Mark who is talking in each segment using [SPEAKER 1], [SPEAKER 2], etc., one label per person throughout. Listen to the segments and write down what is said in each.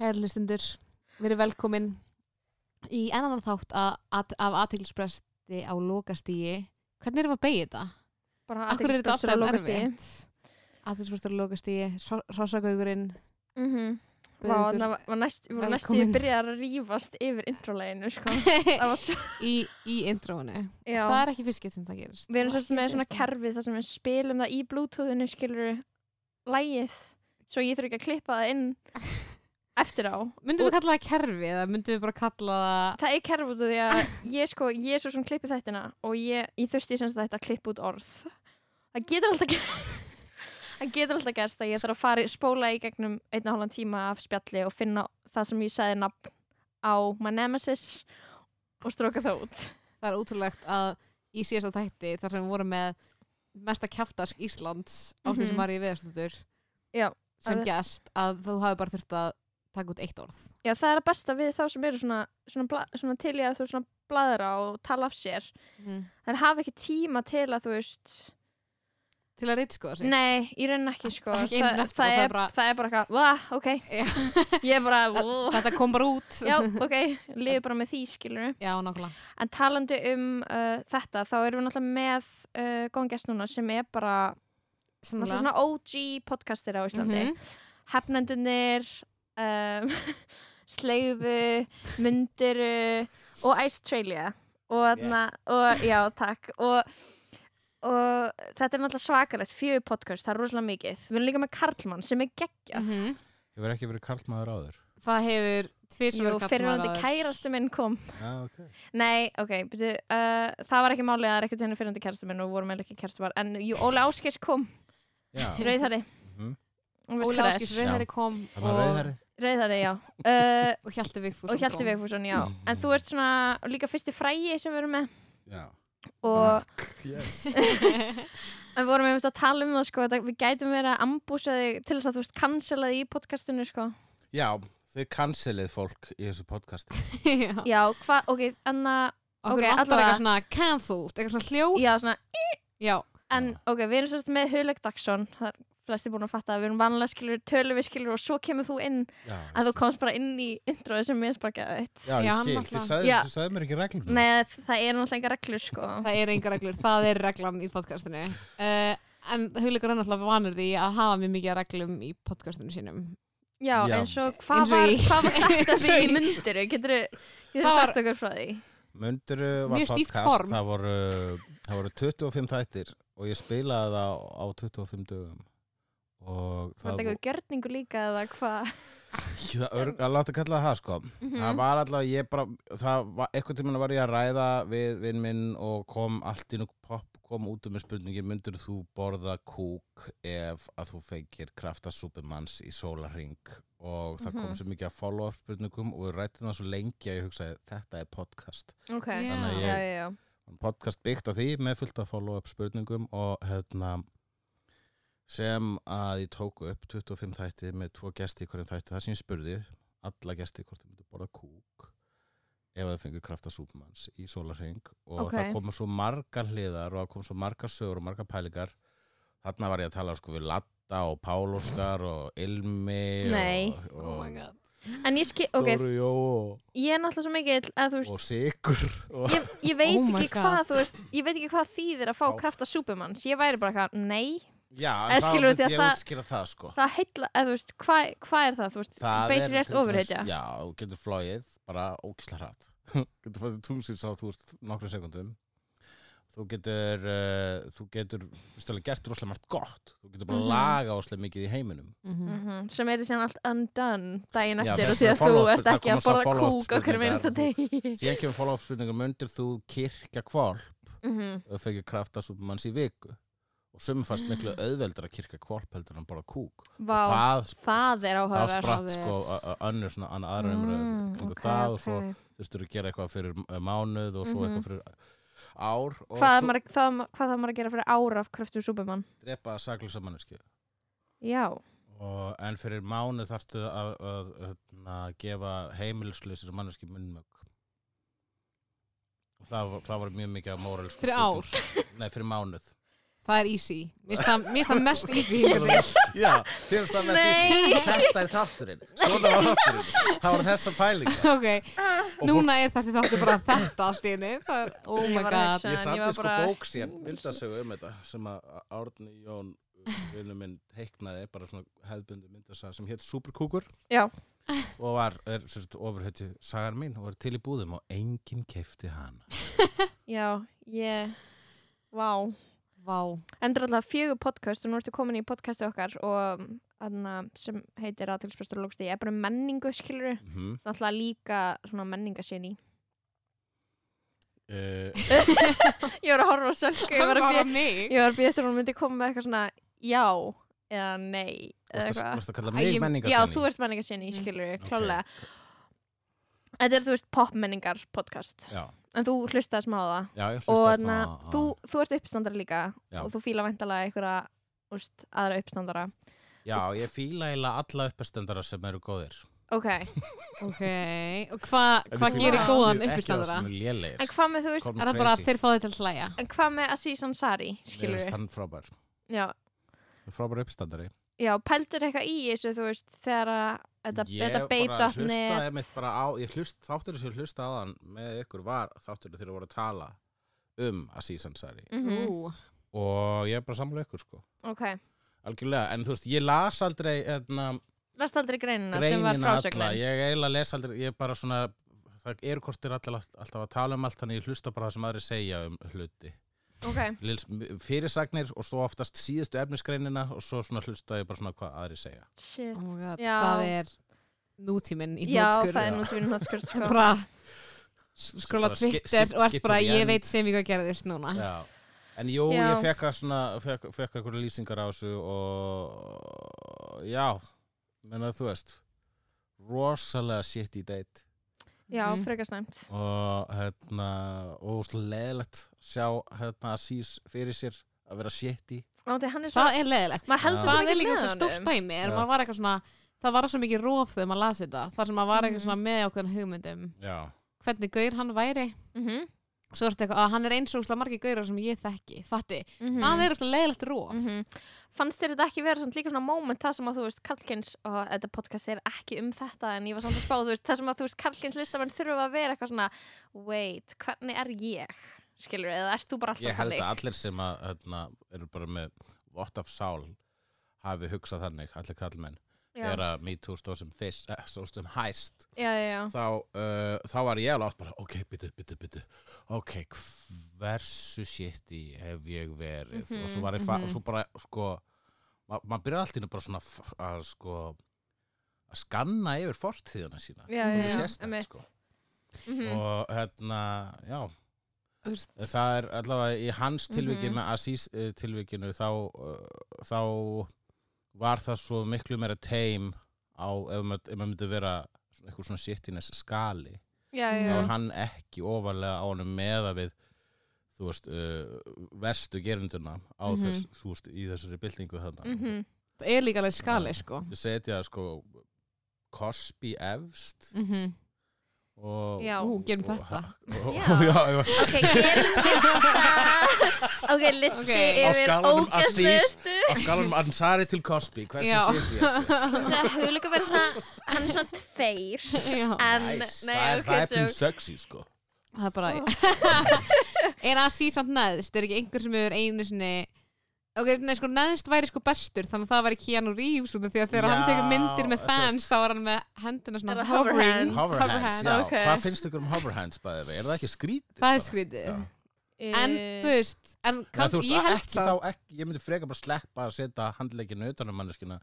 [SPEAKER 1] Kæri hlustendur, verið velkomin í ennan þátt að, að, af aðteglispresti á lokastíi. Hvernig erum við að beigja þetta?
[SPEAKER 2] bara
[SPEAKER 1] Af hverju er þetta
[SPEAKER 2] athyglisbrestur á
[SPEAKER 1] alltaf
[SPEAKER 2] lokastigi
[SPEAKER 1] Aðteglispresti á lokastíi, hrossagaugurinn,
[SPEAKER 2] Mhm. Vá,
[SPEAKER 1] Baugur.
[SPEAKER 2] það var næst, við vorum næstu
[SPEAKER 1] Velkomin.
[SPEAKER 2] byrjað að rífast yfir introleginu sko. það var svo
[SPEAKER 1] í, í intróinu.
[SPEAKER 2] Já.
[SPEAKER 1] Það er ekki fyrst gett sem það gerist.
[SPEAKER 2] við erum
[SPEAKER 1] Og
[SPEAKER 2] svolítið
[SPEAKER 1] ekki
[SPEAKER 2] með svona
[SPEAKER 1] síðasta.
[SPEAKER 2] kerfið þar sem við spilum það í bluetoothinu skilur lægið svo ég þurfi ekki að klippa það inn eftir á
[SPEAKER 1] Myndum við kalla það kerfi eða myndum við bara kalla það...
[SPEAKER 2] það er kerfið út af því að ég sko ég er svo sem klippi þættina og ég, ég þurfti sem sagt að klippa út orð það getur alltaf gerst það getur alltaf gerst að ég þarf að fara í- spóla í gegnum einn og hálfan tíma af spjalli og finna það sem ég sagði nafn á my nemesis og stróka það út
[SPEAKER 1] Það er útrúlegt að í síðasta þætti þar sem við vorum með mesta kjaftask Íslands á því
[SPEAKER 2] Mhm.
[SPEAKER 1] sem var í viðarstundur
[SPEAKER 2] Já,
[SPEAKER 1] sem
[SPEAKER 2] að-
[SPEAKER 1] gest að þú hafi bara þurft að taka út eitt orð.
[SPEAKER 2] já það er að besta við þá sem eru svona, svona, bla, svona til í að þú svona bladra og tala af sér en hafa ekki tíma til að þú veist
[SPEAKER 1] Til að reytskoða sig.
[SPEAKER 2] nei, í raunin ekki sko
[SPEAKER 1] Ekki einu
[SPEAKER 2] það,
[SPEAKER 1] sinni eftir á,
[SPEAKER 2] það,
[SPEAKER 1] það er
[SPEAKER 2] er,
[SPEAKER 1] bara-
[SPEAKER 2] það er bara eitthvað, "Vah, ok
[SPEAKER 1] Já.
[SPEAKER 2] ég er bara "Vah."
[SPEAKER 1] Þetta kom bara út.
[SPEAKER 2] Já, ok, lifið bara með því skilur
[SPEAKER 1] Já, nákvæmlega.
[SPEAKER 2] En talandi um uh, þetta þá erum við náttúrulega með uh, góngest núna sem er bara náttúrulega svona OG podcastir á Íslandi mm
[SPEAKER 1] Mhm.
[SPEAKER 2] Hefnendunir um, Sleiðu Myndiru og Icetralia og, yeah. og já, takk og, og þetta er náttúrulega svakalegt fjögur podcast, það er rosalega mikið Við erum líka með Karlmann sem er geggjað
[SPEAKER 1] Mhm.
[SPEAKER 3] Ég verð ekki verið karlmaður áður.
[SPEAKER 1] Það hefur tvið sem
[SPEAKER 2] Jú,
[SPEAKER 1] verið
[SPEAKER 2] fyrirvandi kærastu minn kom
[SPEAKER 3] Já, ok.
[SPEAKER 2] Nei, ok, byrju, uh, það var ekki málið að það er ekkert henni fyrirandi kærastu minn og við vorum eða ekki kærastu var en jú, Óli Áskis kom,
[SPEAKER 3] Já.
[SPEAKER 2] rauðhæri
[SPEAKER 3] Mhm.
[SPEAKER 1] Óli Áskis Rauðherri kom
[SPEAKER 3] Það var
[SPEAKER 1] og,
[SPEAKER 3] rauðherri.
[SPEAKER 2] Rauðhæri, já uh,
[SPEAKER 1] og Hjalti Vigfússon
[SPEAKER 2] og Hjalti
[SPEAKER 1] kom.
[SPEAKER 2] Vigfússon, já
[SPEAKER 3] Mhm.
[SPEAKER 2] en þú ert svona líka fyrsti fræi sem við erum með
[SPEAKER 3] Já.
[SPEAKER 2] og
[SPEAKER 3] Yes.
[SPEAKER 2] en við vorum einmitt að tala um það sko að við gætum verið að ambúsa þig til þess að þú veist cancela þig í podcastinu sko
[SPEAKER 3] Já, þau cancelið fólk í þessu podcasti.
[SPEAKER 1] Já.
[SPEAKER 2] Já, hvað, ok, en að
[SPEAKER 1] Okkur
[SPEAKER 2] Ok,
[SPEAKER 1] okay, vantar
[SPEAKER 2] allavega.
[SPEAKER 1] eitthvað svona cancelled, eitthvað svona hljóð.
[SPEAKER 2] já, svona,
[SPEAKER 1] Já.
[SPEAKER 2] en ok, við erum sérst með Huleg Dagsson það er flesti búin að fatta að við erum vanlega skilur tölum við skilur og svo kemur þú inn
[SPEAKER 3] Já.
[SPEAKER 2] að þú komst bara inn í introið sem ég sparkaði veitt.
[SPEAKER 3] Já,
[SPEAKER 1] Já,
[SPEAKER 3] ég
[SPEAKER 1] hann
[SPEAKER 3] skil.
[SPEAKER 1] náttúrulega-
[SPEAKER 3] Þið sagði,
[SPEAKER 2] Já.
[SPEAKER 3] þú sagði mér ekki reglum.
[SPEAKER 2] Nei, það eru náttúrulega engar reglur sko.
[SPEAKER 1] Það eru engar reglur, það er reglan í podcastinu. Uh, en Hulikur er náttúrulega vanur því að hafa mjög mikið af reglum í podcastinu sínum.
[SPEAKER 2] Já,
[SPEAKER 3] Já.
[SPEAKER 2] eins og hvað
[SPEAKER 1] Eins og
[SPEAKER 2] var,
[SPEAKER 1] í-
[SPEAKER 2] hva var sagt að
[SPEAKER 1] eins og
[SPEAKER 2] því
[SPEAKER 1] í-
[SPEAKER 2] í mynduru? Getur þú
[SPEAKER 1] Það var-
[SPEAKER 2] sagt okkur frá því?
[SPEAKER 3] Munduru var
[SPEAKER 1] Mjög stíft
[SPEAKER 3] podcast.
[SPEAKER 1] form.
[SPEAKER 3] Það voru, það voru 25 þættir og ég spilaði það á- á 25 dögum. Og
[SPEAKER 2] Var
[SPEAKER 3] það,
[SPEAKER 2] þetta eitthvað gjörningu líka eða hvað?
[SPEAKER 3] það, örg, að láta kalla það það sko
[SPEAKER 1] Mhm.
[SPEAKER 2] Mhm.
[SPEAKER 3] það var allavega, ég bara það var, eitthvað tímann var ég að ræða við vinn minn og kom allt í nú pop kom út um með spurningi, myndur þú borða kúk ef að þú fengir krafta supermanns í sólarring og það kom
[SPEAKER 2] Mhm.
[SPEAKER 3] svo mikið að follow-up spurningum og við rættum það svo lengi að ég hugsaði þetta er podcast
[SPEAKER 2] Ok,
[SPEAKER 1] Já.
[SPEAKER 3] Þannig að
[SPEAKER 2] já,
[SPEAKER 3] ég-
[SPEAKER 2] já, já.
[SPEAKER 3] podcast byggt á því með fullt að follow-up spurningum og hérna sem að ég tók upp 25 þætti með tvo gesti í hverjum þætti það sem ég spurði alla gesti hvort þau myndu borða kúk ef þau fengur krafta súpmanns í sólarheng og
[SPEAKER 2] Ok.
[SPEAKER 3] það komu svo margar hliðar og það komu svo margar sögur og margar pælingar þarna var ég að tala sko við Latta og Páloskar og Ilmi
[SPEAKER 2] Nei.
[SPEAKER 3] og,
[SPEAKER 1] Oh
[SPEAKER 3] og,
[SPEAKER 1] my god.
[SPEAKER 2] En ég skil, ok,
[SPEAKER 3] Dóru Jó og,
[SPEAKER 2] ég er náttúrulega svo mikið að þú veist,
[SPEAKER 3] og Sigur og,
[SPEAKER 2] ég, ég veit
[SPEAKER 1] Oh my
[SPEAKER 2] ekki
[SPEAKER 1] God.
[SPEAKER 2] hvað, þú veist, ég veit ekki hvað þýðir að fá
[SPEAKER 3] Já.
[SPEAKER 2] krafta Supermans. Ég væri bara eitthvað, nei,
[SPEAKER 3] Já,
[SPEAKER 2] En
[SPEAKER 3] en það
[SPEAKER 2] skilurðu því að
[SPEAKER 3] myndi ég
[SPEAKER 2] það-
[SPEAKER 3] útskýra það sko
[SPEAKER 2] það heilla, eða þú veist, hvað hva er það, þú veist,
[SPEAKER 3] Það
[SPEAKER 2] beisir rétt
[SPEAKER 3] til dæmis-
[SPEAKER 2] ofurheitja.
[SPEAKER 3] Já, þú getur flóið bara ókísla hratt getur farið tungsins á þú veist nokkru sekundum þú getur uh, þú getur, þú veist alveg gert rosalega margt gott þú getur bara
[SPEAKER 2] Mhm.
[SPEAKER 3] laga rosalega mikið í heiminum
[SPEAKER 1] Mhm.
[SPEAKER 2] Mm sem er þessi allt undone daginn
[SPEAKER 3] Já,
[SPEAKER 2] eftir og
[SPEAKER 3] þess
[SPEAKER 2] því
[SPEAKER 3] vegna
[SPEAKER 2] að þú
[SPEAKER 3] follow-up-
[SPEAKER 2] ert
[SPEAKER 3] það
[SPEAKER 2] ekki
[SPEAKER 3] koma
[SPEAKER 2] að
[SPEAKER 3] svo
[SPEAKER 2] borða
[SPEAKER 3] follow-up
[SPEAKER 2] kúk okkur með einsta
[SPEAKER 3] spurningar, hérna,
[SPEAKER 2] degi
[SPEAKER 3] síðan kemur follow-up spurningum myndir þú kirkja kvalp
[SPEAKER 2] Mhm.
[SPEAKER 3] og fengið krafta supermanns í viku og sumum fannst miklu auðveldar að kirkja kvalp heldur en bara kúk og
[SPEAKER 2] Vá,
[SPEAKER 3] það,
[SPEAKER 2] það er
[SPEAKER 3] það
[SPEAKER 2] áhugavert
[SPEAKER 3] spratt sko ö- ö- önnur svona annað aðra umræður
[SPEAKER 2] Mm,
[SPEAKER 3] kringu það og svo þurftur að gera eitthvað fyrir uh, mánuð og svo
[SPEAKER 2] Mhm.
[SPEAKER 3] eitthvað fyrir ár og
[SPEAKER 2] Hvað
[SPEAKER 3] svo
[SPEAKER 2] þarf maður, það, hvað þarf maður að gera fyrir ára af kröftum Superman?
[SPEAKER 3] drepa saklösa manneski
[SPEAKER 2] Já,
[SPEAKER 3] og, en fyrir mánuð þarftu að, að, að, að gefa heimilislausir manneski munnmögg og það, var- það var mjög mikið af moralsku
[SPEAKER 1] Fyrir
[SPEAKER 3] spurningum. nei fyrir mánuð
[SPEAKER 1] Það Það er easy. Mér finnst það- mér finnst það mest easy. hingað til.
[SPEAKER 3] Já, þér finnst það mest
[SPEAKER 2] Nei.
[SPEAKER 3] í Þetta er þátturinn, svona var þátturinn Það var þessa pælinga
[SPEAKER 1] ok,
[SPEAKER 2] Ah.
[SPEAKER 1] núna er þessi þáttu bara þetta allt í henni. Það er, oh
[SPEAKER 2] Ég
[SPEAKER 1] my
[SPEAKER 2] var að
[SPEAKER 1] god.
[SPEAKER 2] hugsa.
[SPEAKER 3] Ég
[SPEAKER 2] Ég
[SPEAKER 3] samti
[SPEAKER 2] var
[SPEAKER 3] sko
[SPEAKER 2] bara-
[SPEAKER 3] bók síðan myndasögu um þetta sem að Árni Jón vinnu minn teiknaði bara svona hefðbundu myndasögu sem hétt Superkúkur
[SPEAKER 2] Já.
[SPEAKER 3] og var er, sérst, ofurhættu sagan mín og var til í búðum og enginn keifti hana
[SPEAKER 2] Já, ég Vá,
[SPEAKER 1] Vá.
[SPEAKER 2] endur alltaf fjögur podcast og nú ertu komin í podcastið okkar og aðna, sem heitir aðtilsprestur og lókst ég er bara um menningu skilur
[SPEAKER 3] mm -hmm.
[SPEAKER 2] alltaf líka svona menningasinni
[SPEAKER 3] uh,
[SPEAKER 2] Ég var að horfa á sölku ég
[SPEAKER 1] Það
[SPEAKER 2] var
[SPEAKER 1] var
[SPEAKER 2] að
[SPEAKER 1] bara
[SPEAKER 2] bíða-
[SPEAKER 1] mig.
[SPEAKER 2] ég var að býja eftir að hún myndi koma með eitthvað svona já eða nei eða eitthvað.
[SPEAKER 3] Varst að kalla
[SPEAKER 1] Æ,
[SPEAKER 3] mig
[SPEAKER 1] ég-
[SPEAKER 3] menningar
[SPEAKER 2] Já, þú ert menningasinni,
[SPEAKER 1] Mm.
[SPEAKER 2] skilur
[SPEAKER 3] Ok.
[SPEAKER 2] klálega Þetta er, þú veist, popmenningar podcast
[SPEAKER 3] Já,
[SPEAKER 2] en þú hlustaði smá á það
[SPEAKER 3] já, ég
[SPEAKER 2] og
[SPEAKER 3] hlustast
[SPEAKER 2] þarna, þú, þú ert uppstandara líka
[SPEAKER 3] Já.
[SPEAKER 2] og þú fíla væntalega einhverja úst, aðra uppstandara
[SPEAKER 3] Já, ég fíla eiginlega alla uppestendara sem eru góðir
[SPEAKER 2] ok,
[SPEAKER 1] Ok, og hva- hvað gerir góðan uppistandara?
[SPEAKER 3] Ekki það sem er lélegir
[SPEAKER 2] en hvað með þú veist
[SPEAKER 3] Call me
[SPEAKER 1] Er það bara að
[SPEAKER 3] crazy.
[SPEAKER 1] þeir fá þau til að hlæja?
[SPEAKER 2] en hvað með Aziz Ansari,
[SPEAKER 3] Mér
[SPEAKER 2] skilur
[SPEAKER 3] finnst
[SPEAKER 2] við
[SPEAKER 3] hann frábær
[SPEAKER 2] já,
[SPEAKER 3] Frábær uppstandari
[SPEAKER 2] já, pældur eitthvað í þessu þú veist, þegar að þetta, þetta
[SPEAKER 3] bara hlustaði
[SPEAKER 2] babe.net
[SPEAKER 3] einmitt bara á, ég hlust, þáttur sem ég hlusta á þann með ykkur var þáttur þegar voru að tala um Aziz Ansari
[SPEAKER 2] Mhm,
[SPEAKER 1] Ú,
[SPEAKER 3] og ég er bara samlega ykkur sko
[SPEAKER 2] ok,
[SPEAKER 3] algjörlega, en þú veist, ég las aldrei hérna,
[SPEAKER 2] last aldrei greinina, sem var
[SPEAKER 3] greinina alla,
[SPEAKER 2] frásögnin
[SPEAKER 3] ég eiginlega les aldrei ég er bara svona, það eru kortir allir alltaf að tala um allt, þannig ég hlusta bara það sem aðri segja um hluti
[SPEAKER 2] ok,
[SPEAKER 3] Lils, fyrirsagnir og svo oftast síðustu efnisgreinina og svo svona hlusta ég bara svona hvað aðri segja
[SPEAKER 2] shit
[SPEAKER 1] oh my god,
[SPEAKER 2] Já.
[SPEAKER 1] það er nútíminn í
[SPEAKER 2] já,
[SPEAKER 1] hnótskur.
[SPEAKER 2] það er nú tíminn hótskurt sko.
[SPEAKER 1] bara skrolla
[SPEAKER 3] Bara ski-
[SPEAKER 1] Twitter
[SPEAKER 3] skip-
[SPEAKER 1] og erst
[SPEAKER 3] skip
[SPEAKER 1] bara
[SPEAKER 3] to the
[SPEAKER 1] ég
[SPEAKER 3] end."
[SPEAKER 1] veit sem ég hvað gerðist núna
[SPEAKER 3] Já. En jú,
[SPEAKER 2] Já.
[SPEAKER 3] ég fekk að svona, fekk, fekk eitthvað lýsingar á þessu og já, menna þú veist, rosalega shit í date
[SPEAKER 2] já,
[SPEAKER 1] Mhm.
[SPEAKER 2] frekar slæmt
[SPEAKER 3] og hérna, og svo leðilegt sjá hérna að sís fyrir sér að vera shit í.
[SPEAKER 2] Ó, því hann er svo,
[SPEAKER 1] það er leðilegt
[SPEAKER 2] maður heldur
[SPEAKER 3] Já.
[SPEAKER 2] svo
[SPEAKER 1] það er
[SPEAKER 2] mikið
[SPEAKER 1] líka
[SPEAKER 2] með
[SPEAKER 1] svo stórt
[SPEAKER 2] honum.
[SPEAKER 1] dæmi en
[SPEAKER 3] Já.
[SPEAKER 1] maður var eitthvað svona það var svo mikið róf þegar maður lasi þetta þar sem maður var
[SPEAKER 2] Mhm.
[SPEAKER 1] eitthvað svona með okkur hugmyndum
[SPEAKER 3] Já.
[SPEAKER 1] hvernig gaur hann væri
[SPEAKER 2] Mhm,
[SPEAKER 1] svo er þetta eitthvað að hann er eins og úslega margir gaurar sem ég þekki fatti,
[SPEAKER 2] mhm.
[SPEAKER 1] það er úslega leðilegt róf
[SPEAKER 2] mm fannst þér þetta ekki vera samt líka svona moment það sem að þú veist Karlkins og þetta podcast er ekki um þetta en ég var samt að spá þú veist það sem að þú veist Karlkins listamenn þurfa að vera eitthvað svona wait, hvernig er ég skilur eða ert þú bara alltaf
[SPEAKER 3] Ég held að allir sem að, hérna, eru bara með vott af sál hafi hugsað þannig, allir kallmenn,
[SPEAKER 2] já,
[SPEAKER 3] þegar að MeToo stóð sem fyrst, eh, stóð sem hæst
[SPEAKER 2] já, já, já.
[SPEAKER 3] þá, uh, þá var ég alveg átt bara ok, byttu, byttu, byttu ok, hversu shitty hef ég verið
[SPEAKER 2] Mhm,
[SPEAKER 3] og svo var ég fa-
[SPEAKER 1] mhm.
[SPEAKER 3] svo bara sko ma- maður byrjar allt í hennu bara svona f- að sko að skanna yfir fortíðina sína
[SPEAKER 2] já,
[SPEAKER 1] Þú
[SPEAKER 2] já, já,
[SPEAKER 3] sést það,
[SPEAKER 2] einmitt.
[SPEAKER 3] sko.
[SPEAKER 2] Mhm.
[SPEAKER 3] og hérna, já
[SPEAKER 1] Þú veist,
[SPEAKER 3] það er allavega í hans tilviki
[SPEAKER 2] Mhm.
[SPEAKER 3] með Aziz uh, tilvikinu þá, uh, þá var það svo miklu meira teim á ef maður, ef maður myndi vera svona- einhver svona shittiness skali
[SPEAKER 2] já,
[SPEAKER 3] þá
[SPEAKER 2] já,
[SPEAKER 3] er hann ekki ofarlega á honum meða við þú veist, uh, verstu gerunduna á
[SPEAKER 1] Mhm.
[SPEAKER 3] þess, þú veist, í þessari byltingu þarna.
[SPEAKER 2] Mhm.
[SPEAKER 1] það er líka alveg skali sko
[SPEAKER 3] Ég setja sko Cosby efst
[SPEAKER 1] Mhm.
[SPEAKER 3] og...
[SPEAKER 2] Já.
[SPEAKER 1] Ú, gerum
[SPEAKER 3] og-
[SPEAKER 1] þetta.
[SPEAKER 3] og-
[SPEAKER 2] Já.
[SPEAKER 3] Já, já,
[SPEAKER 2] ok, gerum lista ok, listi
[SPEAKER 1] Ok. Á
[SPEAKER 2] yfir
[SPEAKER 3] skalanum
[SPEAKER 2] ógæslustu
[SPEAKER 3] á skalum Ansari til Cosby, hversu
[SPEAKER 1] Já.
[SPEAKER 3] setja ég?
[SPEAKER 2] það hefur líka verið svona hann er svona tveir
[SPEAKER 1] Já.
[SPEAKER 2] en, nei,
[SPEAKER 3] það er
[SPEAKER 2] ok,
[SPEAKER 3] það er pín
[SPEAKER 2] joke.
[SPEAKER 3] sexy, sko.
[SPEAKER 1] það er bara er að síð samt neðst, er ekki einhver sem hefur einu sinni ok, nei, sko, neðst væri sko bestur þannig að það væri Keanu Reeves út af því að þegar
[SPEAKER 3] Já,
[SPEAKER 1] hann tekur myndir með
[SPEAKER 3] þú
[SPEAKER 1] fans
[SPEAKER 3] veist.
[SPEAKER 1] þá er hann með hendina
[SPEAKER 2] Er
[SPEAKER 1] svona
[SPEAKER 2] það hover
[SPEAKER 1] hovering
[SPEAKER 2] hand?
[SPEAKER 3] Hover hands, já.
[SPEAKER 2] ok.
[SPEAKER 3] Hvað finnst ykkur um hover hands, bæði við? Er það ekki skrítið?
[SPEAKER 1] það
[SPEAKER 3] bara?
[SPEAKER 1] er skrítið
[SPEAKER 3] Já.
[SPEAKER 1] en
[SPEAKER 2] Eh,
[SPEAKER 1] þú veist, en
[SPEAKER 3] Nei,
[SPEAKER 1] kann,
[SPEAKER 3] þú veist,
[SPEAKER 1] ég held
[SPEAKER 3] ekki
[SPEAKER 1] það
[SPEAKER 3] þá, ekki, ég myndi frekar bara sleppa að setja handleikinu utan um manneskina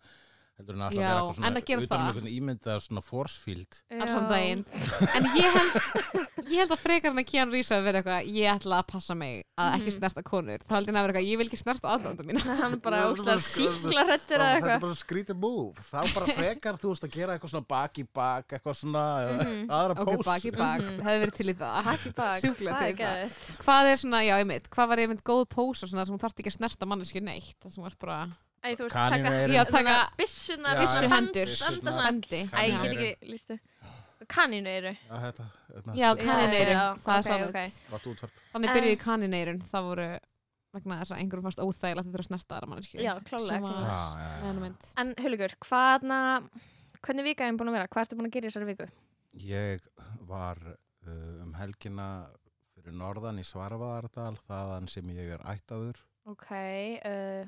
[SPEAKER 3] heldur en alltaf
[SPEAKER 1] Já,
[SPEAKER 3] vera eitthvað
[SPEAKER 1] en
[SPEAKER 3] svona
[SPEAKER 1] að
[SPEAKER 3] utan
[SPEAKER 1] gera
[SPEAKER 3] um
[SPEAKER 1] það.
[SPEAKER 3] einhvern ímyndað svona force field
[SPEAKER 1] allan
[SPEAKER 2] já.
[SPEAKER 1] daginn en ég held, ég held að frekar hann að Keanu Reeves hafi verið eitthvað, ég ætla að passa mig að ekki
[SPEAKER 2] Mhm.
[SPEAKER 1] snerta konur, þá held ég að vera eitthvað ég vil ekki snerta aðdánda mína
[SPEAKER 2] hann er bara
[SPEAKER 3] Þú ert
[SPEAKER 2] ógstlega
[SPEAKER 3] bara
[SPEAKER 2] síklarrættur
[SPEAKER 3] þetta
[SPEAKER 2] eða
[SPEAKER 3] er
[SPEAKER 2] eitthvað
[SPEAKER 3] bara skrítið move þá bara frekar þú veist að gera eitthvað svona bak í bak eitthvað svona mm. aðra
[SPEAKER 1] Mhm. ok,
[SPEAKER 3] pós
[SPEAKER 1] bak í bak,
[SPEAKER 2] Mhm.
[SPEAKER 1] hefði verið til í það
[SPEAKER 2] Takk í bak,
[SPEAKER 1] Sjúklega
[SPEAKER 2] það
[SPEAKER 1] til í
[SPEAKER 2] er
[SPEAKER 1] það.
[SPEAKER 2] gæðið
[SPEAKER 1] hvað er svona, já, einmitt, hvað var einmitt góð pósa svona sem hún þarf ekki að snerta manneski neitt það sem var bara
[SPEAKER 2] Æ, þú veist,
[SPEAKER 3] Kanínu
[SPEAKER 2] taka
[SPEAKER 3] eyrun.
[SPEAKER 1] Já, taka-
[SPEAKER 2] Bissuna,
[SPEAKER 3] Já,
[SPEAKER 1] vissu
[SPEAKER 3] já.
[SPEAKER 1] hendur,
[SPEAKER 3] Byssurnar.
[SPEAKER 2] Handa svona
[SPEAKER 1] hendi
[SPEAKER 2] Æ, ég
[SPEAKER 3] Kanínu
[SPEAKER 2] get
[SPEAKER 3] eyrun.
[SPEAKER 2] ekki listu Kaninu eru
[SPEAKER 3] já, þetta, þetta,
[SPEAKER 1] já,
[SPEAKER 2] Já,
[SPEAKER 1] kanineyrum,
[SPEAKER 2] já,
[SPEAKER 1] það
[SPEAKER 2] ok,
[SPEAKER 1] er sátt
[SPEAKER 2] ok.
[SPEAKER 3] gott útvarp
[SPEAKER 1] þannig byrjuði kanineyrum, það voru vegna þess að einhverjum fannst óþægilegt að þetta er að snerta aðra manneskju
[SPEAKER 2] Já, klárlega,
[SPEAKER 1] Sem að-
[SPEAKER 2] klárlega.
[SPEAKER 3] Já, já, já.
[SPEAKER 1] með hennar mynd.
[SPEAKER 2] En Hulugur, hvaðna, hvernig vika er búin að vera? Hvað ertu búin að gera í þessari viku?
[SPEAKER 3] Ég var uh, um helgina fyrir norðan í Svarfaðardal, þaðan sem ég er ættaður.
[SPEAKER 2] Ok, uh,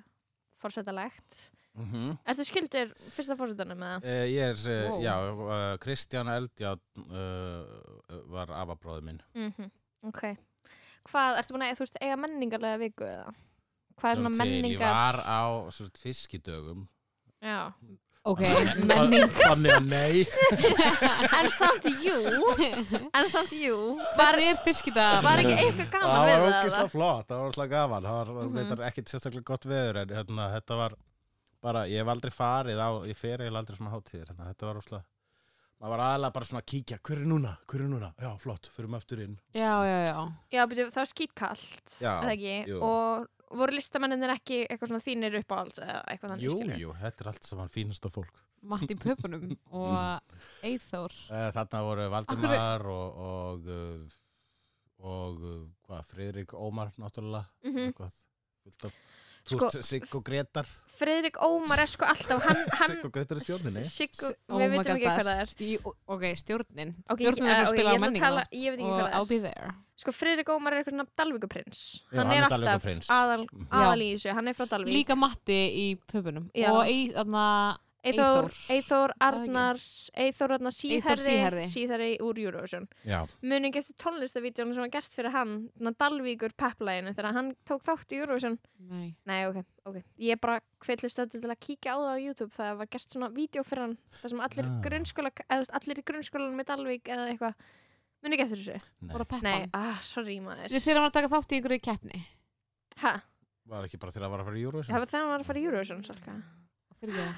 [SPEAKER 2] fórsetalegt.
[SPEAKER 3] Mm -hmm.
[SPEAKER 2] Ertu skildur fyrsta fórsetanum eða?
[SPEAKER 3] ég er, uh,
[SPEAKER 1] Wow.
[SPEAKER 3] já, uh, Kristján Eldjátt uh, var afabróði minn.
[SPEAKER 2] Mm Ok. Hvað, ertu búin að, þú veist, eiga menningarlega viku eða? Hvað er svona
[SPEAKER 3] Sjáum til, Ég
[SPEAKER 2] menningar?
[SPEAKER 3] var á svo, sagt, fiskidögum.
[SPEAKER 2] Já.
[SPEAKER 1] Ok,
[SPEAKER 3] Þannig-
[SPEAKER 1] menning
[SPEAKER 3] Þannig að nei.
[SPEAKER 2] En samt jú, en samt jú,
[SPEAKER 1] Hvernig er fiskidag?
[SPEAKER 2] var ekki eitthvað gaman
[SPEAKER 3] það
[SPEAKER 2] við
[SPEAKER 3] var
[SPEAKER 2] það?
[SPEAKER 3] ógeðslega
[SPEAKER 2] eða?
[SPEAKER 3] flott, það var ógeðslega gaman það var mm
[SPEAKER 2] Mhm.
[SPEAKER 3] -hmm. ekkit sérstaklega gott veður en hérna, þetta var bara, ég hef aldrei farið á, ég fer eiginlega aldrei svona hátíðir hérna, þetta var ógeðslega maður var aðalega bara svona að kíkja, hver er núna, hver er núna já, flott, fyrir maður aftur inn
[SPEAKER 1] Já, já, já
[SPEAKER 2] Já, byrju, það var skítkallt,
[SPEAKER 3] Já,
[SPEAKER 2] eða ekki?
[SPEAKER 3] jú.
[SPEAKER 2] Og voru listamenninir ekki eitthvað svona þínir uppáhalds eða eitthvað þannig
[SPEAKER 3] jú,
[SPEAKER 2] skilur?
[SPEAKER 3] jú, þetta er allt saman fínasta fólk
[SPEAKER 1] Matti í pöpunum og Eithór
[SPEAKER 3] Eh, þarna voru Valdimar og og, uh, og uh, hvað, Friðrik Ómar náttúrulega,
[SPEAKER 2] Mm
[SPEAKER 3] eitthvað fullt af, þú
[SPEAKER 2] Sko-
[SPEAKER 3] veist, Sigg og Gretar
[SPEAKER 2] Friðrik Ómar er sko alltaf, hann, hann,
[SPEAKER 3] Sigg og Gretar í stjórninni
[SPEAKER 2] Siggu,
[SPEAKER 1] Oh
[SPEAKER 2] Sko, við
[SPEAKER 1] my
[SPEAKER 2] vitum
[SPEAKER 1] God,
[SPEAKER 2] ekki hvað það er.
[SPEAKER 1] best. Í- Ok, stjórnin
[SPEAKER 2] Ok,
[SPEAKER 1] Stjórnin
[SPEAKER 2] ég-
[SPEAKER 1] er að
[SPEAKER 2] ok,
[SPEAKER 1] spila
[SPEAKER 2] ég
[SPEAKER 1] á
[SPEAKER 2] ætla að tala-
[SPEAKER 1] menninganátt
[SPEAKER 2] ég veit ekki hvað það
[SPEAKER 1] Og
[SPEAKER 2] er.
[SPEAKER 1] I'll be there
[SPEAKER 2] Sko, Friðrik Ómar er eitthvað svona Dalvíkuprins.
[SPEAKER 3] Já,
[SPEAKER 2] Hann
[SPEAKER 3] hann
[SPEAKER 2] er
[SPEAKER 3] er
[SPEAKER 2] alltaf
[SPEAKER 3] Dalvíkurprins.
[SPEAKER 2] aðal, aðal í þessu, hann er frá Dalvík.
[SPEAKER 1] Líka Matti í pöpunum
[SPEAKER 2] Já.
[SPEAKER 1] Og Eith- þarna
[SPEAKER 2] Eithór,
[SPEAKER 1] Eyþór. það
[SPEAKER 2] Eithór
[SPEAKER 1] ekki?
[SPEAKER 2] Arnars, Eithór Arnars síðherri,
[SPEAKER 1] Síherri.
[SPEAKER 2] síðherri úr Eurovision.
[SPEAKER 3] já,
[SPEAKER 2] Muning eftir tónlistavídjónu sem var gert fyrir hann, þannig Dalvíkur pepplæginu, þegar hann tók þátt í Eurovision.
[SPEAKER 1] Nei
[SPEAKER 2] Nei, ok, ok. Ég bara kveitlega stöðu til að kíkja á það á YouTube það var gert svona vídeo fyrir hann þar sem allir,
[SPEAKER 3] Ah.
[SPEAKER 2] grunnskóla, eða, þú veist, allir í grunnskólanum með Dalvík eða eitthvað Muni ekki eftir þessu?
[SPEAKER 3] nei,
[SPEAKER 1] Voru að peppa
[SPEAKER 2] Nei,
[SPEAKER 1] hann
[SPEAKER 2] ah, sorry maður
[SPEAKER 1] Þið þeirra var að taka þátt í einhverju keppni
[SPEAKER 2] Hæ,
[SPEAKER 3] var ekki bara þegar að vara fyrir Eurovision
[SPEAKER 2] það var þegar hann var að fara í Eurovision salka
[SPEAKER 1] Fyrirgeðu.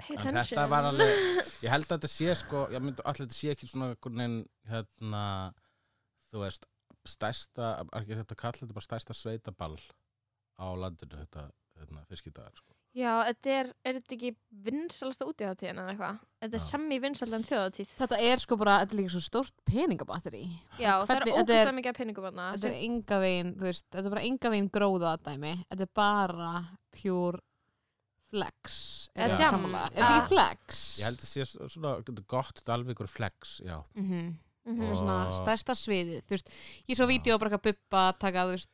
[SPEAKER 2] Pay
[SPEAKER 3] En
[SPEAKER 2] attention
[SPEAKER 3] þetta var alveg, ég held að þetta sé sko, ég myndi allir þetta sé ekki svona einhvern veginn, hérna, þú veist, stærsta, er ekki þetta kalla þetta bara stærsta sveitaball á landinu, þetta, hérna, fiskidagar sko.
[SPEAKER 2] Já, þetta er, er þetta ekki vinsalasta útíðhátíðin eða eitthvað? Þetta er
[SPEAKER 3] Já.
[SPEAKER 2] sami vinsalan þjóðhátíð
[SPEAKER 1] Þetta er sko bara, þetta er líka svo stórt peningabatteri
[SPEAKER 2] Já, það er
[SPEAKER 1] hvernig- þetta er-
[SPEAKER 2] ógustlega mikið að peningum hana
[SPEAKER 1] Þetta er enga veginn, þú veist, þetta er bara enga veginn gróða dæmi Þetta er bara pure flex
[SPEAKER 2] Eða
[SPEAKER 1] Er það
[SPEAKER 3] jam.
[SPEAKER 1] sammála? Er þetta
[SPEAKER 2] Ah.
[SPEAKER 1] ekki flex?
[SPEAKER 3] Ég held að þetta sé svona gott dalvíkur flex, já.
[SPEAKER 1] Mhm.
[SPEAKER 2] mm
[SPEAKER 1] Þetta er
[SPEAKER 3] Og-
[SPEAKER 1] svona stærsta sviðið þú veist, ég svo
[SPEAKER 3] Já.
[SPEAKER 1] vídeo um bara eitthvað bubba taka, þú veist,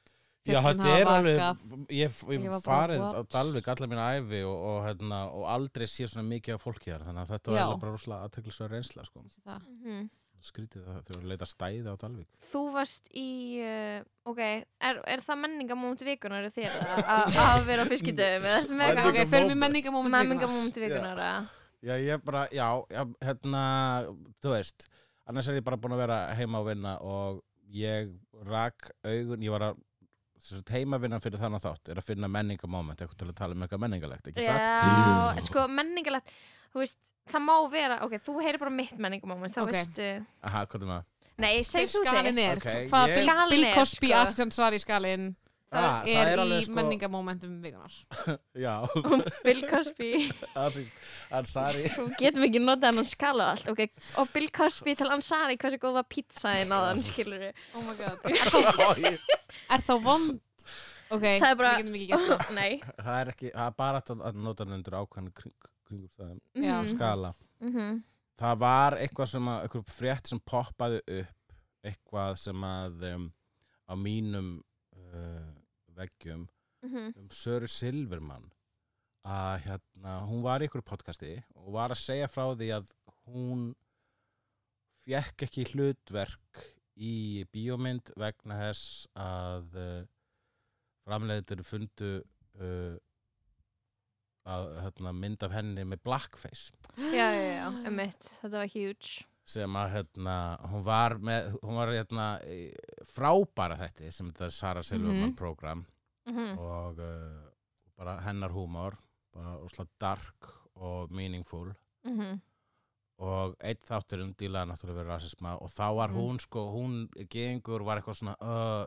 [SPEAKER 3] Já,
[SPEAKER 1] fjöllin
[SPEAKER 3] þetta
[SPEAKER 1] hafa
[SPEAKER 3] er alveg,
[SPEAKER 1] vakað.
[SPEAKER 3] ég
[SPEAKER 1] Ég var
[SPEAKER 3] hef
[SPEAKER 1] bara,
[SPEAKER 3] farið á
[SPEAKER 1] what?
[SPEAKER 3] Dalvík allar mína æfi og, og, hérna, og aldrei sé svona mikið af fólki þar, þannig að þetta var
[SPEAKER 1] Já.
[SPEAKER 3] eiginlega bara rosalega aðteklisverð reynsla, sko.
[SPEAKER 1] Vissi það?
[SPEAKER 3] Skrítið að þau leita stæði á Dalvík.
[SPEAKER 2] Mhm. Þú varst í, uh, ok, er, er það menningamóment vikunar í þér að- að að vera á fiskidöfum? Eða þetta með
[SPEAKER 3] Menninga-
[SPEAKER 1] ok,
[SPEAKER 2] eitthvað?
[SPEAKER 1] ok, förum við menningamóment
[SPEAKER 2] Menningamóment vikunar, eða?
[SPEAKER 3] Já, ég er bara, já, já, hérna, þú veist, annars er ég bara búin að vera heima og vinna og ég rak augun, ég var að sem sagt, heimavinnan fyrir þannig þátt er að finna menningamoment, eitthvað til að tala um eitthvað menningalegt, ekki satt?
[SPEAKER 2] Já, sko menningalegt, þú veist, það má vera, ok, þú heyrir bara mitt menningamóment, þá
[SPEAKER 1] Ok.
[SPEAKER 2] veistu,
[SPEAKER 3] Aha, hvað er maður?
[SPEAKER 2] nei, segir þú
[SPEAKER 1] skalin
[SPEAKER 2] þig?
[SPEAKER 1] er,
[SPEAKER 3] Ok,
[SPEAKER 1] okay, hvað
[SPEAKER 3] ég-
[SPEAKER 1] Bill,
[SPEAKER 2] Skalinn
[SPEAKER 1] Bill
[SPEAKER 2] er,
[SPEAKER 1] Cosby
[SPEAKER 2] sko.
[SPEAKER 1] Asian Sari skalin
[SPEAKER 3] Ah,
[SPEAKER 1] er, í sko... menningamómentum vikunar
[SPEAKER 3] Já,
[SPEAKER 2] Bill Cosby,
[SPEAKER 3] aðeins, ansari.
[SPEAKER 2] þú getum ekki notað hann skala og allt, ok, og Bill Cosby til Ansari, hversu góða pizzaðin á þann, skilur við?
[SPEAKER 1] oh my god,
[SPEAKER 3] það
[SPEAKER 1] er þá vond ok,
[SPEAKER 2] Það er bara-
[SPEAKER 1] við getum ekki gert það
[SPEAKER 2] Nei.
[SPEAKER 3] er ekki, það er bara hægt að- að nota hann undir ákvæmni kring, kringum staðum,
[SPEAKER 1] Já.
[SPEAKER 2] Mhm,
[SPEAKER 3] skala.
[SPEAKER 2] mhm.
[SPEAKER 3] það var eitthvað sem að, eitthvað frétt sem poppaði upp eitthvað sem að um, á mínum uh, veggjum
[SPEAKER 2] Mhm.
[SPEAKER 3] um Söru Silverman að hérna, hún var í einhverju podcasti og var að segja frá því að hún fjekk ekki hlutverk í bíómynd vegna þess að uh, framleiðindur fundu uh, að hérna, mynd af henni með blackface
[SPEAKER 2] Já, já, já, emitt, þetta var huge.
[SPEAKER 3] sem að hérna, hún var með, hún var hérna í- frábæra þetta sem þetta er Sara Silverman
[SPEAKER 1] Mhm.
[SPEAKER 3] program
[SPEAKER 2] Mhm.
[SPEAKER 3] og uh, bara hennar húmor bara úrslega dark og meaningful
[SPEAKER 2] Mhm.
[SPEAKER 3] og eitt þátturinn dílaði náttúrulega verið rasisma og þá var
[SPEAKER 1] Mhm.
[SPEAKER 3] hún sko, hún geðingur var eitthvað svona, uh,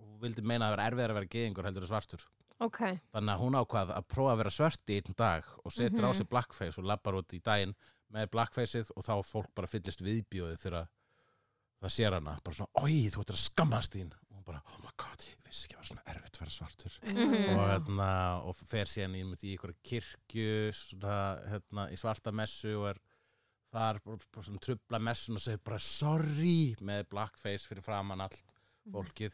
[SPEAKER 3] hún vildi meina að vera erfið að vera geðingur heldur en svartur
[SPEAKER 2] Ok,
[SPEAKER 3] þannig að hún ákvað að prófa að vera svört í einn dag og setur á
[SPEAKER 2] Mhm.
[SPEAKER 3] sig blackface og lappar út í daginn með blackfaceið og þá fólk bara fyllist viðbjóðið þegar það sér hana bara svona, oi þú ættir að skammast þín og hún bara, oh my god, ég vissi ekki að það var svona erfitt að vera svartur
[SPEAKER 2] Mhm.
[SPEAKER 3] og,
[SPEAKER 1] Já.
[SPEAKER 3] hérna, og fer síðan í, í einhverja kirkju svona, hérna, í svarta messu og er þar bara- bara svona trubla messun og segir bara sorry með blackface fyrir framan allt
[SPEAKER 2] Mhm.
[SPEAKER 3] fólkið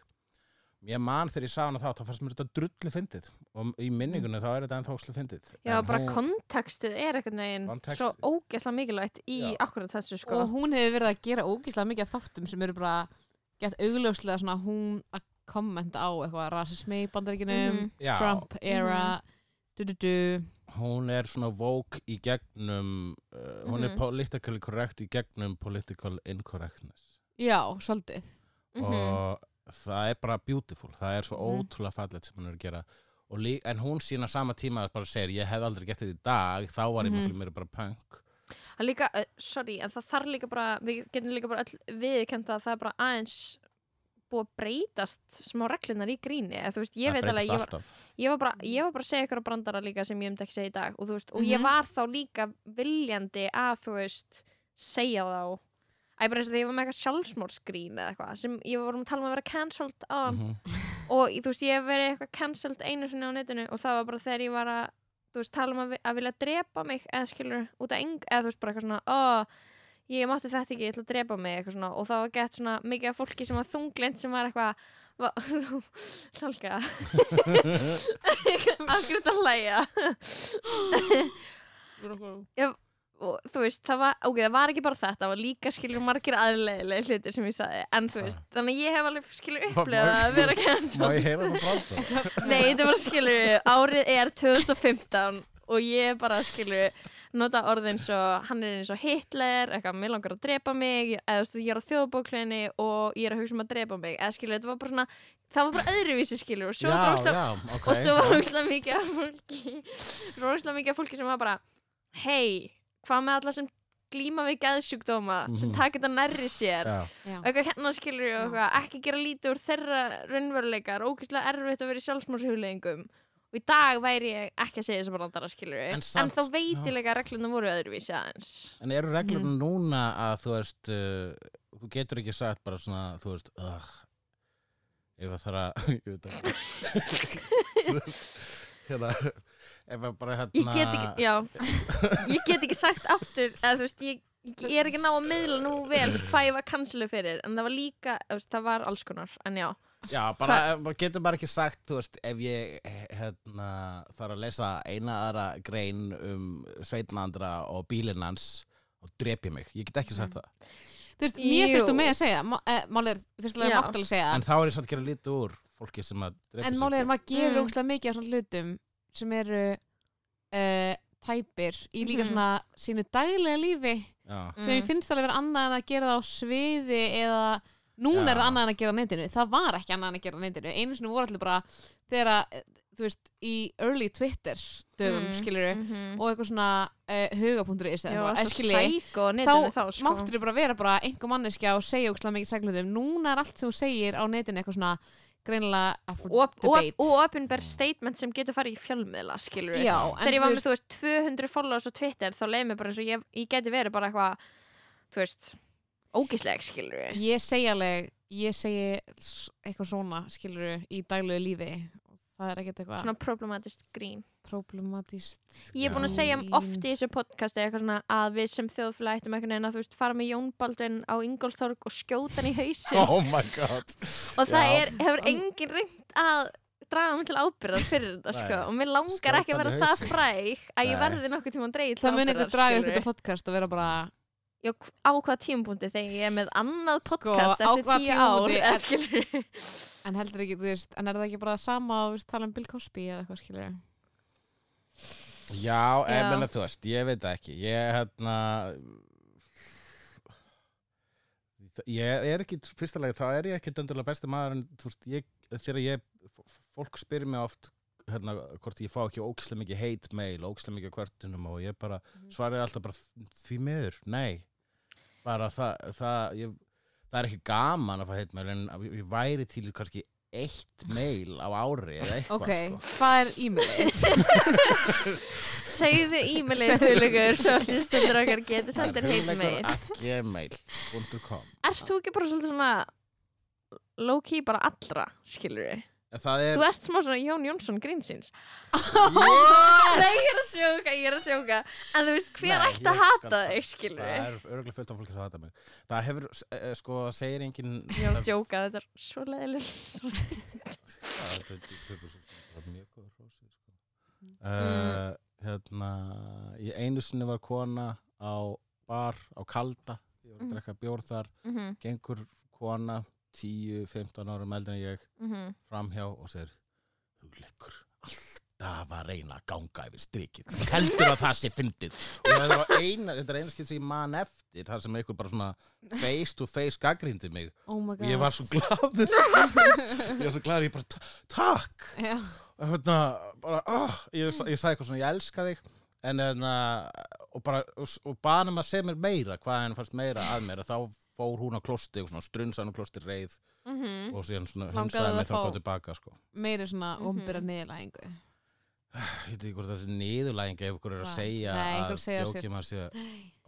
[SPEAKER 3] ég man þegar ég sá hana þá þá fannst mér þetta drullu fyndið og í minningunni þá er þetta ennþákslu fyndið
[SPEAKER 2] Mhm. Já,
[SPEAKER 3] En
[SPEAKER 2] bara
[SPEAKER 3] hún-
[SPEAKER 2] kontekstið er einhvern veginn
[SPEAKER 3] Kontekst-
[SPEAKER 2] svo ógeðslega mikilvægt í
[SPEAKER 3] Já.
[SPEAKER 2] akkurat þessu sko.
[SPEAKER 1] og hún hefur verið að gera ógíslega mikið af þáttum sem eru bara gett augljóslega svona hún að kommenta á eitthvað rasismi í bandaríkinum
[SPEAKER 2] Mhm.
[SPEAKER 3] Já.
[SPEAKER 1] Trump era du du du
[SPEAKER 3] hún er svona vók í gegnum uh, hún er
[SPEAKER 2] Mhm.
[SPEAKER 3] politically correct í gegnum political incorrectness
[SPEAKER 1] já, svolítið
[SPEAKER 2] Mhm.
[SPEAKER 3] og það er bara beautiful það er svo
[SPEAKER 1] Mhm.
[SPEAKER 3] ótrúlega fallet sem hún er að gera Og lí, en hún sína sama tíma bara segir ég hef aldrei gett þetta í dag þá var ég
[SPEAKER 1] Mhm.
[SPEAKER 3] miklu meira bara punk
[SPEAKER 2] Það líka, uh, sorry, en það þarf líka bara, við getum líka bara öll viðkend að það er bara aðeins búið að breytast smá reglunar í gríni eða þú veist,
[SPEAKER 3] það
[SPEAKER 2] ég veit alveg,
[SPEAKER 3] breytist
[SPEAKER 2] ég var,
[SPEAKER 3] alltaf
[SPEAKER 2] ég var bara ég var bara að segja ykkur á brandara líka sem ég um ekki segja í dag og þú veist, og ég
[SPEAKER 1] Mhm.
[SPEAKER 2] var þá líka viljandi að þú veist segja þá, æ bara eins og þegar ég var með eitthvað sjálfsmórsgrín eða eitthvað sem ég vorum að tala um að vera cancelled á
[SPEAKER 3] Mhm.
[SPEAKER 2] og þú veist, ég hef verið eitthvað cancelled einu sinni á netinu og það var bara þegar ég var að þú veist, tala um að, vi- að vilja drepa mig eða skilur út af eng, eða þú veist, bara eitthvað svona ó, ég mátti þetta ekki, ég ætla að drepa mig eitthvað svona, og það var gett svona mikið af fólki sem var þunglind sem var eitthvað va- sálka afgriðt að hlæja og þú veist, það var, ok, það var ekki bara þetta það var líka skilur margir aðleiðilega hlutir sem ég sagði, en þú veist, þannig að ég hef alveg skilur
[SPEAKER 3] Má-
[SPEAKER 2] upplegað
[SPEAKER 3] má-
[SPEAKER 2] að vera cancelled
[SPEAKER 3] má ég heyra það frá það
[SPEAKER 2] Nei, þetta var skilur, árið er 2015 og ég bara skilur nota orðin svo, hann er eins og Hitler, eitthvað, mér langar að drepa mig eða þú veist, ég er á þjóðbóklinni og ég er að hugsa um að drepa mig, eða skilur, þetta var bara svona það var bara öðruvísi skilur og svo var
[SPEAKER 3] já,
[SPEAKER 2] ógeðslega-
[SPEAKER 3] já, ok
[SPEAKER 2] og svo var ógslag mikið af fólki ógslag mikið af fólki sem var bara hei, hvað með alla sem glíma við geðsjúkdóma, sem
[SPEAKER 3] Mhm.
[SPEAKER 2] taka þetta nærri sér
[SPEAKER 3] já,
[SPEAKER 1] já.
[SPEAKER 2] og eitthvað hérna skilur og eitthvað ekki gera lítið úr þeirra raunveruleikar ógeðslega erfitt að vera í sjálfsmórshugleðingum og í dag væri ég ekki að segja þess að brandara skilur
[SPEAKER 3] En
[SPEAKER 2] en,
[SPEAKER 3] samt,
[SPEAKER 2] þá veit ég leika að reglunum voru öðruvísi aðeins
[SPEAKER 3] En eru reglur
[SPEAKER 2] Mhm.
[SPEAKER 3] núna að þú veist uh, þú getur ekki sagt bara svona þú veist uh, ef það þarf að ég veit ekki Þú veist, hérna ef að bara hérna
[SPEAKER 2] ég get ekki, já ég get ekki sagt aftur eða þú veist, ég, ég er ekki ná að miðla nú vel hvað ég var kansilu fyrir en það var líka, þú veist, það var alls konar en já,
[SPEAKER 3] já, bara, ef maður getur bara ekki sagt þú veist ef ég hérna þarf að lesa eina aðra grein um sveitnandra og bílinn hans og drep ég mig, ég get ekki
[SPEAKER 1] Mm.
[SPEAKER 3] sagt það
[SPEAKER 1] þú veist, mér
[SPEAKER 2] Jú.
[SPEAKER 1] finnst þú með að segja má- eh, málið er, fyrst að
[SPEAKER 2] Já.
[SPEAKER 1] það mátt alveg segja
[SPEAKER 3] en þá er ég samt að gera lítið úr fólki sem að drepa
[SPEAKER 1] en
[SPEAKER 3] sig
[SPEAKER 1] málið er maður gefur
[SPEAKER 2] Mm.
[SPEAKER 1] ógíslega mikið af svona hlutum sem eru uh, tæpir í líka
[SPEAKER 2] Mhm.
[SPEAKER 1] svona sínu daglega lífi
[SPEAKER 3] já,
[SPEAKER 1] sem
[SPEAKER 2] Mm.
[SPEAKER 1] ég finnst alveg vera annað en að gera það á sviði eða núna
[SPEAKER 3] Já.
[SPEAKER 1] er það annað en að gera það á netinu það var ekki annað en að gera það á netinu einu sinni voru allir bara þegar að, eh, þú veist, í early Twitter dögum mm. skilur
[SPEAKER 2] mm -hmm.
[SPEAKER 1] og eitthvað svona uh, hugapunktur eða
[SPEAKER 2] ég var
[SPEAKER 1] eitthvað, eh,
[SPEAKER 2] svo
[SPEAKER 1] skilurðu,
[SPEAKER 2] sæko
[SPEAKER 1] þá,
[SPEAKER 2] netinu þá, sko
[SPEAKER 1] máttur þau bara vera bara einhver manneskja og segja ógslag mikið sæklutum núna er allt sem þú segir á netinu eitthvað svona greinilega up for
[SPEAKER 2] og, og,
[SPEAKER 1] debate
[SPEAKER 2] og opinber statement sem getur farið í fjölmiðla skilur
[SPEAKER 1] Já, en
[SPEAKER 2] þegar ég var
[SPEAKER 1] þú
[SPEAKER 2] með þú veist 200 followers á Twitter þá leið mér bara eins og ég, ég geti verið bara eitthvað þú veist, ógisleg skilur við
[SPEAKER 1] ég segi alveg ég segi s- eitthvað svona skilur í daglegu lífi og það er ekkert eitthvað
[SPEAKER 2] svona problematist grín
[SPEAKER 1] problematíst
[SPEAKER 2] ég er búin að
[SPEAKER 1] Já.
[SPEAKER 2] segja um oft í þessu podcasti eitthvað svona að við sem þjóðfélag ættum einhvern veginn að þú veist fara með Jón Baldvin á Ingolstorg og skjóta hann í hausin
[SPEAKER 3] oh my god
[SPEAKER 2] og það
[SPEAKER 3] Já.
[SPEAKER 2] er, hefur enginn reynd að draga mig til ábyrðar fyrir þetta
[SPEAKER 3] Nei.
[SPEAKER 2] sko og mér langar
[SPEAKER 3] Skjóta
[SPEAKER 2] ekki að
[SPEAKER 3] hann í
[SPEAKER 2] vera það
[SPEAKER 3] hausinn.
[SPEAKER 2] fræg að ég
[SPEAKER 3] Nei.
[SPEAKER 2] verði nokkuð tíma að dreigja til
[SPEAKER 1] það mun
[SPEAKER 2] ábyrgðar,
[SPEAKER 1] einhver draga upp
[SPEAKER 2] skilurðu.
[SPEAKER 1] þetta podcast og vera bara
[SPEAKER 2] Já, hv- á hvaða tímapunkti þegar ég er með annað
[SPEAKER 1] Sko,
[SPEAKER 2] podcast
[SPEAKER 1] á
[SPEAKER 2] eftir
[SPEAKER 1] hvaða
[SPEAKER 2] tíu ár
[SPEAKER 1] tímapunkti
[SPEAKER 2] eða
[SPEAKER 1] er-
[SPEAKER 2] skilur
[SPEAKER 1] en heldur ekki, þú veist, en er það ekki bara sama og þú veist, tala um Bill Cosby eða eitthvað skilur
[SPEAKER 3] Já, ég
[SPEAKER 2] Já.
[SPEAKER 3] meina þú veist, ég veit það ekki Ég, hérna Ég er ekki, fyrsta lagi, þá er ég ekki döndulega besti maður en þú veist, ég, þegar ég f- fólk spyr mér oft hérna, hvort ég fá ekki ógislega mikið hate mail ógislega mikið kvartunum og ég bara svaraði alltaf bara því miður, nei bara það, það ég, það er ekki gaman að fá hate mail en ég ég væri til í kannski eitt mail á ári eða eitthvað
[SPEAKER 1] ok,
[SPEAKER 3] sko.
[SPEAKER 1] hvað er e-mailið?
[SPEAKER 2] segðu e-mailið þauðlegur svo hlustendur okkar getur sendir heim meil
[SPEAKER 3] gmail.com
[SPEAKER 2] Erst þú ekki bara svolítið svona low-key bara allra skilur við
[SPEAKER 3] En Það er,
[SPEAKER 2] Þú ert smá svona Jón Jónsson grínsins
[SPEAKER 3] Ah, yes!
[SPEAKER 2] Nei, ég er að sjóka, ég er að sjóka En þú veist, hver
[SPEAKER 3] Nei,
[SPEAKER 2] ætti að
[SPEAKER 3] ég skal
[SPEAKER 2] hata
[SPEAKER 3] ta-
[SPEAKER 2] þig, skilur
[SPEAKER 3] það er örgulega fullt af fólki sem hata mig. Það hefur, eh, eh, sko, segir enginn...
[SPEAKER 2] Ég er að sjóka, þetta er svo leðileg
[SPEAKER 3] Það er 20% það var mjög góð hrósi, sko. Uh, hérna, ég einu sinni var kona á bar, á kalda, ég var
[SPEAKER 2] Mhm.
[SPEAKER 3] að drekka bjór þar,
[SPEAKER 2] Mhm,
[SPEAKER 3] gengur kona 10-15 árum eldri en ég
[SPEAKER 2] mhm
[SPEAKER 3] framhjá og segir hugleikur, alltaf að reyna að ganga yfir strikið, heldur að það sé fyndið og þetta var eina þetta er eina skilt sem ég man eftir þar sem einhver bara svona face to face gaggrindi mig
[SPEAKER 1] Oh my god
[SPEAKER 3] ég var svo gladur ég var svo gladur, ég bara "Ta- takk
[SPEAKER 1] Já.
[SPEAKER 3] og hérna, bara, oh, ég, sa- ég sagði eitthvað svona, ég elska þig en hérna, og bara og, s- og banum að segja mér meira, hvað henni fannst meira að mér, að þá fór hún á klosti og svona strunsaði hún á klosti reið
[SPEAKER 2] Mhm.
[SPEAKER 3] og síðan svona
[SPEAKER 1] Langaði
[SPEAKER 3] hunsaði
[SPEAKER 1] að
[SPEAKER 3] mig þá
[SPEAKER 1] fá-
[SPEAKER 3] hvað tilbaka, sko
[SPEAKER 1] meiri svona
[SPEAKER 2] Mhm.
[SPEAKER 1] ombyrra niðurlæðingu
[SPEAKER 3] Ég veit ekki hvort þessi niðurlæging ef ykkur er að
[SPEAKER 1] Vá.
[SPEAKER 3] segja
[SPEAKER 1] Nei,
[SPEAKER 3] að
[SPEAKER 1] einhver segja sér.
[SPEAKER 3] djókjum að sé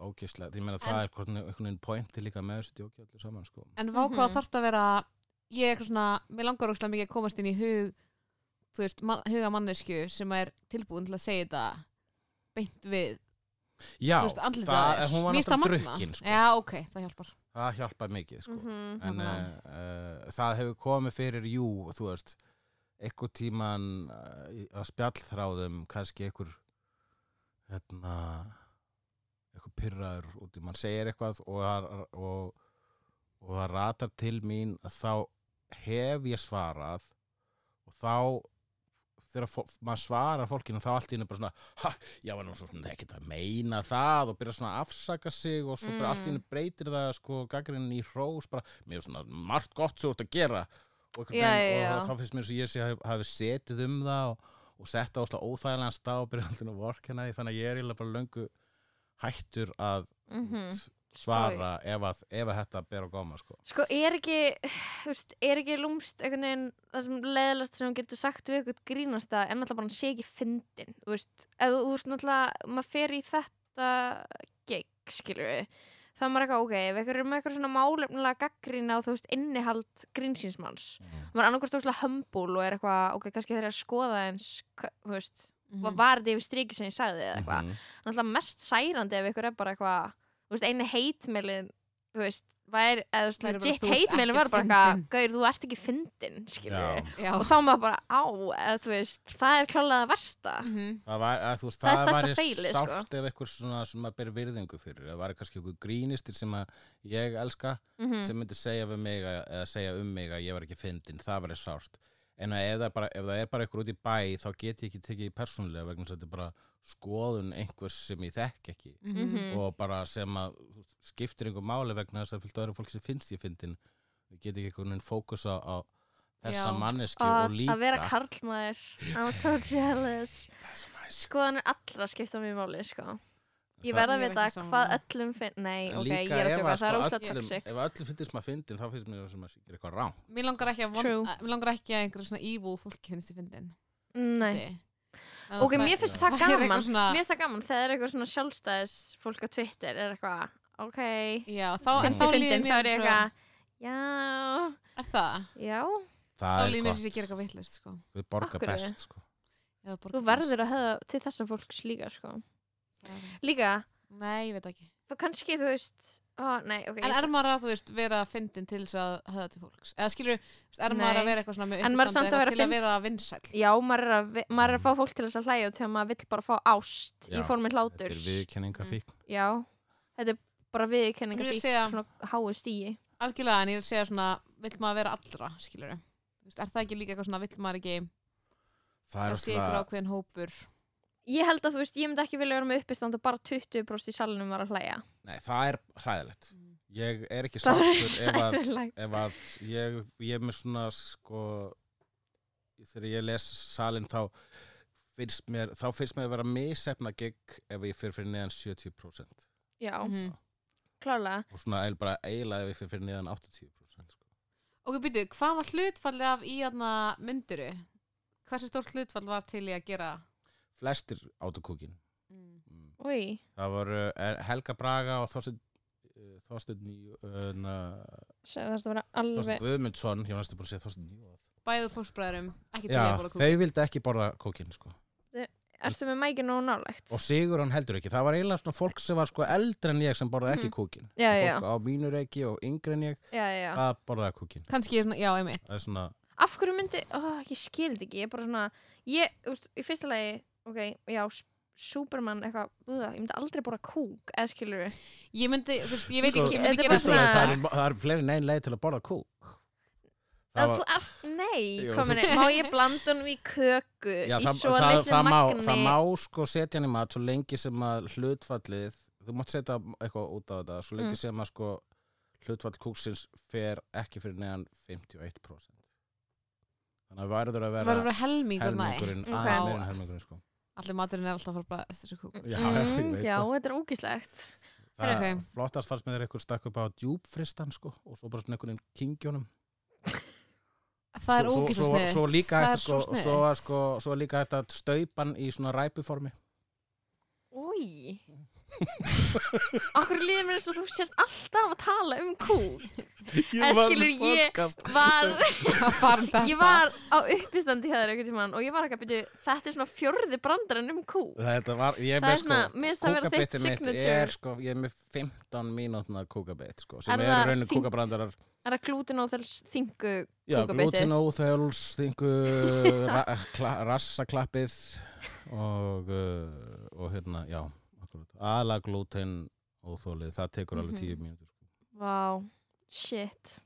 [SPEAKER 3] ógislega ég meina það er hvort einhvern veginn pointi líka með þessu djókja allir saman sko
[SPEAKER 1] en vá hvað
[SPEAKER 2] Mhm.
[SPEAKER 1] þarft að vera ég er eitthvað svona, mér langar óslega mikið að komast inn í hug þú veist, man, huga mannesku sem er tilbúin til að segja þetta beint við,
[SPEAKER 3] Já,
[SPEAKER 1] þú veist, andlita
[SPEAKER 3] það, en hún var náttúrulega drukkin sko.
[SPEAKER 1] Já, ok, það hjálpar
[SPEAKER 3] það hjálpaði mikið sko.
[SPEAKER 2] Mhm.
[SPEAKER 3] en
[SPEAKER 1] Nákvæmlega.
[SPEAKER 3] uh, uh, það hefur komið fyrir jú, þú veist eitthvað tíman uh, í- að spjallþráðum kannski einhver hérna eitthvað pyrraður út í mann segir eitthvað og, það- og, og það ratar til mín að þá hef ég svarað og þá þegar fó- maður svarar fólkinu þá allt í einu bara svona ha, já, en svo svona ekkert að meina það og byrja svona að afsaka sig og svo bara
[SPEAKER 2] Mm.
[SPEAKER 3] allt í einu breytir það sko gaggrinn í hrós bara, mér er svona margt gott sem þú ert að gera og, einhvern
[SPEAKER 2] Já,
[SPEAKER 3] veginn-
[SPEAKER 2] já,
[SPEAKER 3] og
[SPEAKER 2] já.
[SPEAKER 3] þá finnst mér eins og ég sé að hafi setið um það og, og sett á slag óþægilegan stað og byrja alltaf að vorkina því þannig að ég er eiginlega bara löngu hættur að
[SPEAKER 2] Mhm.
[SPEAKER 3] svara ef að, ef að þetta ber á góma sko.
[SPEAKER 2] Sko, er ekki, þú veist, er ekki lúmst einhvern veginn það sem leðilast sem hún getur sagt við eitthvað grínast að en náttúrulega bara hann sé ekki fyndin, þú veist, ef þú þú veist náttúrulega, maður fer í þetta gig, skilur við, þá er maður eitthvað, ok, ef eitthvað er með eitthvað svona málefnilega gaggrína og þú veist, innihald grínsýnsmanns,
[SPEAKER 3] mm.
[SPEAKER 2] maður er annarkvæmst óslega hömbúl og er eitthvað, ok, kannski þegar ég að skoða eins, þú veist,
[SPEAKER 1] Mhm.
[SPEAKER 2] mm. var þetta yfir striki sem ég sagði eða eitthvað,
[SPEAKER 3] Mhm.
[SPEAKER 2] náttúrulega mest særandi ef ykkur er bara eitthvað, þú veist, einu heitmeilin þú veist, væri, eða þú veist,
[SPEAKER 1] Væri bara,
[SPEAKER 2] legit
[SPEAKER 1] þú ert
[SPEAKER 2] heitmeilin
[SPEAKER 1] ekkert
[SPEAKER 2] var bara eitthvað,
[SPEAKER 1] fyndin.
[SPEAKER 2] gaur, þú ert ekki fyndin, skilur
[SPEAKER 3] Já.
[SPEAKER 1] Já.
[SPEAKER 2] og þá er maður bara, á, eða þú veist, það er klálega það versta
[SPEAKER 1] Mhm.
[SPEAKER 3] Það var, að, þú veist,
[SPEAKER 2] Það er
[SPEAKER 3] það,
[SPEAKER 2] stærsta
[SPEAKER 3] væri
[SPEAKER 2] feilið, sko.
[SPEAKER 3] sált ef eitthvað svona sem maður ber virðingu fyrir. Það var kannski einhver grínistir sem að ég elska
[SPEAKER 2] mm
[SPEAKER 3] sem myndi segja, við mig að, eða segja um mig að ég var ekki fyndin. Það væri sált. En að ef, það bara, ef það er bara einhver út í bæ þá get ég ekki tekið í persónulega vegna þess að þetta er bara skoðun einhvers sem ég þekk ekki
[SPEAKER 1] Mhm.
[SPEAKER 2] Mm.
[SPEAKER 3] og bara sem að þú veist, skiptir einhver máli vegna þess að fylgta öðru fólki sem finnst ég fyndin. Ég get ekki einhvern veginn fókusa á þessa
[SPEAKER 1] Já.
[SPEAKER 3] manneski og
[SPEAKER 2] og
[SPEAKER 3] líka.
[SPEAKER 2] að vera karlmaður I'm so jealous
[SPEAKER 3] Það er svo næs.
[SPEAKER 2] skoðanir allra skipta mjög máli, sko ég
[SPEAKER 3] Það-
[SPEAKER 2] verð
[SPEAKER 1] Ég
[SPEAKER 2] að
[SPEAKER 1] er
[SPEAKER 2] vita
[SPEAKER 1] ekki sammála.
[SPEAKER 2] hvað öllum finn nei,
[SPEAKER 3] En
[SPEAKER 2] ok,
[SPEAKER 3] líka
[SPEAKER 2] ég er að
[SPEAKER 3] ef
[SPEAKER 2] tjóka, það er
[SPEAKER 3] sko
[SPEAKER 2] óslega
[SPEAKER 3] öllum-
[SPEAKER 2] toxic
[SPEAKER 3] Ef öllum finnst maður fyndin þá finnst mér sem maður gerir eitthvað rám
[SPEAKER 1] Mér langar ekki að, von,
[SPEAKER 2] True.
[SPEAKER 1] að, mér langar ekki að einhverju svona evil fólki finnst ég fyndin
[SPEAKER 2] nei
[SPEAKER 1] Þið.
[SPEAKER 2] Ok, mér finnst það
[SPEAKER 1] væri
[SPEAKER 2] gaman
[SPEAKER 1] eitthvað svona-
[SPEAKER 2] Mér finnst það gaman þegar er eitthvað svona sjálfstæðis fólk á Twitter er eitthvað Ok,
[SPEAKER 1] Já, þá, en
[SPEAKER 2] finnst
[SPEAKER 1] þá
[SPEAKER 2] þið
[SPEAKER 1] líður
[SPEAKER 2] fyndin þá
[SPEAKER 1] mér
[SPEAKER 2] er
[SPEAKER 1] eins
[SPEAKER 2] ég
[SPEAKER 1] og-
[SPEAKER 2] eitthvað Já,
[SPEAKER 1] Er það?
[SPEAKER 2] já
[SPEAKER 1] Þá
[SPEAKER 3] Það er
[SPEAKER 1] líður mér
[SPEAKER 3] gott,
[SPEAKER 1] sem ég gera eitthvað vitlaust sko.
[SPEAKER 3] við borga
[SPEAKER 2] Af hverju?
[SPEAKER 3] best sko.
[SPEAKER 1] Já, borga
[SPEAKER 2] Þú
[SPEAKER 1] best.
[SPEAKER 2] verður að höfða til þessa fólks líka sko. Líka,
[SPEAKER 1] Nei, ég veit ekki
[SPEAKER 2] þú kannski þú veist ó, Nei, ok
[SPEAKER 1] En er maður að, þú veist, vera fyndin til þess að höfða til fólks? Eða skilur, er maður
[SPEAKER 2] Nei.
[SPEAKER 1] að vera eitthvað svona með
[SPEAKER 2] En maður er samt að
[SPEAKER 1] eitthvað
[SPEAKER 2] vera
[SPEAKER 1] til að
[SPEAKER 2] fynd-
[SPEAKER 1] vera vinsæll?
[SPEAKER 2] Já, maður er, að, vi- maður er að fá fólk til þess að hlæja og til að maður vill bara fá ást
[SPEAKER 3] Já,
[SPEAKER 2] í formi
[SPEAKER 3] Þetta er
[SPEAKER 2] hláturs
[SPEAKER 3] viðkenninga
[SPEAKER 1] Mm.
[SPEAKER 3] fíkn
[SPEAKER 2] Já, þetta er bara
[SPEAKER 1] Ég
[SPEAKER 2] viðkenninga
[SPEAKER 1] vil
[SPEAKER 2] fík
[SPEAKER 1] segja-
[SPEAKER 2] svona háu stíi
[SPEAKER 1] Algjörlega, en ég vil segja svona, vill maður vera allra, skilur veist, Er það ekki líka eitthvað svona, vill maður ekki
[SPEAKER 3] Það
[SPEAKER 1] að
[SPEAKER 3] er
[SPEAKER 1] sé ykkur
[SPEAKER 3] svona
[SPEAKER 1] ákveðin hópur?
[SPEAKER 2] Ég held að þú veist, ég myndi ekki vilja vera með uppistand og bara 20% í salunum var að hlæja
[SPEAKER 3] Nei, það er hræðilegt Ég er ekki
[SPEAKER 2] Það
[SPEAKER 3] sáttur ef að,
[SPEAKER 2] Hræðilegt.
[SPEAKER 3] ef að ég, ég er með svona sko þegar ég les salin þá finnst mér, þá finnst mér að vera misefna gig ef ég fyrir fyrir neðan 70%
[SPEAKER 2] Já,
[SPEAKER 1] Mhm.
[SPEAKER 2] klálega
[SPEAKER 3] og svona eil bara eiginlega ef ég fyrir fyrir neðan 80% sko.
[SPEAKER 1] Ok, býtu, hvað var hlutfallið af í aðna mynduru? Hversu stórt hlutfall var til í að gera?
[SPEAKER 3] Flestir átokúkin
[SPEAKER 1] Mm.
[SPEAKER 3] mm.
[SPEAKER 2] Úi,
[SPEAKER 3] Það voru eh, Helga Braga og Þorstein uh, Þorstein Ný uh, na-
[SPEAKER 2] það þarst að vera
[SPEAKER 3] Þorstein
[SPEAKER 2] alveg
[SPEAKER 3] Guðmundsson, ég var næstu búin að segja Þorstein Ný
[SPEAKER 1] Bæðu fósbræðurum, ekki til
[SPEAKER 3] Já,
[SPEAKER 1] að bóla kúk.
[SPEAKER 3] þau vildi ekki borða kókin sko.
[SPEAKER 2] ertu með mækinu og nálægt
[SPEAKER 3] og sigur hann heldur ekki, það var eiginlega svona fólk sem var sko eldri en ég sem borðaði ekki
[SPEAKER 2] Mhm.
[SPEAKER 3] kókin
[SPEAKER 2] já, já,
[SPEAKER 3] fólk á mínu reiki og yngri en ég
[SPEAKER 2] já, já, já.
[SPEAKER 3] það Ah. borðaði kókin
[SPEAKER 1] Kanski, já, einmitt.
[SPEAKER 3] það er svona,
[SPEAKER 2] af hverju myndi, ó, ég skil þetta ekki ég er bara svona, ég, þú veist, í fyrsta lagi ok, já, S- Superman eitthvað, uða, ég myndi aldrei bara kúk eða skilur við,
[SPEAKER 1] Ég myndi, þú veist, ég veit
[SPEAKER 3] Sko,
[SPEAKER 1] ekki, ég myndi
[SPEAKER 2] þetta er
[SPEAKER 1] gera
[SPEAKER 2] bara
[SPEAKER 3] fyrst og leið,
[SPEAKER 2] svona-
[SPEAKER 3] það, er- það er fleiri neinn leið til að borða kók
[SPEAKER 2] að þú ert, nei
[SPEAKER 3] Jú.
[SPEAKER 2] komin, má ég blanda honum í köku
[SPEAKER 3] Já,
[SPEAKER 2] í
[SPEAKER 3] það,
[SPEAKER 2] svo
[SPEAKER 3] það,
[SPEAKER 2] litlu
[SPEAKER 3] það, má,
[SPEAKER 2] magni
[SPEAKER 3] það má sko setja hann í mat svo lengi sem að hlutfallið þú mátt setja eitthvað út á þetta svo lengi
[SPEAKER 2] Mm.
[SPEAKER 3] sem að sko hlutfall kúksins fer ekki fyrir neðan 51% þannig að verður að
[SPEAKER 1] Var
[SPEAKER 3] vera
[SPEAKER 1] það bara helmingur, nei.
[SPEAKER 3] helmingurinn
[SPEAKER 2] Ok.
[SPEAKER 3] aðeins meira en helmingurinn sko.
[SPEAKER 1] Allir maturinn er alltaf að fara bara eftir þessu kúk.
[SPEAKER 3] já,
[SPEAKER 2] mm,
[SPEAKER 3] ég veit
[SPEAKER 2] já,
[SPEAKER 3] það.
[SPEAKER 2] þetta er ógíslegt
[SPEAKER 3] það
[SPEAKER 1] Herra,
[SPEAKER 3] okay.
[SPEAKER 1] ok.
[SPEAKER 3] flottast þar sem þeir eitthvað stakk upp á djúpfristan sko og svo bara svona einhvern veginn kingjónum
[SPEAKER 1] Það er
[SPEAKER 3] Svo- svo-
[SPEAKER 1] ógæsla
[SPEAKER 3] svo-
[SPEAKER 1] sniðt.
[SPEAKER 3] svo líka
[SPEAKER 1] það
[SPEAKER 3] hægt
[SPEAKER 1] er
[SPEAKER 3] sko,
[SPEAKER 1] svo
[SPEAKER 3] og svo, að, sko, svo er líka hægt að staupan í svona ræpuformi
[SPEAKER 2] úi okkur líður mér eins og þú sért alltaf að tala um kúk En var með skilur, ég var
[SPEAKER 1] Það var um þetta.
[SPEAKER 2] ég var á uppistandi hjá þér einhvern tímann og ég var ekki að byrja, þetta er svona fjörði brandarinn um kú.
[SPEAKER 3] Þetta var, ég er
[SPEAKER 2] Það
[SPEAKER 3] með
[SPEAKER 2] er svona,
[SPEAKER 3] sko
[SPEAKER 2] mér finnst það vera þitt
[SPEAKER 3] kúkabitti mitt
[SPEAKER 2] signature.
[SPEAKER 3] er sko, ég er með 15 mínútna kúkabitt sko, sem
[SPEAKER 2] Er
[SPEAKER 3] eru
[SPEAKER 2] það
[SPEAKER 3] raunin
[SPEAKER 2] þing-
[SPEAKER 3] kúkabrandarar
[SPEAKER 2] Er það glútin og þels þingu
[SPEAKER 3] Já,
[SPEAKER 2] Kúkabeitið.
[SPEAKER 3] glútinóþöls, þingu ra kla rassaklappið og, uh, og hérna, já ala glútin óþólið, það tekur
[SPEAKER 1] Mhm.
[SPEAKER 3] alveg 10 mínútur sko.
[SPEAKER 2] Vá, shit.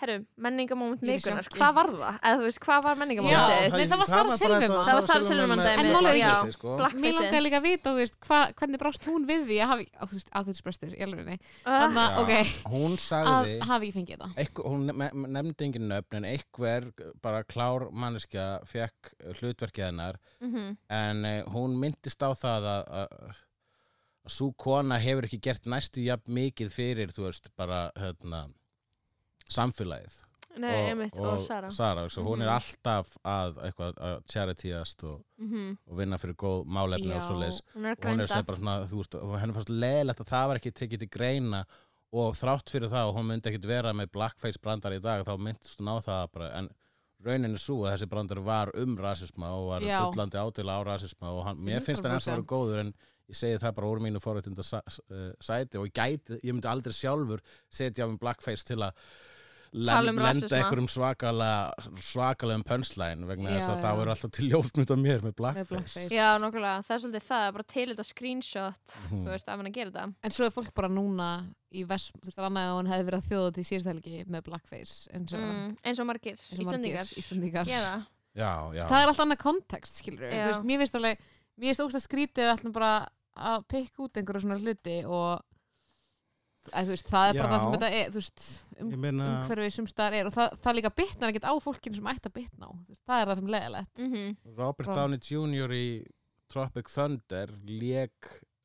[SPEAKER 2] Herru, menningamóment
[SPEAKER 1] Ég er í
[SPEAKER 2] vikunar,
[SPEAKER 1] sjokki.
[SPEAKER 2] hvað var það? Eða þú veist, hvað var
[SPEAKER 1] Já,
[SPEAKER 2] menningamómentið?
[SPEAKER 1] það- nei, var Sara
[SPEAKER 3] bara
[SPEAKER 1] Silverman.
[SPEAKER 3] þetta-
[SPEAKER 1] Það
[SPEAKER 2] var Sara Silverman
[SPEAKER 3] dæmið,
[SPEAKER 1] dæmið, En málið er
[SPEAKER 3] já.
[SPEAKER 2] ekki-
[SPEAKER 3] sko.
[SPEAKER 1] Mér langaði
[SPEAKER 2] Blackface-ið.
[SPEAKER 1] líka að vita, þú veist, hva, hvernig brást hún við því að hafi, á, þú veist, aðhjálpsbrestur í alveg
[SPEAKER 2] Uh,
[SPEAKER 1] Þannig að,
[SPEAKER 3] Já,
[SPEAKER 1] ok,
[SPEAKER 3] hún
[SPEAKER 1] að
[SPEAKER 3] sagði
[SPEAKER 1] hafi ég fengið það.
[SPEAKER 3] Einhver, hún nef- nefndi engin nöfn en einhver bara klár manneskja fekk hlutverkið hennar
[SPEAKER 2] mhm.
[SPEAKER 3] en eh, hún myndist á það að, að, að sú kona hefur ekki gert næstu jafn mikið fyrir þú veist bara hérna, samfélagið
[SPEAKER 2] Nei, einmitt, og, Sara.
[SPEAKER 3] svo hún er
[SPEAKER 2] Mhm.
[SPEAKER 3] alltaf að, eitthvað, að charityast og,
[SPEAKER 2] Mhm.
[SPEAKER 3] og vinna fyrir góð málefni og
[SPEAKER 1] Já.
[SPEAKER 3] svo leis
[SPEAKER 2] Hún er að
[SPEAKER 3] og hún er sem
[SPEAKER 2] grænda.
[SPEAKER 3] bara svona, þú veist, og henni fannst leðilegt að það var ekki tekið til greina og þrátt fyrir það og hún myndi ekkit vera með blackface brandar í dag þá myndist hún á það bara, en raunin er svo að þessi brandar var um rasisma og var
[SPEAKER 1] Já.
[SPEAKER 3] bullandi ádela á rasisma og hann, mér finnst hann ennþá vera
[SPEAKER 1] 100%.
[SPEAKER 3] góður en ég segi það bara úr mínu forréttinda sa- s- eh, sæti og ég gæti, ég myndi aldrei sjálfur setja á mig blackface til að lend,
[SPEAKER 2] Tala um
[SPEAKER 3] lenda
[SPEAKER 2] rasisma.
[SPEAKER 3] einhverjum svakala svakalegum pönslæn vegna
[SPEAKER 1] Já,
[SPEAKER 3] þess að
[SPEAKER 1] já.
[SPEAKER 3] það voru alltaf til ljófmynd af mér með blackface,
[SPEAKER 1] Með blackface.
[SPEAKER 2] Já, nokkulega, það er svolítið það, bara til þetta screenshot,
[SPEAKER 3] Mhm.
[SPEAKER 2] þú veist, af henni að gera þetta.
[SPEAKER 1] En svo er fólk bara núna í vest, þú veist, annað að hún hefði verið að þjóða til síðustælgi með blackface, eins og,
[SPEAKER 2] Mm, eins og margir,
[SPEAKER 1] eins og margir
[SPEAKER 2] Íslandingar.
[SPEAKER 1] Íslendingar.
[SPEAKER 2] Gera.
[SPEAKER 3] Já, já.
[SPEAKER 1] það er alltaf annað kontekst, skilur við
[SPEAKER 2] Já.
[SPEAKER 1] veist, mér finnst alveg, mér finnst ógst að skrítið við ætlum bara að pikka út einhverja svona hluti og að, veist, það er bara
[SPEAKER 3] Já.
[SPEAKER 1] það sem þetta er þú veist, um,
[SPEAKER 3] Ég meina,
[SPEAKER 1] umhverfið sem staðar er og það, það líka bitnar ekkert á fólkinu sem ætti að bitna á Þú veist, það er það sem leðilegt
[SPEAKER 2] Mhm.
[SPEAKER 3] Robert
[SPEAKER 1] Frá-
[SPEAKER 3] Downey Jr. í Tropic Thunder leik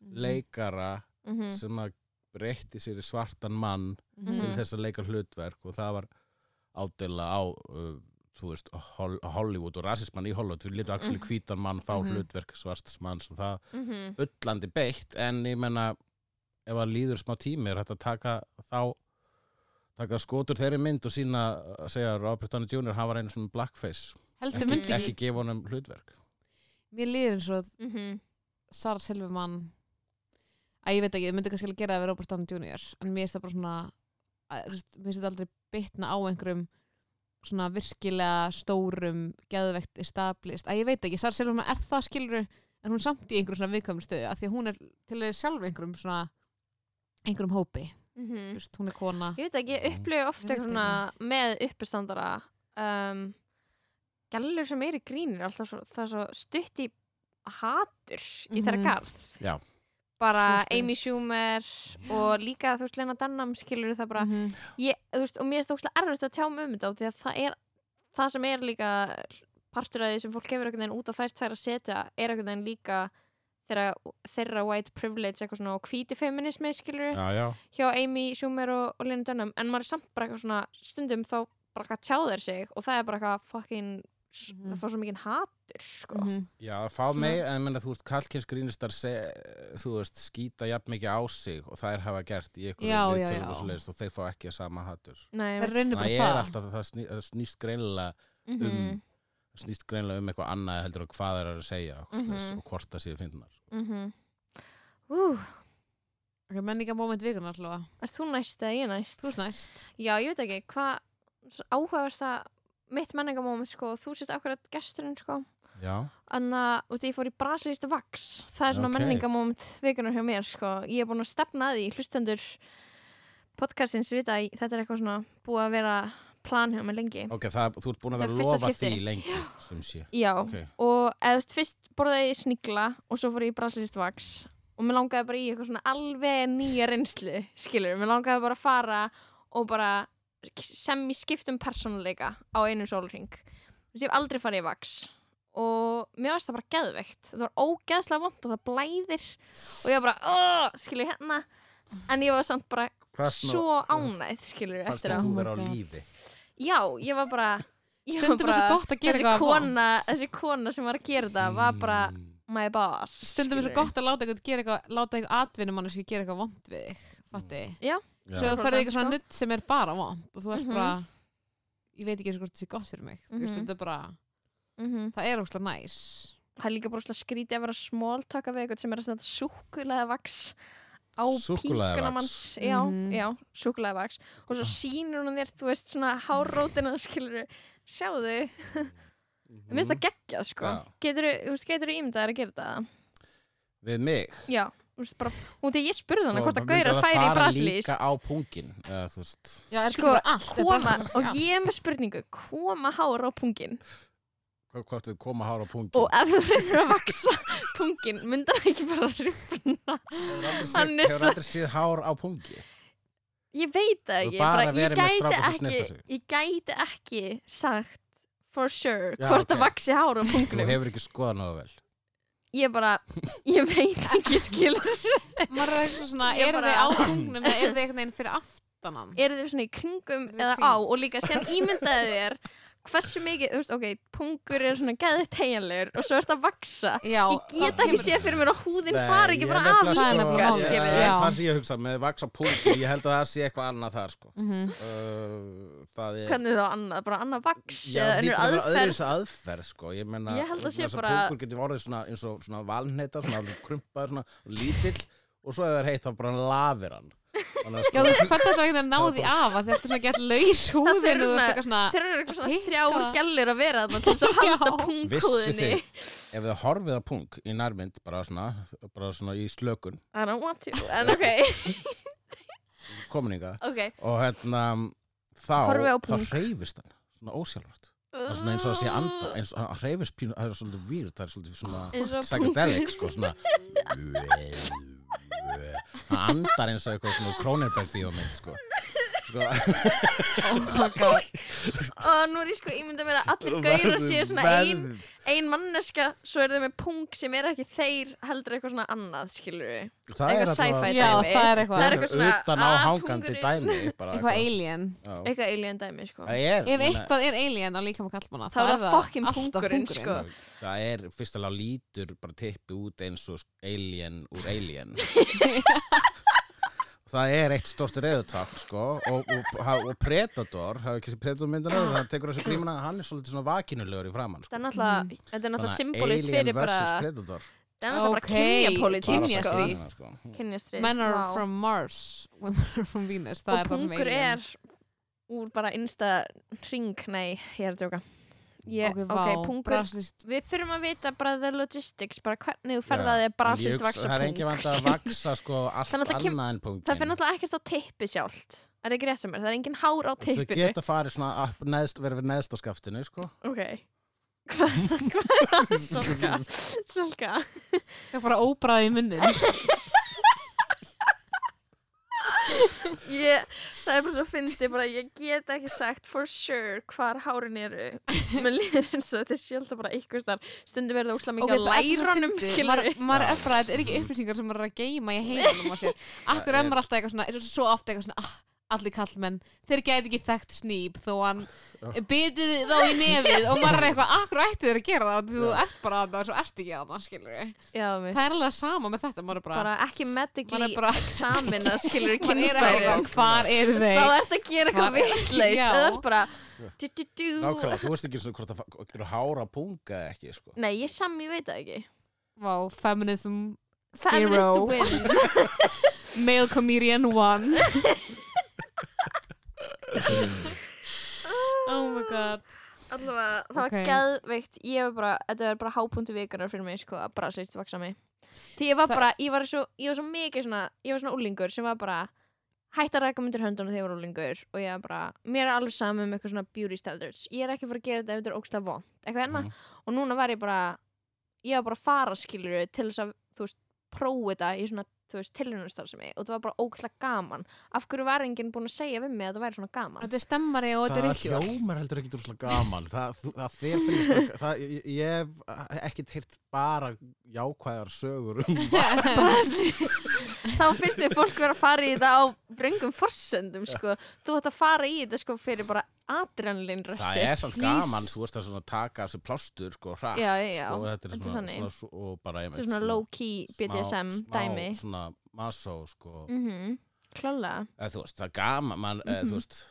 [SPEAKER 2] Mm,
[SPEAKER 3] leikara
[SPEAKER 2] Mhm.
[SPEAKER 3] sem að breytti sér í svartan mann
[SPEAKER 1] Mm-hmm.
[SPEAKER 3] til
[SPEAKER 2] Mhm.
[SPEAKER 3] þess að leika hlutverk og það var ádela á uh, þú veist, Hol Hollywood og rasismann í Hollywood, við litum axli hvítan mann fá
[SPEAKER 1] Mhm.
[SPEAKER 3] hlutverk svarts manns og það
[SPEAKER 2] Mhm.
[SPEAKER 3] öllandi beitt en ég menna ef að líður smá tími er þetta að taka þá taka skotur þeirri mynd og sína að segja að Robert Downey Jr. hann var einu svona blackface
[SPEAKER 1] heldur
[SPEAKER 3] ekki,
[SPEAKER 1] myndi
[SPEAKER 2] Mhm.
[SPEAKER 1] ekki,
[SPEAKER 3] ekki gefa honum hlutverk
[SPEAKER 1] mér líður eins og
[SPEAKER 2] Mhm.
[SPEAKER 1] Sara Silverman að ég veit ekki, ég myndi kannski alveg gera það við Robert Downey Jr. en mér finnst það bara svona að, þú veist, mér finnst þetta aldrei bitna á einhverjum svona virkilega stórum geðvegt establist, að ég veit ekki, Sara Silverman er það skilur en hún er samt í einhverjum svona viðkvæmum stöðu af því að hún er til þeir sjálf einhverjum svona einhverjum hópi,
[SPEAKER 2] Mhm.
[SPEAKER 1] þú veist, hún er kona
[SPEAKER 2] Ég veit ekki, ég upplifi oft
[SPEAKER 1] Ég veit
[SPEAKER 2] eitthvað svona með uppistandara um, gælur sem er í grínir alltaf svo, það er svo stutt í hatur í þeirra
[SPEAKER 1] Mhm.
[SPEAKER 2] garð
[SPEAKER 3] Já.
[SPEAKER 2] bara
[SPEAKER 1] Svo stutt.
[SPEAKER 2] Amy Schumer og líka þú veist Lena Dunham skilur það bara Mm-hmm.
[SPEAKER 1] Mhm.
[SPEAKER 2] ég, þú veist, og mér er stókslega erfitt að tjá mig um þetta út því að það er það sem er líka partur af því sem fólk hefur einhvern veginn út á þær tvær að setja er einhvern veginn líka þeirra, þeirra white privilege eitthvað svona og hvíti feminismi skilur
[SPEAKER 3] já, já.
[SPEAKER 2] hjá Amy Schumer og, og Lena Dunham en maður er samt bara eitthvað svona stundum þá bara eitthvað tjáðir sig og það er bara eitthvað fucking
[SPEAKER 1] Mhm.
[SPEAKER 2] það fá svo mikið hatur sko.
[SPEAKER 1] Mhm.
[SPEAKER 3] Já, að fá
[SPEAKER 2] Svona-
[SPEAKER 3] meir, en menna, þú veist, kallkynsgrínistar þú veist, skýta jafn mikið á sig og það er hafa gert í einhverju
[SPEAKER 1] Já, já,
[SPEAKER 3] viðtölum og
[SPEAKER 1] já.
[SPEAKER 3] svoleiðis og þeir fá ekki að sama hattur.
[SPEAKER 2] Nei,
[SPEAKER 1] Það er raunin-
[SPEAKER 2] einmitt.
[SPEAKER 1] Finnur bara
[SPEAKER 3] Það er
[SPEAKER 1] það.
[SPEAKER 3] alltaf, það sný- það snýst greinilega
[SPEAKER 2] Mhm.
[SPEAKER 3] um- snýst greinilega um eitthvað annað heldur og hvað það er að segja og, mm
[SPEAKER 2] Mhm.
[SPEAKER 3] og hvort það séu finnar.
[SPEAKER 2] Mhm. Ú,
[SPEAKER 1] Ok, menningamóment vikunar allavega.
[SPEAKER 2] erst þú næst eða ég næst?
[SPEAKER 1] Þú ert næst.
[SPEAKER 2] Já, ég veit ekki, hvað áhugaverst að mitt menningamóment sko, og þú sett akkurat gesturinn sko.
[SPEAKER 3] Já,
[SPEAKER 2] Anna, út af ég fór í brasilísta vaks það er svona
[SPEAKER 3] Ok.
[SPEAKER 2] okay. menningamóment vikunar hjá mér sko. ég er búin að stefna að því hlustendur podcastins vita að þetta er eitthvað svona búið að vera plan hjá mér lengi
[SPEAKER 3] ok, það, þú ert búin að
[SPEAKER 2] Það
[SPEAKER 3] vera
[SPEAKER 2] er
[SPEAKER 3] að
[SPEAKER 2] fyrsta
[SPEAKER 3] lofa
[SPEAKER 2] skipti.
[SPEAKER 3] því lengi, sem sé.
[SPEAKER 2] já,
[SPEAKER 3] Ok,
[SPEAKER 2] og eða þú veist fyrst borðaði ég snigla og svo fór ég í brasilísta vaks og mér langaði bara í eitthvað svona alveg nýja reynslu skilur, mér langaði bara að fara og bara sem í skiptum persónuleika á einum sólring þú veist, ég hef aldrei farið í vaks og mér varst það bara geðveikt það var ógeðslega vond og það blæðir og ég var bara, "Ugh", skilur hérna en ég var samt bara
[SPEAKER 3] hvað
[SPEAKER 2] svo ánægð, skilur,
[SPEAKER 3] fannst
[SPEAKER 2] eftir
[SPEAKER 3] þér
[SPEAKER 2] á
[SPEAKER 1] að-
[SPEAKER 3] þú
[SPEAKER 1] Oh my
[SPEAKER 3] vera á
[SPEAKER 1] God.
[SPEAKER 3] lífi?
[SPEAKER 2] já, ég var bara ég var
[SPEAKER 1] Stundum er svo
[SPEAKER 2] bara-
[SPEAKER 1] gott að gera
[SPEAKER 2] þessi
[SPEAKER 1] eitthvað
[SPEAKER 2] kona, þessi kona sem var að gera þetta var bara
[SPEAKER 3] Mm.
[SPEAKER 2] my boss
[SPEAKER 1] Stundum er svo
[SPEAKER 2] skilurðu.
[SPEAKER 1] gott að láta eitthvað gera eitthvað, láta eitthvað atvinnum annars gera eitthvað vond við þig.
[SPEAKER 2] Mm,
[SPEAKER 1] Fatti.
[SPEAKER 3] Já.
[SPEAKER 1] Svo þú ferði eitthvað svona
[SPEAKER 2] Sko.
[SPEAKER 1] nutt sem er bara vond og þú ert
[SPEAKER 2] Mhm.
[SPEAKER 1] bara, ég veit ekki eins og hvort það sé gott fyrir mig. Þú veist,
[SPEAKER 2] Mhm.
[SPEAKER 1] þetta er bara,
[SPEAKER 2] Mhm.
[SPEAKER 1] það er óslega næs.
[SPEAKER 2] það er líka bara svona skrítið að vera smóltöka við eitthvað sem er að senda súkulega vaks á
[SPEAKER 3] Súkkulaðivaks.
[SPEAKER 2] píkuna manns já,
[SPEAKER 1] Mhm.
[SPEAKER 2] já, súkulega vaks og
[SPEAKER 3] Ah.
[SPEAKER 2] svo sýnir hún þér, þú veist, svona hárótina skilur, sjáðu mér finnst það geggjað, sko
[SPEAKER 3] Mm. Já.
[SPEAKER 2] getur þú ímyndað þér að gera þetta
[SPEAKER 3] Við mig?
[SPEAKER 2] já, þú veist, bara, hún þegar ég spurði hana
[SPEAKER 3] Sko,
[SPEAKER 2] hvort
[SPEAKER 3] maður
[SPEAKER 2] að
[SPEAKER 3] myndi
[SPEAKER 2] gaurar færi í sko.
[SPEAKER 3] fara
[SPEAKER 2] brasilíst
[SPEAKER 3] líka á pungin eða, þú veist,
[SPEAKER 1] Já, er
[SPEAKER 2] Sko,
[SPEAKER 1] sko, bara allt er
[SPEAKER 2] koma,
[SPEAKER 1] bara-
[SPEAKER 2] og
[SPEAKER 1] já.
[SPEAKER 2] ég er með spurningu koma hára á pungin
[SPEAKER 3] hva- hvort við koma hár á pungin
[SPEAKER 2] og ef þú reynir að vaksa pungin myndar það ekki bara rifna
[SPEAKER 3] hefur aldrei,
[SPEAKER 2] hann
[SPEAKER 3] séð,
[SPEAKER 2] er
[SPEAKER 3] hefur
[SPEAKER 2] svo-
[SPEAKER 3] aldrei séð hár á pungi
[SPEAKER 2] Ég veit það
[SPEAKER 3] Þú
[SPEAKER 2] ekki,
[SPEAKER 3] bara
[SPEAKER 2] bara, ég,
[SPEAKER 3] verið með
[SPEAKER 2] gæti
[SPEAKER 3] strák og svo sniffa
[SPEAKER 2] ekki
[SPEAKER 3] sig.
[SPEAKER 2] ég gæti ekki sagt for sure
[SPEAKER 3] Já,
[SPEAKER 2] hvort
[SPEAKER 3] ok.
[SPEAKER 2] það vaksi hár á
[SPEAKER 3] þú
[SPEAKER 2] pungnum
[SPEAKER 3] hefur ekki skoðað náðu vel
[SPEAKER 2] Ég bara, ég veit ekki skil
[SPEAKER 1] maður er eitthvað svona,
[SPEAKER 2] Ég
[SPEAKER 1] eru
[SPEAKER 2] bara-
[SPEAKER 1] þið á tungnum eða eru þið einhvern veginn fyrir aftanan
[SPEAKER 2] eru þau svona í kringum
[SPEAKER 1] Eru þau í
[SPEAKER 2] eða
[SPEAKER 1] kring?
[SPEAKER 2] á og líka sem ímyndaði þér hversu mikið, þú veist, ok, pungur er svona gæðið tegjanlegur og svo er þetta að vaksa
[SPEAKER 1] já,
[SPEAKER 2] Ég get ekki séð fyrir mér að húðin
[SPEAKER 3] Nei,
[SPEAKER 2] fari ekki
[SPEAKER 3] ég
[SPEAKER 2] bara
[SPEAKER 3] nefnilega
[SPEAKER 2] af
[SPEAKER 1] Það er nefnilega
[SPEAKER 2] líka,
[SPEAKER 1] málið.
[SPEAKER 3] sko,
[SPEAKER 2] skilur
[SPEAKER 3] ég-
[SPEAKER 1] Já.
[SPEAKER 3] það sé ég að hugsa með vaksa pungi ég held að það sé eitthvað annað þar sko.
[SPEAKER 1] mm -hmm.
[SPEAKER 3] uh, það er
[SPEAKER 2] Hvernig þá annað, bara annað vaks
[SPEAKER 3] Já,
[SPEAKER 2] eða
[SPEAKER 3] hlýtur að
[SPEAKER 2] önnur
[SPEAKER 3] vera
[SPEAKER 2] aðferð
[SPEAKER 3] öðruvísi aðferð sko. ég, meina,
[SPEAKER 2] Ég held að sé
[SPEAKER 3] vegna þess
[SPEAKER 2] bara-
[SPEAKER 3] pungur getur orðið svona, eins og svona valnheita svona krumpaður, svona lítill og svo ef það er heitt þá bara lafir hann Þannig að, sko,
[SPEAKER 1] já, þú veist, hvernig er það einhvern veginn náði af að þetta er svona gett laus
[SPEAKER 2] Það
[SPEAKER 1] húðin
[SPEAKER 2] þurfa
[SPEAKER 1] og þú veist
[SPEAKER 2] svona-
[SPEAKER 1] eitthvað svona
[SPEAKER 2] Þeir eru eitthvað svona
[SPEAKER 1] Pikka.
[SPEAKER 2] þrjár gællir að vera þarna til þess að
[SPEAKER 1] Já.
[SPEAKER 2] halda
[SPEAKER 3] Vissu
[SPEAKER 2] pungkúðinni
[SPEAKER 3] þið, ef þið horfið að pung í nærmynd, bara svona, bara svona í slökun,
[SPEAKER 2] I don't want to, en ok,
[SPEAKER 3] komin ykkar,
[SPEAKER 2] ok.
[SPEAKER 3] og hérna, þá,
[SPEAKER 2] Horfið á
[SPEAKER 3] þá
[SPEAKER 2] pung.
[SPEAKER 3] hreyfist hann, svona ósjálfrætt. Það er svona eins og að sé
[SPEAKER 2] Ah.
[SPEAKER 3] anda, eins og hann hreyfist pínu, það er svolítið výrt, það er svolítið
[SPEAKER 2] Eins
[SPEAKER 3] svona
[SPEAKER 2] og
[SPEAKER 3] psychedelic, sko, svona, hann andar eins og eitthvað svona Kronenberg bíómynd, sko. Sko,
[SPEAKER 2] Og nú er ég sko ímyndað mér að allir gaurar séu svona ein, ein manneska, svo er þau með pung sem er ekki þeir heldur eitthvað svona annað, skilur við.
[SPEAKER 3] það er
[SPEAKER 2] eitthvað sci-fi
[SPEAKER 1] Já,
[SPEAKER 2] dæmi.
[SPEAKER 1] það er eitthvað-
[SPEAKER 2] Það er eitthvað svona,
[SPEAKER 3] utan á
[SPEAKER 2] að,
[SPEAKER 3] hangandi
[SPEAKER 2] pungurinn.
[SPEAKER 3] dæmi, bara
[SPEAKER 1] eitthvað alien
[SPEAKER 3] Já.
[SPEAKER 2] Eitthvað alien dæmi, sko.
[SPEAKER 3] Það er,
[SPEAKER 1] ef
[SPEAKER 3] ég meina-
[SPEAKER 1] eitthvað er alien á líkama kallmanna
[SPEAKER 2] Þá er það fucking pungurinn, sko.
[SPEAKER 3] Já, Það er fyrst alveg lítur bara tippi út eins og alien úr alien Það er eitt stort reyðutak sko, og, og, og, og Predator hafa ekki sér Predator myndina það tekur þessu grímuna, hann er svolítið svona vakinulegur í framan
[SPEAKER 2] Þetta
[SPEAKER 3] sko.
[SPEAKER 2] er náttúrulega, þetta er náttúrulega symbolist
[SPEAKER 3] Alien
[SPEAKER 2] fyrir bara,
[SPEAKER 3] versus Predator
[SPEAKER 2] þetta er náttúrulega
[SPEAKER 1] Ok,
[SPEAKER 2] bara kynjapolítík,
[SPEAKER 1] Kynjastríð.
[SPEAKER 2] sko.
[SPEAKER 1] kynjastríð.
[SPEAKER 3] Bara sko.
[SPEAKER 2] Kynjastrið.
[SPEAKER 1] men are from Mars women are from Venus það
[SPEAKER 2] Og
[SPEAKER 1] er það sem
[SPEAKER 2] pungur
[SPEAKER 1] alien
[SPEAKER 2] er úr bara insta ring, nei, ég er að djóka. Ég,
[SPEAKER 1] ok,
[SPEAKER 2] ok,
[SPEAKER 1] vá,
[SPEAKER 2] pungur
[SPEAKER 1] brasilist
[SPEAKER 2] Við þurfum að vita bara the logistics, bara hvernig þú ferð
[SPEAKER 3] Já,
[SPEAKER 2] að þið
[SPEAKER 3] en ég
[SPEAKER 2] brasist
[SPEAKER 3] hugsa-
[SPEAKER 2] vaksa
[SPEAKER 3] Það er
[SPEAKER 2] pung.
[SPEAKER 3] engin vant að vaksa sko, allt
[SPEAKER 2] Það er náttúrulega kem-
[SPEAKER 3] annað en punkin
[SPEAKER 2] Það fyrir náttúrulega ekkert á tippi sjálft. Er það ekki rétt sem mér? Það er engin hár á
[SPEAKER 3] Þau
[SPEAKER 2] tippinu.
[SPEAKER 3] geta farið svona upp neðst, verið við neðst á skaftinu sko.
[SPEAKER 2] Ok. Hvað hvað er það? Svolga. Svolga.
[SPEAKER 1] það er bara óbraði í munnin
[SPEAKER 2] Ég, það er bara svo fyndi, bara ég get ekki sagt for sure hvar hárin eru. Mér líður eins og þetta er sjálf bara eitthvað starf. Stundum er það óslega
[SPEAKER 1] Ok,
[SPEAKER 2] mikið á
[SPEAKER 1] það er svo
[SPEAKER 2] lærunum,
[SPEAKER 1] fyndið.
[SPEAKER 2] skilur
[SPEAKER 1] maður,
[SPEAKER 2] við.
[SPEAKER 1] maður
[SPEAKER 3] Já.
[SPEAKER 1] er bara, þetta er ekki upplýsingar sem maður er að geima í heiminum á sér akkur
[SPEAKER 3] Það
[SPEAKER 1] er
[SPEAKER 3] er-
[SPEAKER 1] maður alltaf eitthvað svona, eins og svo ofta eitthvað svona ah, allir kallmenn þeir gæti ekki þekkt snýp þó hann
[SPEAKER 3] Já.
[SPEAKER 1] bitið þá í nefið og maður er eitthvað akkur ætti þeir að gera það því þú ert bara að það og svo ert ekki að maður skilur
[SPEAKER 2] já, mitt.
[SPEAKER 1] það er alveg sama með þetta maður er bara,
[SPEAKER 2] bara ekki
[SPEAKER 1] maður
[SPEAKER 2] medically
[SPEAKER 1] er bara
[SPEAKER 2] examin að skilur
[SPEAKER 1] maður er ekki
[SPEAKER 2] kynfæri
[SPEAKER 1] eitthvað hvar eru
[SPEAKER 2] þá
[SPEAKER 1] þeir
[SPEAKER 2] ert að gera eitthvað
[SPEAKER 1] Hvað-
[SPEAKER 2] vitlaust
[SPEAKER 1] Já.
[SPEAKER 2] það er bara du, du, du.
[SPEAKER 3] Nákvæmlega, þú veist ekki svona hvort það eru hára punga eða ekki, sko.
[SPEAKER 2] nei, ég sam, ég veit það ekki
[SPEAKER 1] Vá, feminism
[SPEAKER 2] Feminist to
[SPEAKER 1] zero
[SPEAKER 2] win.
[SPEAKER 1] male comedian one oh my god
[SPEAKER 2] allavega, það var
[SPEAKER 1] Ok.
[SPEAKER 2] geðveikt ég var bara, þetta var bara hápunktu vikunar fyrir mig sko, að brasilist vaksa mig því ég var
[SPEAKER 1] Það-
[SPEAKER 2] bara, ég var svo, ég var svo mikið svona ég var svona úlingur sem var bara hætt að rækka myndir höndunum þegar ég var úlingur og ég var bara, mér er alveg saman um eitthvað svona beauty standards, ég er ekki að fara að gera þetta ef þetta er ógsta vond, eitthvað enna
[SPEAKER 3] Mhm.
[SPEAKER 2] og núna var ég bara, ég var bara að fara skilur til þess að, þú veist, prófa þetta í svona, þú veist, tilhjörnustarfsemi og þetta var bara ógsta gaman, af hverju var enginn búin að segja við mig að þetta væri svona gaman
[SPEAKER 1] þetta er stemmari og þetta er
[SPEAKER 3] Það
[SPEAKER 1] ritual
[SPEAKER 3] hljómar heldur ekki droslega gaman. Það, þú- það þeir finnst, það- það, ég, ég hef ekkert heyrt bara jákvæðar sögur um
[SPEAKER 2] þá finnst mér fólk vera að fara í þetta á bröngum forsendum sko. þú ætti að fara í þetta sko, fyrir bara adrenalin
[SPEAKER 3] Það
[SPEAKER 2] rössi
[SPEAKER 3] er samt gaman, þú veist að svona taka þessi plástur, sko, hratt.
[SPEAKER 2] Já, já, já.
[SPEAKER 3] Sko, þetta er
[SPEAKER 2] Þetta er
[SPEAKER 3] svona,
[SPEAKER 2] þannig.
[SPEAKER 3] svona, svo- og bara, ég
[SPEAKER 2] þetta er svona low key BDSM dæmi
[SPEAKER 3] Smá, svona masó, sko.
[SPEAKER 2] mm Mm-hmm. -hmm. klálega
[SPEAKER 3] eða þú veist, það er gaman man, mm
[SPEAKER 1] Mhm.
[SPEAKER 3] þú veist,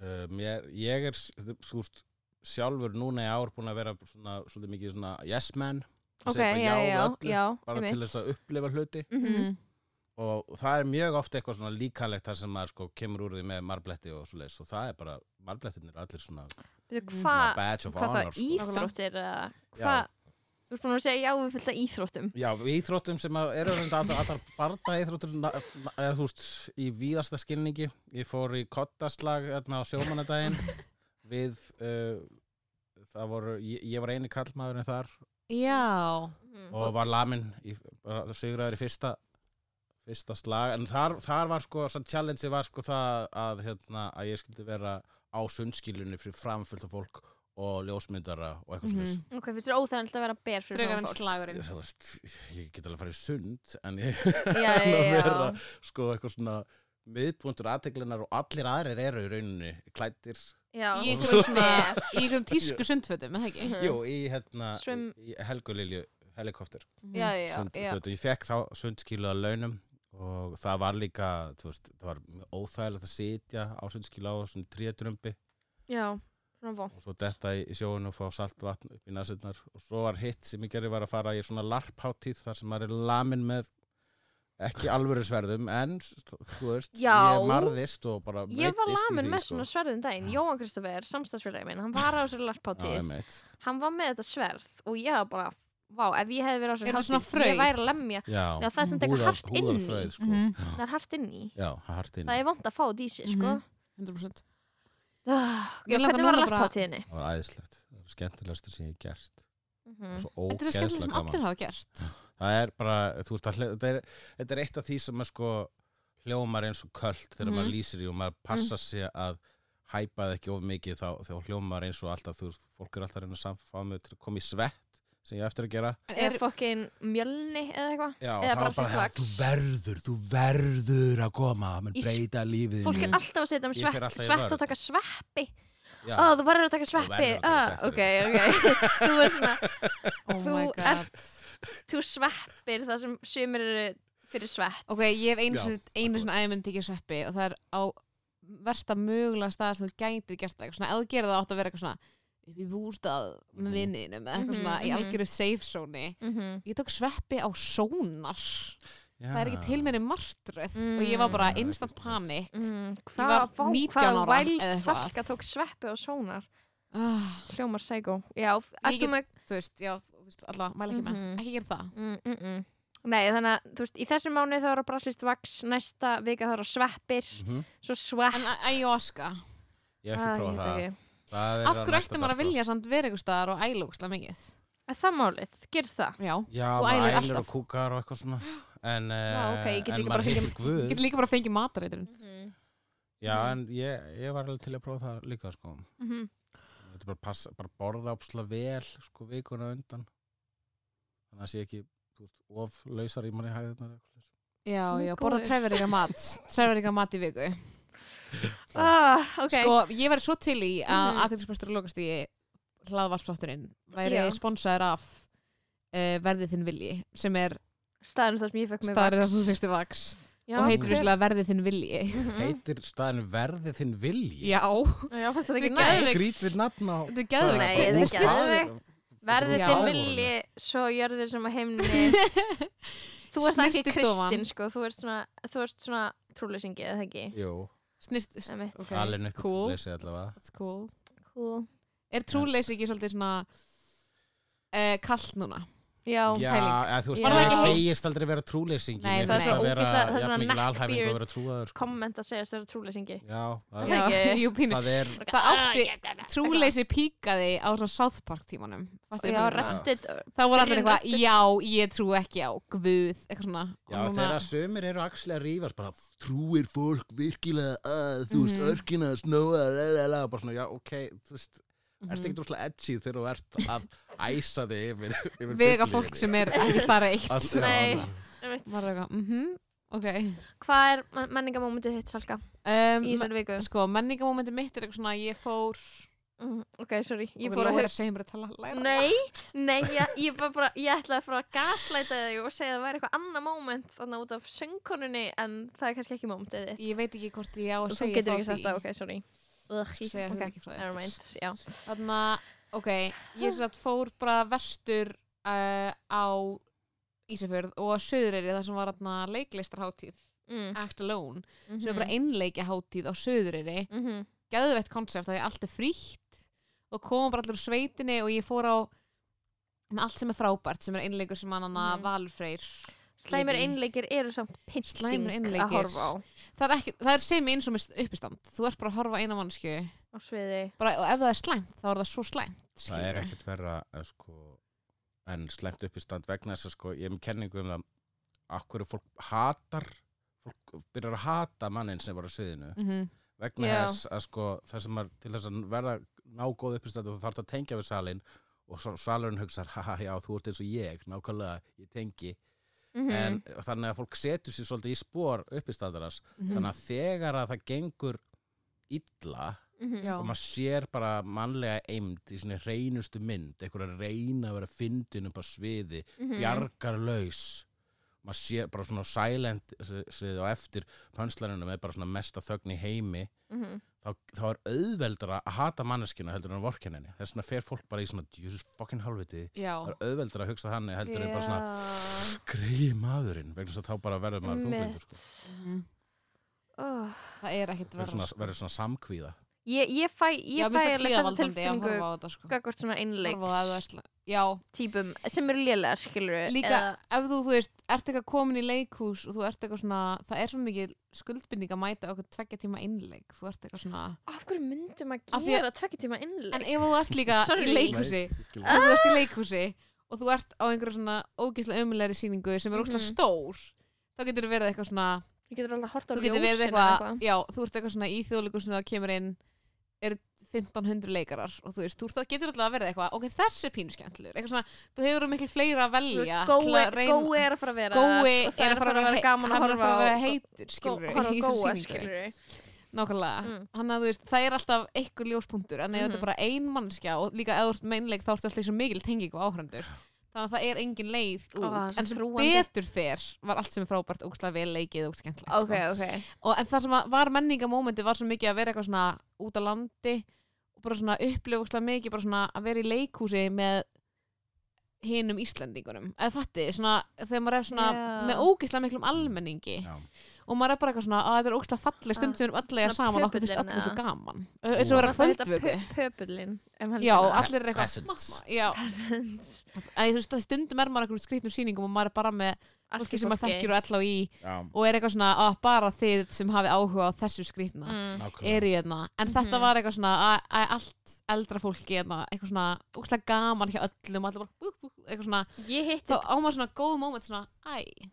[SPEAKER 3] uh, mér, ég er s- þú veist, sjálfur núna í ár búin að vera svona, svolítið mikið svona yes man, Að
[SPEAKER 2] ok,
[SPEAKER 3] segja bara
[SPEAKER 2] já,
[SPEAKER 3] já við
[SPEAKER 2] já,
[SPEAKER 3] öllu,
[SPEAKER 2] já,
[SPEAKER 3] bara til þess að upplifa hluti
[SPEAKER 2] mm -hmm.
[SPEAKER 1] Mm.
[SPEAKER 3] og það er mjög oft eitthvað svona líkalegt þar sem maður sko kemur úr því með marbletti og svoleiðis og það er bara, marblettin er allir svona, svona
[SPEAKER 2] hvað
[SPEAKER 3] badge Mm. of
[SPEAKER 2] hva
[SPEAKER 3] honor
[SPEAKER 2] þá
[SPEAKER 3] sko.
[SPEAKER 2] íþróttir eða
[SPEAKER 3] Já.
[SPEAKER 2] hvað þú veist búin að segja já við fylgta íþróttum
[SPEAKER 3] Já, við íþróttum sem að eru reynda allar, allar barda íþróttur na, na, eða, þú veist, í víðasta skilningi ég fór í kottaslag þarna á sjómanadaginn við uh, það voru, ég, ég var eini kallmaðurinn þar
[SPEAKER 1] já
[SPEAKER 3] og var lamin í, bara sigraður í fyrsta fyrsta slag, en þar, þar var sko sann challenge var sko það að hérna, að ég skildi vera á sundskilunni fyrir framfylgta fólk og ljósmyndara og eitthvað mm
[SPEAKER 1] Mhm.
[SPEAKER 2] ok, finnst þér óþægilegt að vera ber fyrir
[SPEAKER 1] frekar
[SPEAKER 2] framan
[SPEAKER 1] en
[SPEAKER 2] fólk?
[SPEAKER 1] slagurinn
[SPEAKER 3] þú veist, ég get alveg að fara í sund en ég
[SPEAKER 2] já,
[SPEAKER 3] að
[SPEAKER 2] já, já,
[SPEAKER 3] vera sko eitthvað svona miðpuntur aðteglunar og allir aðrir eru í rauninni klættir,
[SPEAKER 2] já.
[SPEAKER 3] Og
[SPEAKER 1] í einhverjum
[SPEAKER 2] svo-
[SPEAKER 1] svona í einhverjum tísku sundfötum, eða ekki?
[SPEAKER 2] Mhm.
[SPEAKER 3] jú, í hérna
[SPEAKER 2] Swim-
[SPEAKER 3] í helgulilju helikopter
[SPEAKER 1] Mhm.
[SPEAKER 2] já, já, já,
[SPEAKER 3] sundfötu, ég fekk þá sundskilu að launum og það var líka þú veist, það var mjög óþægilegt að sitja á sundskilu á svona tríadrömbi
[SPEAKER 2] já svona vond
[SPEAKER 3] og svo detta í, í sjóinu og fá salt vatn upp í næsirnar og svo var hitt sem ég gerði var að fara í svona larpháttíð þar sem maður er lamin með ekki alvöru sverðum en þú veist,
[SPEAKER 2] Já.
[SPEAKER 3] ég marðist og bara
[SPEAKER 2] Ég var
[SPEAKER 3] meiddist í
[SPEAKER 2] lamin
[SPEAKER 3] því,
[SPEAKER 2] með
[SPEAKER 3] sko.
[SPEAKER 2] svona sverðum daginn Jóhann Kristoffer, samstagsfélagi minn, hann var á þessari
[SPEAKER 3] Já,
[SPEAKER 2] larpátíð
[SPEAKER 3] einmitt.
[SPEAKER 2] Hann var með þetta sverð og ég var bara Vá, ef ég hefði verið á
[SPEAKER 1] Er
[SPEAKER 2] þessari
[SPEAKER 1] þetta svona
[SPEAKER 2] hátíð Ég
[SPEAKER 1] frauð?
[SPEAKER 2] væri að lemja
[SPEAKER 3] Já,
[SPEAKER 2] Já, það er samt eitthvað
[SPEAKER 3] húðar-
[SPEAKER 2] hart inn í
[SPEAKER 3] húðarfrauð, sko.
[SPEAKER 1] Mhm.
[SPEAKER 2] Það er hart inn í
[SPEAKER 3] Já, hart inn í
[SPEAKER 2] Það er vond að fá þetta í sig, sko
[SPEAKER 1] Mhm. 100%
[SPEAKER 2] Ah,
[SPEAKER 1] Ég
[SPEAKER 2] Já,
[SPEAKER 1] langar
[SPEAKER 2] Hvernig var
[SPEAKER 1] núna bara-
[SPEAKER 2] larpátíðinni?
[SPEAKER 3] Það var æðislegt, það er skemmtilegast sem ég hef gert Það er
[SPEAKER 2] Mhm.
[SPEAKER 3] svo
[SPEAKER 1] Þetta er skemmtilega
[SPEAKER 3] ógeðslega
[SPEAKER 1] sem
[SPEAKER 3] gaman
[SPEAKER 1] allir hafa gert
[SPEAKER 3] Það er bara, þú veist, það hle- þetta er, þetta er eitt af því sem er sko hljómar eins og köld þegar
[SPEAKER 1] Mhm.
[SPEAKER 3] maður lýsir í og maður passa sig að hæpa það ekki of mikið þá, þá hljómar eins og alltaf, þú veist, fólk er alltaf að reyna að samfá mig til að koma í svett sem ég á eftir að gera
[SPEAKER 1] En
[SPEAKER 2] Er
[SPEAKER 1] er,
[SPEAKER 2] fokkin mjölni eða eitthvað?
[SPEAKER 3] Já,
[SPEAKER 2] Eða
[SPEAKER 3] það var
[SPEAKER 2] bara
[SPEAKER 3] bara,
[SPEAKER 2] strax.
[SPEAKER 3] þú verður, þú verður að koma, menn
[SPEAKER 2] Í s-
[SPEAKER 3] breyta lífið
[SPEAKER 2] Fólk er alltaf að setja um
[SPEAKER 3] Ég fer
[SPEAKER 2] svepp,
[SPEAKER 3] alltaf í
[SPEAKER 2] svett
[SPEAKER 3] vörn.
[SPEAKER 2] og taka sveppi
[SPEAKER 3] Já,
[SPEAKER 2] Ó, þú verður að taka
[SPEAKER 3] verður
[SPEAKER 2] sveppi
[SPEAKER 3] að taka
[SPEAKER 2] Ah,
[SPEAKER 3] svepp
[SPEAKER 2] Ok,
[SPEAKER 3] fyrir
[SPEAKER 2] ok Þú er svona
[SPEAKER 1] oh
[SPEAKER 2] þú
[SPEAKER 1] my god
[SPEAKER 2] ert- þú sveppir það sem sumir eru fyrir svett
[SPEAKER 1] Ok, ég hef einu
[SPEAKER 3] Já,
[SPEAKER 1] sinni, einu sinni æmynd ekki sveppi og það er á versta mögulega stað sem þú gætið gert það eitthvað svona, ef þú gerir það átt að vera eitthvað svona upp í bústað með
[SPEAKER 3] Mhm.
[SPEAKER 1] vinninum eða eitthvað
[SPEAKER 2] Mhm,
[SPEAKER 1] svona í
[SPEAKER 2] mhm.
[SPEAKER 1] algjöru safe zone
[SPEAKER 2] mm -hmm.
[SPEAKER 1] Ég tók sveppi á sónar
[SPEAKER 3] já.
[SPEAKER 1] Það er ekki til mér í martröð og ég
[SPEAKER 2] Mm.
[SPEAKER 1] var bara
[SPEAKER 3] Það Ah. er
[SPEAKER 1] instant
[SPEAKER 3] ekki
[SPEAKER 1] panik
[SPEAKER 2] mm,
[SPEAKER 1] var
[SPEAKER 2] hvað, vá,
[SPEAKER 1] 19 ára
[SPEAKER 2] hvaða væld
[SPEAKER 1] eða eitthvað.
[SPEAKER 2] salka tók sveppi og sónar
[SPEAKER 1] Ah,
[SPEAKER 2] hljómar sækó já, um
[SPEAKER 1] Ég
[SPEAKER 2] ertu
[SPEAKER 1] get-
[SPEAKER 2] með
[SPEAKER 1] Þú veist, já, þú veist, allavega, mæla ekki
[SPEAKER 2] Mhm.
[SPEAKER 1] með Ekki gera það
[SPEAKER 2] mm, mm, mm. Nei, þannig að þú veist, í þessum mánu þá eru braslist vaks, næsta vika þá eru sveppir,
[SPEAKER 3] Mhm.
[SPEAKER 2] svo svepp.
[SPEAKER 1] En a- ayahuasca,
[SPEAKER 3] Ég hef
[SPEAKER 2] Ah,
[SPEAKER 3] ekki prófað það Það er
[SPEAKER 1] af
[SPEAKER 3] að næsta
[SPEAKER 1] hverju ætti maður
[SPEAKER 3] dagskrá.
[SPEAKER 1] að vilja samt vera einhver staðar og ælóksla mikið?
[SPEAKER 2] Er það málið? Gerst það?
[SPEAKER 1] Já,
[SPEAKER 3] Já,
[SPEAKER 1] Þú
[SPEAKER 3] bara
[SPEAKER 1] ælir
[SPEAKER 3] ælur
[SPEAKER 1] alltaf.
[SPEAKER 3] og kúkar og eitthvað svona En,
[SPEAKER 2] Já, ok, ég get
[SPEAKER 3] eh, en
[SPEAKER 2] líka bara
[SPEAKER 3] maður
[SPEAKER 2] fengið-
[SPEAKER 3] hittir
[SPEAKER 1] ég
[SPEAKER 3] guð
[SPEAKER 1] get líka bara að fengi matareitrun
[SPEAKER 2] Mm
[SPEAKER 3] Já, en ég, ég var alveg til að prófa það líka sko.
[SPEAKER 2] -hmm.
[SPEAKER 3] Þetta er bara, passa, bara borða ápsla vel sko, vikuna á undan Þannig að sé ekki þú veist, of
[SPEAKER 2] Oh
[SPEAKER 3] lausar í manni hæðirnar eða eitthvað svoleiðis.
[SPEAKER 1] Já,
[SPEAKER 2] Guð
[SPEAKER 1] já,
[SPEAKER 2] góður.
[SPEAKER 1] borða trefiríka mat Trefiríka mat í viku
[SPEAKER 2] Ah, ok.
[SPEAKER 1] Sko, ég væri svo til í að mm
[SPEAKER 2] Mhm.
[SPEAKER 1] -hmm. aðtilsbæstur og lokast í hlaðvarpsátturinn væri
[SPEAKER 2] Já.
[SPEAKER 1] sponsaður af uh, verðið þinn vilji sem er
[SPEAKER 2] staðurinn þar sem ég fekk mig
[SPEAKER 1] staðarinn að þú fyrstu vaks
[SPEAKER 2] Já,
[SPEAKER 1] og heitir
[SPEAKER 2] ok.
[SPEAKER 1] visslega verðið þinn vilji
[SPEAKER 3] Heitir staðin verði þinn vilji?
[SPEAKER 1] Já,
[SPEAKER 2] Já, fannst það ekki
[SPEAKER 1] Við
[SPEAKER 2] næst.
[SPEAKER 1] geðveik.
[SPEAKER 3] Skrítið nafn á...
[SPEAKER 1] þetta er geðvegt
[SPEAKER 2] Nei,
[SPEAKER 1] sko.
[SPEAKER 3] Úr
[SPEAKER 2] þetta er
[SPEAKER 3] staðar-
[SPEAKER 2] Verði
[SPEAKER 1] Já.
[SPEAKER 2] þinn vilji svo jörðir sem að heimni Þú ert ekki
[SPEAKER 1] Snyrtistofan.
[SPEAKER 2] kristinn sko Þú ert svona, þú ert svona trúleysingi eða ekki
[SPEAKER 3] Jú,
[SPEAKER 1] Snyrst, st-
[SPEAKER 2] Einmitt.
[SPEAKER 1] ok,
[SPEAKER 3] alin upp
[SPEAKER 1] cool.
[SPEAKER 3] lesi allavega.
[SPEAKER 1] That's cool
[SPEAKER 2] cool.
[SPEAKER 1] Er trúleysi ekki svolítið svona uh, kallt núna?
[SPEAKER 2] Já,
[SPEAKER 3] Já,
[SPEAKER 1] pæling.
[SPEAKER 3] eða, þú veist,
[SPEAKER 2] Var það
[SPEAKER 3] ég
[SPEAKER 2] ekki heitt?
[SPEAKER 3] segist aldrei vera trúleysingi.
[SPEAKER 1] Nei,
[SPEAKER 3] Mér
[SPEAKER 1] það er
[SPEAKER 3] finnst
[SPEAKER 1] svona
[SPEAKER 3] að vera
[SPEAKER 2] ógeðslega- það er svona
[SPEAKER 3] jafn mikil alhæfing að
[SPEAKER 2] neckbeard
[SPEAKER 3] vera trúaður. sko.
[SPEAKER 2] komment að segja stöður trúleysingi
[SPEAKER 3] Já, það er-
[SPEAKER 2] Já. ekki.
[SPEAKER 1] Jú, pínu
[SPEAKER 3] það er...
[SPEAKER 1] Það átti- Trúleysi píkaði á svona South Park tímanum Fattu hvað
[SPEAKER 2] Já,
[SPEAKER 1] ég meina?
[SPEAKER 2] reddit uh,
[SPEAKER 1] Þá voru allir
[SPEAKER 2] Byrjun
[SPEAKER 1] eitthvað,
[SPEAKER 2] Reddit.
[SPEAKER 1] já, ég trú ekki á Guð, eitthvað svona
[SPEAKER 3] Já,
[SPEAKER 1] Og núna-
[SPEAKER 3] þegar sömur eru axli að rífast bara trúir fólk virkilega að þú veist,
[SPEAKER 1] Mhm.
[SPEAKER 3] örkina, snóa, lalala bara svona, já, ok, þú veist
[SPEAKER 1] Mhm.
[SPEAKER 3] ert ekkert rosalega edgy þegar þú ert að æsa þig yfir, yfir
[SPEAKER 1] vega
[SPEAKER 3] bullinu.
[SPEAKER 1] fólk sem er ekki bara eitt
[SPEAKER 3] Allt- já,
[SPEAKER 2] Nei.
[SPEAKER 3] já.
[SPEAKER 1] maður er eitthvað, mhm, ok
[SPEAKER 2] Hvað er menningamómentið þitt, Salka?
[SPEAKER 1] um,
[SPEAKER 2] Í þessari viku
[SPEAKER 1] me- sko, menningamómenti mitt er eitthvað svona ég fór,
[SPEAKER 2] Mm, Ok, sorry, ég
[SPEAKER 1] og
[SPEAKER 2] fór að
[SPEAKER 1] Lóa er
[SPEAKER 2] hugsa
[SPEAKER 1] að segja mér að tala læra
[SPEAKER 2] Nei, nei, ég, ég, bara, bara, ég ætlaði að fara að gaslæta þig og segja að það væri eitthvað annað moment þannig út af söngkonunni en það er kannski ekki momentið þitt
[SPEAKER 1] ég veit ekki hvort ég á að
[SPEAKER 2] Þú
[SPEAKER 1] segja
[SPEAKER 2] getur
[SPEAKER 1] frá
[SPEAKER 2] ekki sagt
[SPEAKER 1] því.
[SPEAKER 2] það, ok, sorry Ugh, ég-
[SPEAKER 1] segja okay.
[SPEAKER 2] Ok,
[SPEAKER 1] ekki frá því eftir.
[SPEAKER 2] nevermind, já
[SPEAKER 1] þannig að ok, ég sem sagt fór bara vestur uh, á Ísafjörð og að Söðureyri þar sem var atna, leiklistarháttíð
[SPEAKER 2] mm.
[SPEAKER 1] Act Alone, sem er
[SPEAKER 2] mhm,
[SPEAKER 1] bara einleikja á Söðureyri
[SPEAKER 2] mhm.
[SPEAKER 1] geðveitt konsept að því allt er frítt og koma bara allir úr sveitinni og ég fór á með allt sem er frábært sem er einleikur sem hann hana
[SPEAKER 2] Mhm.
[SPEAKER 1] valfreyr
[SPEAKER 2] Slæmir
[SPEAKER 1] Lífið.
[SPEAKER 2] einleikir eru samt pinting
[SPEAKER 1] Slæmir
[SPEAKER 2] að
[SPEAKER 1] einleikir.
[SPEAKER 2] horfa á
[SPEAKER 1] það er, ekki, það er sem eins og með uppistand þú ert bara að horfa á eina mannsku
[SPEAKER 2] á sviði
[SPEAKER 1] bara, og ef það er slæmt þá er það svo slæmt
[SPEAKER 3] það er
[SPEAKER 1] skilurðu.
[SPEAKER 3] ekkert verra eh, sko, en slemt upp í stand vegna þess að sko, ég hef með kenningu um það akkur fólk hatar fólk byrjar að hata mannin sem var á sviðinu
[SPEAKER 1] Mhm.
[SPEAKER 3] vegna
[SPEAKER 2] Já.
[SPEAKER 3] þess að sko það sem er til þess að verða nágóð uppistandi þú þarf að tengja við salin og svo salurinn hugsar, haha, já, þú ert eins og ég nákvæmlega, ég tengi Mhm,
[SPEAKER 2] mm
[SPEAKER 3] en þannig að fólk setur sér svolítið í spór uppistandaras,
[SPEAKER 1] Mhm.
[SPEAKER 3] þannig að þegar að það gengur illa
[SPEAKER 1] Já.
[SPEAKER 3] og maður sér bara mannlega eimd í svona reynustu mynd einhver að reyna að vera fyndin upp á sviði
[SPEAKER 2] Hmm.
[SPEAKER 3] bjargarlaus maður sér bara svona silent sviði og eftir pönslaninu með bara svona mesta þögn í heimi þá, þá er auðveldara að hata manneskina heldur en að vorkenna henni. Þess vegna fer fólk bara í svona Jesus fucking halviti.
[SPEAKER 1] já,
[SPEAKER 3] Það er auðveldara að hugsa þannig heldur en bara svona greiði maðurinn vegna þess að þá bara verður maður þunglindur. sko.
[SPEAKER 1] Mhm.
[SPEAKER 2] oh.
[SPEAKER 1] það er ekkert
[SPEAKER 3] Verður
[SPEAKER 1] verra
[SPEAKER 3] svona,
[SPEAKER 1] sko.
[SPEAKER 3] verður svona samkvíða.
[SPEAKER 2] Ég, ég fæ, ég
[SPEAKER 1] Já, mér
[SPEAKER 2] fæ
[SPEAKER 1] finnst það
[SPEAKER 2] alveg þessa
[SPEAKER 1] kvíðavaldandi að
[SPEAKER 2] tilfinningu
[SPEAKER 1] horfa á þetta, sko.
[SPEAKER 2] gagvart svona
[SPEAKER 1] Horfa á ef það er
[SPEAKER 2] einleiks
[SPEAKER 1] slæmt. já,
[SPEAKER 2] típum sem eru lélegar skilur
[SPEAKER 1] líka ef þú, þú veist, ert eitthvað komin í leikhús og þú ert eitthvað svona, það er svo mikið skuldbindning að mæta okkur tveggja tíma innleik þú ert eitthvað svona,
[SPEAKER 2] af hverju myndum að
[SPEAKER 1] Af því
[SPEAKER 2] gera tvekki tíma innleik
[SPEAKER 1] en ef þú ert líka
[SPEAKER 2] Sorry.
[SPEAKER 1] í leikhúsi,
[SPEAKER 3] Nei,
[SPEAKER 1] ef þú ert í leikhúsi og þú ert á einhverju svona ógeðslega umlegri sýningu sem er
[SPEAKER 2] Mhm.
[SPEAKER 1] ógeðslega stór þá getur þú verið eitthvað svona
[SPEAKER 2] þú getur alltaf hort á
[SPEAKER 1] þú
[SPEAKER 2] ljósin
[SPEAKER 1] getur verið
[SPEAKER 2] eða
[SPEAKER 1] eitthvað, já, þú ert eitthvað svona í þjóðleikur sem það kemur inn eru 1500 leikarar og þú veist, þú ert- getur alltaf að verið eitthvað ok, þessi pínu skemmtilegur, eitthvað svona þú hefur miklu fleira að
[SPEAKER 2] Þú
[SPEAKER 1] velja
[SPEAKER 2] veist,
[SPEAKER 1] til
[SPEAKER 2] gói,
[SPEAKER 1] að reyna-
[SPEAKER 2] gói er að fara að vera
[SPEAKER 1] gói
[SPEAKER 2] og það er að fara að vera gaman að
[SPEAKER 1] hann er
[SPEAKER 2] horfa
[SPEAKER 1] fara að vera
[SPEAKER 2] á-
[SPEAKER 1] heitur
[SPEAKER 2] gó-
[SPEAKER 1] skilur
[SPEAKER 2] horfa Sko, á góa skilur
[SPEAKER 1] nákvæmlega
[SPEAKER 2] Mm.
[SPEAKER 1] hann að þú veist það er alltaf einhver ljóspunktur en ef þetta
[SPEAKER 2] Mhm.
[SPEAKER 1] er bara ein mannskja og líka ef þú ert meinleik þá ertu alltaf svo mikil tengingu áhrandur þannig að það er engin leið út
[SPEAKER 2] Ó, það er svo
[SPEAKER 1] en sem
[SPEAKER 2] þrúgandi.
[SPEAKER 1] betur fer var allt sem er frábært ógslag vel leikið og skemmtilegt
[SPEAKER 2] ok, ok
[SPEAKER 1] sko. og en það sem að var menningamómenti var svo mikið að vera eitthvað svona út á landi og bara svona upplifa ógslag mikið bara svona að vera í leikhúsi með hinum Íslendingunum eða fatti, svona, þegar maður er svona
[SPEAKER 2] Já.
[SPEAKER 1] með ógislega miklum almenningi
[SPEAKER 3] Já,
[SPEAKER 1] og maður er bara eitthvað svona að þetta er ógstlega falleg stund
[SPEAKER 2] Ah,
[SPEAKER 1] sem við erum öll að eiga
[SPEAKER 2] svona
[SPEAKER 1] saman og okkur finnst
[SPEAKER 2] pöbulinn,
[SPEAKER 1] öllu svo
[SPEAKER 2] eða?
[SPEAKER 1] gaman eins og
[SPEAKER 3] Ú.
[SPEAKER 1] vera
[SPEAKER 2] Varstu að hitta
[SPEAKER 1] kvöldvöku
[SPEAKER 2] pö- pöbulinn
[SPEAKER 1] já,
[SPEAKER 2] um helgina?
[SPEAKER 1] allir er eitthvað
[SPEAKER 3] Peasants.
[SPEAKER 1] mamma, já,
[SPEAKER 2] Peasants.
[SPEAKER 1] að þú veist að stundum er maður eitthvað skrýtnum sýningum og maður er bara með
[SPEAKER 2] Allt
[SPEAKER 1] fólki
[SPEAKER 2] í
[SPEAKER 1] sem maður
[SPEAKER 2] fólki.
[SPEAKER 1] þekkir og ella og í
[SPEAKER 3] já,
[SPEAKER 1] og er eitthvað svona að bara þið sem hafi áhuga á þessu skrýtna
[SPEAKER 2] Mm.
[SPEAKER 3] nákvæmlega.
[SPEAKER 1] eru hérna, en þetta
[SPEAKER 2] Mhm.
[SPEAKER 1] var eitthvað svona að, að allt eldra fólki hérna, eitthvað svona ógstlega gaman hjá öllum allir bara, bú, bú, eitthvað svona
[SPEAKER 2] ég
[SPEAKER 1] þá
[SPEAKER 2] hitti
[SPEAKER 1] á maður svona góð moment svona, æ,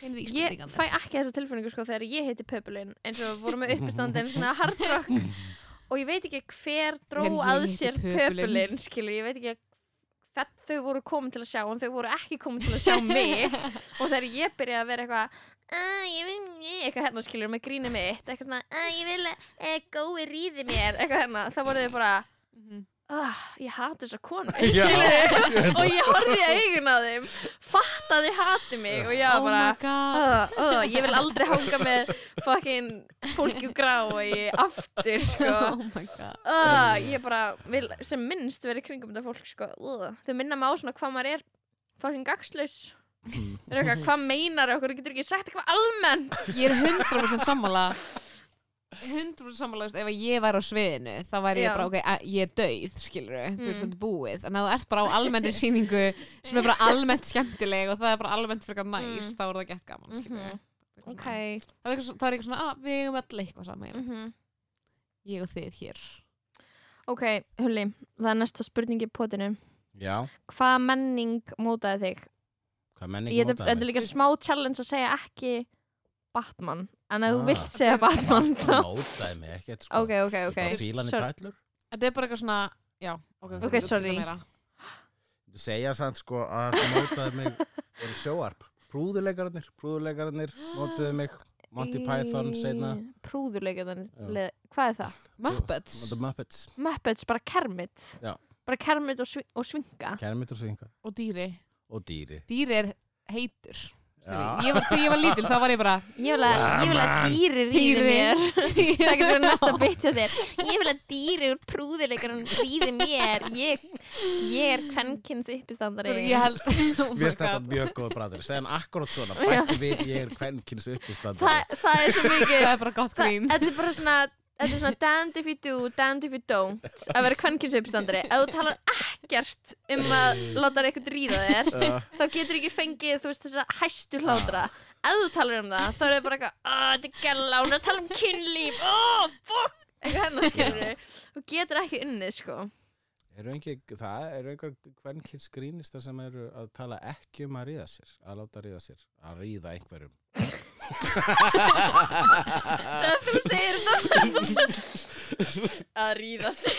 [SPEAKER 1] hinir
[SPEAKER 2] Ég
[SPEAKER 1] Íslandingandi
[SPEAKER 2] fæ ekki þessa tilfinningu sko þegar ég heiti Pöbulinn eins og við vorum með uppistandin svona hardrock og ég veit ekki hver dró
[SPEAKER 1] Þegar ég
[SPEAKER 2] að
[SPEAKER 1] hitti
[SPEAKER 2] sér
[SPEAKER 1] Pöbulinn.
[SPEAKER 2] Pöbulinn skilur, ég veit ekki hvern þau voru komin til að sjá en þau voru ekki komin til að sjá mig og þegar ég byrjaði að vera eitthvað "Ah, ég vil, ég-" eitthvað hérna skilur með grínið mitt, eitthvað svona, "Ah, ég vil e, gói ríði mér, eitthvað hérna, þá voru þau bara,
[SPEAKER 1] Mhm.
[SPEAKER 2] ah, ég hati þessa konu,
[SPEAKER 3] Já.
[SPEAKER 2] skilur og ég horfði í augun á þeim, fatt að þið hati mig og ég var
[SPEAKER 1] oh
[SPEAKER 2] bara,
[SPEAKER 1] my god
[SPEAKER 2] oh, oh, ég vil aldrei hanga með fucking fólki úr grái aftur, sko.
[SPEAKER 1] oh my god
[SPEAKER 2] Uh, ég bara vil sem minnst verið kringum þetta fólk sko uh. þau minna mig á svona hvað maður er fucking gagslaus
[SPEAKER 3] Mm.
[SPEAKER 2] er eitthvað hvað meinar okkur getur ekki sagt eitthvað almennt
[SPEAKER 1] ég er 100% sammála 100% sammála, þú veist, ef að ég væri á sviðinu þá væri
[SPEAKER 2] Já.
[SPEAKER 1] ég bara, ok, að, ég er döið skilur við, þú veist,
[SPEAKER 2] Mm.
[SPEAKER 1] þetta er búið en að þú ert bara á almenni sýningu sem er bara almennt skemmtileg og það er bara almennt frekar næs,
[SPEAKER 2] Mm.
[SPEAKER 1] þá er það gett gaman skilur við
[SPEAKER 2] Mhm. ok mm
[SPEAKER 1] það er eitthvað, svo- það er eitthvað svona, að við erum allir eitthvað saman
[SPEAKER 2] -hmm.
[SPEAKER 1] ég og þið hér
[SPEAKER 2] ok, Hulli, það er næsta spurning í potinu
[SPEAKER 3] Já,
[SPEAKER 2] hvaða menning mótaði þig?
[SPEAKER 3] hvað menning
[SPEAKER 2] Ég- þetta
[SPEAKER 3] mótaði
[SPEAKER 2] þetta er
[SPEAKER 3] mig?
[SPEAKER 2] líka smá challenge að segja ekki Batman en að þú
[SPEAKER 3] Ah.
[SPEAKER 2] vilt segja Batman
[SPEAKER 3] Hvað
[SPEAKER 2] þá
[SPEAKER 3] mótaði mig ekkert sko
[SPEAKER 2] ok, ok, ok
[SPEAKER 3] Bara fílan í
[SPEAKER 2] Sorry.
[SPEAKER 3] tætlur
[SPEAKER 1] þetta er bara eitthvað svona, já, ok,
[SPEAKER 3] Ok,
[SPEAKER 1] þú veist
[SPEAKER 2] sorry.
[SPEAKER 1] þetta meira.
[SPEAKER 3] Segja sann sko að það mótaði mig voru sjóarp Prúðuleikararnir, prúðuleikararnir mótaði mig Monty Python seinna
[SPEAKER 2] Í- prúðuleikarnir,
[SPEAKER 3] Já.
[SPEAKER 2] le- hvað er það?
[SPEAKER 1] Muppets
[SPEAKER 3] The Muppets,
[SPEAKER 2] Muppets, bara Kermit
[SPEAKER 3] Já.
[SPEAKER 2] bara Kermit og, svi og Svinga
[SPEAKER 3] Kermit og Svinga
[SPEAKER 1] og dýri
[SPEAKER 3] og Dýri
[SPEAKER 1] dýri er heitur
[SPEAKER 3] Já.
[SPEAKER 1] ég var, þegar ég var lítil, þá var ég bara
[SPEAKER 2] ég vil að, ég vil að dýri ríði
[SPEAKER 1] Dýri.
[SPEAKER 2] mér það getur verið næsta bit hjá þér ég vil að dýri úr prúðuleikarinn ríði mér ég, ég er kvenkins uppistandari
[SPEAKER 1] Sorry, ég held oh
[SPEAKER 3] Mér
[SPEAKER 1] my
[SPEAKER 3] finnst þetta
[SPEAKER 1] god.
[SPEAKER 3] mjög góð bræður Segðan akkurat svona, bætti við ég er kvenkins uppistandi
[SPEAKER 2] Þa, það er svo
[SPEAKER 1] það
[SPEAKER 2] mikið
[SPEAKER 1] er bara gott
[SPEAKER 2] það,
[SPEAKER 1] grín
[SPEAKER 2] þetta er bara svona Þetta er svona damned if you do, damned if you don't að vera kvenkins uppstandari ef þú talar ekkert um að láta eitthvað ríða þér þá getur ekki fengið þú veist þessa hæstu hlátra ef þú talar um það þá er það bara eitthvað "Ah, þetta er gæla, hún er að tala um kynlíf oh, fuck eitthvað hennar skilur þú getur ekki unnið sko
[SPEAKER 3] Eru engi, það eru einhver kvenkins grínistar sem eru að tala ekki um að ríða sér, að láta ríða sér, að ríða einhverjum.
[SPEAKER 2] þegar þú segir þetta þetta er svo- að ríða sig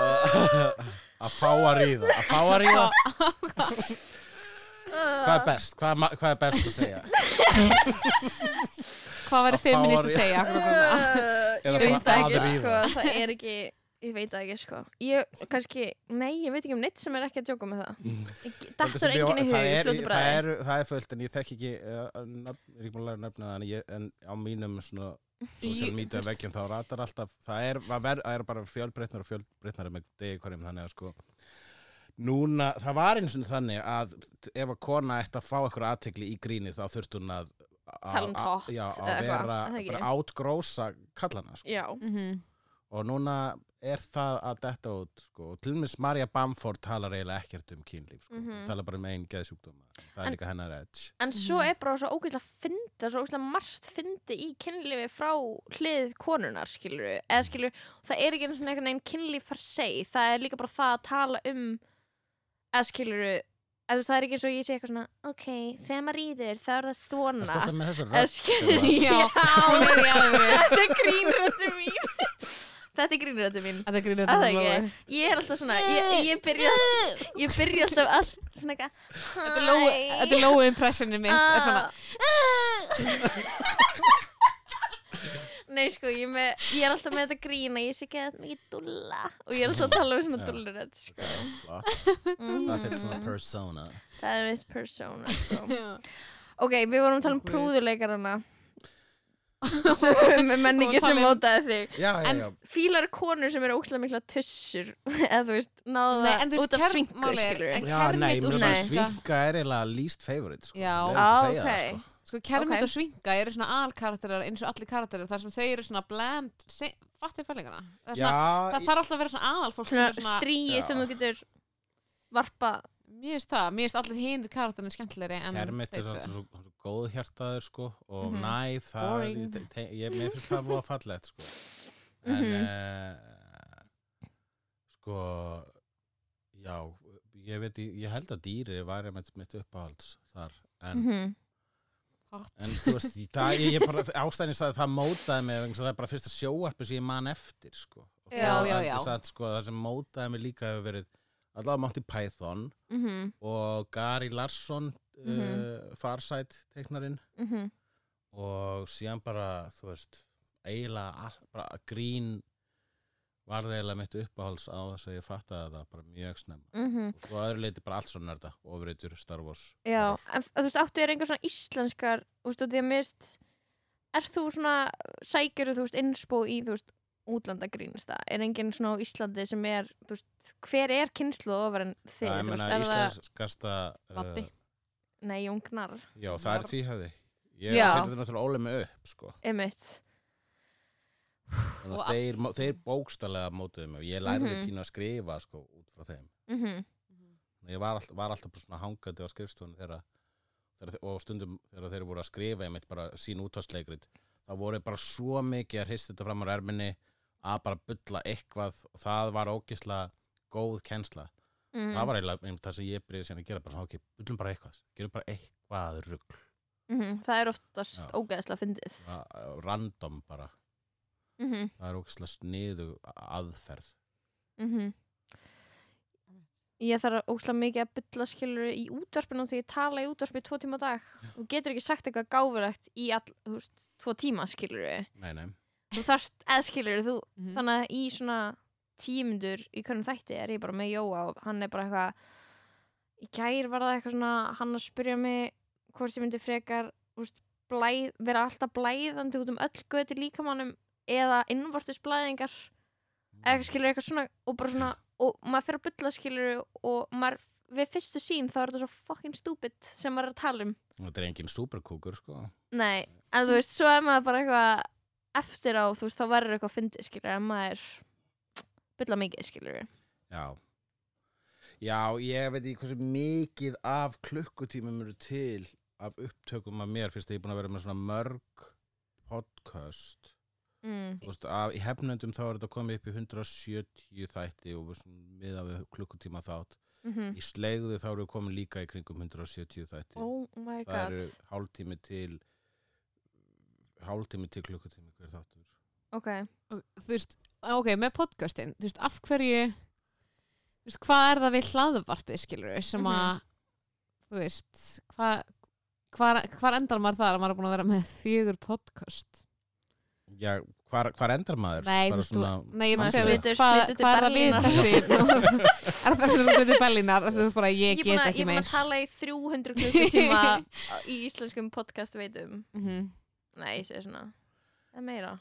[SPEAKER 3] Að fá að ríða, að fá að ríða. Hvað er best? Hvað, er ma- hvað er best að segja?
[SPEAKER 1] hvað væri
[SPEAKER 3] Að fá
[SPEAKER 1] feminist að
[SPEAKER 3] að-
[SPEAKER 1] segja akkurat núna?
[SPEAKER 3] Eða
[SPEAKER 2] Uh, ég veit
[SPEAKER 3] bara
[SPEAKER 2] það
[SPEAKER 3] að
[SPEAKER 2] ekki sko
[SPEAKER 3] ríða.
[SPEAKER 2] það er ekki ég veit það ekki sko ég kannski, nei ég veit ekki um neitt sem er ekki að djóka með það Ég-
[SPEAKER 3] Mm. Þetta
[SPEAKER 2] Dettur
[SPEAKER 3] sem ég-
[SPEAKER 2] enginn
[SPEAKER 3] það
[SPEAKER 2] í hug
[SPEAKER 3] er-
[SPEAKER 2] fljótu
[SPEAKER 3] það
[SPEAKER 2] bræði
[SPEAKER 3] er, það er fullt en ég þekk ekki uh, nöfn, ég er ekki búin að læra nöfna það en, ég, en á mínum svona social
[SPEAKER 1] Ég-
[SPEAKER 3] media veggjum þá ratar alltaf það er, það ver, það er bara fjölbreytnar og fjölbreytnar með degi hverjum þannig að sko núna, það var eins og þannig að ef að kona ætti að fá eitthvað aðtekli í gríni þá þurft hún að að-
[SPEAKER 2] Tala um
[SPEAKER 3] að-
[SPEAKER 2] tótt
[SPEAKER 3] já,
[SPEAKER 2] eða
[SPEAKER 3] að
[SPEAKER 2] eitthvað,
[SPEAKER 3] vera
[SPEAKER 2] er það ekki?
[SPEAKER 3] bara átgrósa kallana sko.
[SPEAKER 2] já,
[SPEAKER 1] Mhm.
[SPEAKER 3] og núna er það að detta út sko. og til dæmis Marja Bamford talar eiginlega ekkert um kynlíf sko. mm
[SPEAKER 2] Mhm.
[SPEAKER 3] talar bara um einn geðsjúkdóma það er
[SPEAKER 2] En-
[SPEAKER 3] líka hennar edge
[SPEAKER 2] En svo
[SPEAKER 3] Mm.
[SPEAKER 2] er bara svo ógeðslega fyndi, það er svo ógeðslega margt fyndi í kynlífi frá hlið konunar, skilur Eða skilur, það er ekki einhvern veginn neginn kynlíf per se, það er líka bara það að tala um, eða skilur Eða þú veist, það er ekki eins og ég sé eitthvað svona, ok, þegar maður rýður, þá er það
[SPEAKER 3] Ertu
[SPEAKER 2] svona.
[SPEAKER 3] alltaf með þessu
[SPEAKER 2] Eða
[SPEAKER 3] rödd sem
[SPEAKER 2] skilur,
[SPEAKER 3] að-
[SPEAKER 1] Já,
[SPEAKER 2] já,
[SPEAKER 1] hún er í alvöru.
[SPEAKER 2] þetta er grínröttu mín. þetta er grínröttu mín.
[SPEAKER 1] Þetta grínir
[SPEAKER 2] Að það
[SPEAKER 1] þetta
[SPEAKER 2] ekki, ég er alltaf svona, ég, ég, byrja, ég byrja alltaf allt svona eitthvað,
[SPEAKER 1] Þetta er Lóu-
[SPEAKER 2] "Hi."
[SPEAKER 1] Þetta er lóu impressionu mitt er svona,
[SPEAKER 2] Nei sko, ég, er með, ég er alltaf með þetta grín að ég sé ekki að þetta mikið dulla og ég er alltaf að tala um svona
[SPEAKER 3] Já.
[SPEAKER 2] dullurödd sko.
[SPEAKER 3] Já, flott. Það er þetta svona
[SPEAKER 2] mm.
[SPEAKER 3] persona
[SPEAKER 2] Það er mitt persona sko.
[SPEAKER 1] Já.
[SPEAKER 2] Ok, við vorum að tala um
[SPEAKER 1] Guð.
[SPEAKER 2] prúðuleikarana sem er menningi
[SPEAKER 1] Og
[SPEAKER 2] sem
[SPEAKER 1] tala um-
[SPEAKER 2] mótaði þig
[SPEAKER 3] Já, já,
[SPEAKER 1] En-
[SPEAKER 3] já,
[SPEAKER 2] Fílar konur sem eru ókslega mikla tussur eða þú veist, náðu
[SPEAKER 1] Nei, en þú
[SPEAKER 2] það
[SPEAKER 1] veist,
[SPEAKER 2] út af
[SPEAKER 1] kerm-
[SPEAKER 2] svingu
[SPEAKER 1] málið er-
[SPEAKER 2] skilur
[SPEAKER 1] en-
[SPEAKER 2] við
[SPEAKER 3] Já,
[SPEAKER 1] Kermit
[SPEAKER 3] nei,
[SPEAKER 1] og
[SPEAKER 3] mér
[SPEAKER 2] svona.
[SPEAKER 3] finnst svinga er eiginlega least favorite sko.
[SPEAKER 1] Já.
[SPEAKER 3] Leiðilegt að
[SPEAKER 2] Ah,
[SPEAKER 3] segja það,
[SPEAKER 2] ok.
[SPEAKER 3] sko.
[SPEAKER 1] sko kermit
[SPEAKER 2] Ok.
[SPEAKER 1] og svinga eru svona alkarakterar eins og allir karakterar þar sem þau eru svona bland fattir fællingana það, er svona,
[SPEAKER 3] Já,
[SPEAKER 1] það þarf alltaf að vera svona aðalfólk sem er
[SPEAKER 2] Svona
[SPEAKER 1] svona,
[SPEAKER 2] stríi sem
[SPEAKER 3] Já.
[SPEAKER 2] þú getur varpa
[SPEAKER 1] mér finnst það, mér finnst allir hinir karakterin skemmtilegri en
[SPEAKER 3] Kermit er
[SPEAKER 1] þau tvö.
[SPEAKER 3] alltaf svo, svo góðhjartaður sko, og
[SPEAKER 2] Mhm.
[SPEAKER 3] næf það, er-
[SPEAKER 1] Boring.
[SPEAKER 3] ég, te- ég, mér finnst það voða fallegt sko. en
[SPEAKER 2] Mhm.
[SPEAKER 3] eh, sko já ég veit, ég, ég held að dýri væri mitt, mitt uppáhalds þar en,
[SPEAKER 2] Mhm.
[SPEAKER 1] Hot.
[SPEAKER 3] en þú veist, í- það, ég, ég bara ástæðin að það mótaði mig, vegna þess að það er bara fyrsta sjóarpi sem ég man eftir sko. Og
[SPEAKER 1] Já,
[SPEAKER 3] þá
[SPEAKER 1] já,
[SPEAKER 3] endur
[SPEAKER 1] já.
[SPEAKER 3] satt, sko, það sem mótaði mig líka hefur verið allavega Monty Python
[SPEAKER 2] mhm,
[SPEAKER 3] og Gary Larsson mm
[SPEAKER 2] Mhm.
[SPEAKER 3] Farsight teiknarinn
[SPEAKER 2] mhm,
[SPEAKER 3] og síðan bara, þú veist eiginlega, all- bara grín varð eiginlega mitt uppáhalds á þess að ég fattaði það bara mjög snemma
[SPEAKER 2] mhm.
[SPEAKER 3] og svo að öðru leiti bara allt svo nörda ofreitur Star Wars
[SPEAKER 2] Já, en þú veist, áttu er einhver svona íslenskar þú veist, og því að mist er þú svona, sækjur þú veist, innspó í, þú veist, útlandagrínista er enginn svona á Íslandi sem er þú veist, hver er kynsluð ofar en þið,
[SPEAKER 3] það er
[SPEAKER 2] þú
[SPEAKER 3] meina
[SPEAKER 2] veist, er það
[SPEAKER 3] íslenskasta uh,
[SPEAKER 1] Labbi.
[SPEAKER 2] nei, jóngnar,
[SPEAKER 3] já, það er því hefði ég
[SPEAKER 2] Já.
[SPEAKER 3] þeir eru náttúrulega ólega með upp sko.
[SPEAKER 2] emitt
[SPEAKER 3] Þannig
[SPEAKER 1] Og
[SPEAKER 3] að
[SPEAKER 1] a-
[SPEAKER 3] þeir, mo- þeir bókstallega mótuðu mig og ég lærði
[SPEAKER 2] Mhm.
[SPEAKER 3] pínu að skrifa sko, út frá þeim
[SPEAKER 2] mhm, mm
[SPEAKER 3] ég var, all, var alltaf bara svona hangandi á skrifstofunni þeirra, þeirra og stundum þegar þeir voru að skrifa einmitt bara sín útvarsleikrit þá voru þeir bara svo mikið að hrista þetta fram á erminni að bara bulla eitthvað og það var ógisla góð kennsla
[SPEAKER 2] mhm. Mm.
[SPEAKER 3] það var eiginlega einmitt það sem ég byrjaði síðan að gera bara, ok, bullum bara eitthvað, gerum bara eitthvað rugg,
[SPEAKER 2] Mhm, það er oftast
[SPEAKER 3] Já.
[SPEAKER 2] ógæðslega fyndið
[SPEAKER 3] eh, random bara
[SPEAKER 2] Mhm,
[SPEAKER 3] það er ógisla sniðu aðferð
[SPEAKER 2] mhm. Ég þarf ógæðslega mikið að bylla skilur í útvarpinu því ég tala í útvarpi í tvo tíma á dag og getur ekki sagt eitthvað gáfulegt í all, þú veist, tvo tíma skilur
[SPEAKER 3] nei, nei,
[SPEAKER 2] þú þarft eða skilur þú
[SPEAKER 1] Mhm.
[SPEAKER 2] þannig að í svona tímundur í hvernig þætti er ég bara með Jóa og hann er bara eitthvað í gær var það eitthvað svona hann að spyrja mig hvort ég myndi frekar úst, blæð, vera alltaf blæðandi út um öll göti líkamannum eða innvortis blæðingar eða eitthvað skilur eitthvað svona og bara svona og maður fer að bulla skilur og maður við fyrstu sín þá er þetta svo fucking stupid sem maður er að tala um
[SPEAKER 3] þetta er engin superkúkur sko
[SPEAKER 2] Nei, en þú veist, svo er maður bara eitthvað eftir á, þú veist, þá verður eitthvað fyndið, skilur, en maður bylla mikið, skilur við.
[SPEAKER 3] Já Já, ég veit ekki hversu mikið af klukkutímum eru til af upptökum af mér fyrst að ég er búin að vera með svona mörg podcast
[SPEAKER 2] Mm.
[SPEAKER 3] Þú veist, af, í hefnöndum þá er þetta komið upp í 170 þætti og við svona miða við klukkutíma þátt
[SPEAKER 2] Mm -hmm.
[SPEAKER 3] Í slegðu þá eru við komin líka í kringum 170 þætti
[SPEAKER 2] Oh my
[SPEAKER 3] Það
[SPEAKER 2] god,
[SPEAKER 3] eru hálftími til hálftími til klukkutími hver þáttur
[SPEAKER 2] ok.
[SPEAKER 1] Og þú veist, ok, með podcastin þú veist, af hverju þú veist, hvað er það við hlaðvarpið skilur við,
[SPEAKER 2] Mhm.
[SPEAKER 1] sem að þú veist, hvað hvar, hvar endar maður þar að maður er búin að vera með fjögur podcast
[SPEAKER 3] Já, hvar, hvar endar maður?
[SPEAKER 1] Nei, þú
[SPEAKER 3] Bara
[SPEAKER 1] veist, þú-
[SPEAKER 3] svona-
[SPEAKER 1] nei, ég maður
[SPEAKER 3] Manstu
[SPEAKER 1] segja, þú veist,
[SPEAKER 2] þetta?
[SPEAKER 1] hvað
[SPEAKER 2] Flyttu til
[SPEAKER 1] hva er það við
[SPEAKER 2] Berlínar.
[SPEAKER 1] þessi er það sem þetta er Berlínar þú veist bara, ég,
[SPEAKER 2] Ég er búin
[SPEAKER 1] get
[SPEAKER 2] að- ég
[SPEAKER 1] ekki
[SPEAKER 2] er búin
[SPEAKER 1] meir
[SPEAKER 2] að tala í 300 klukkutíma í íslenskum podcast veitum.
[SPEAKER 1] Mhm.
[SPEAKER 2] Nei, ég segi svona, það er meira.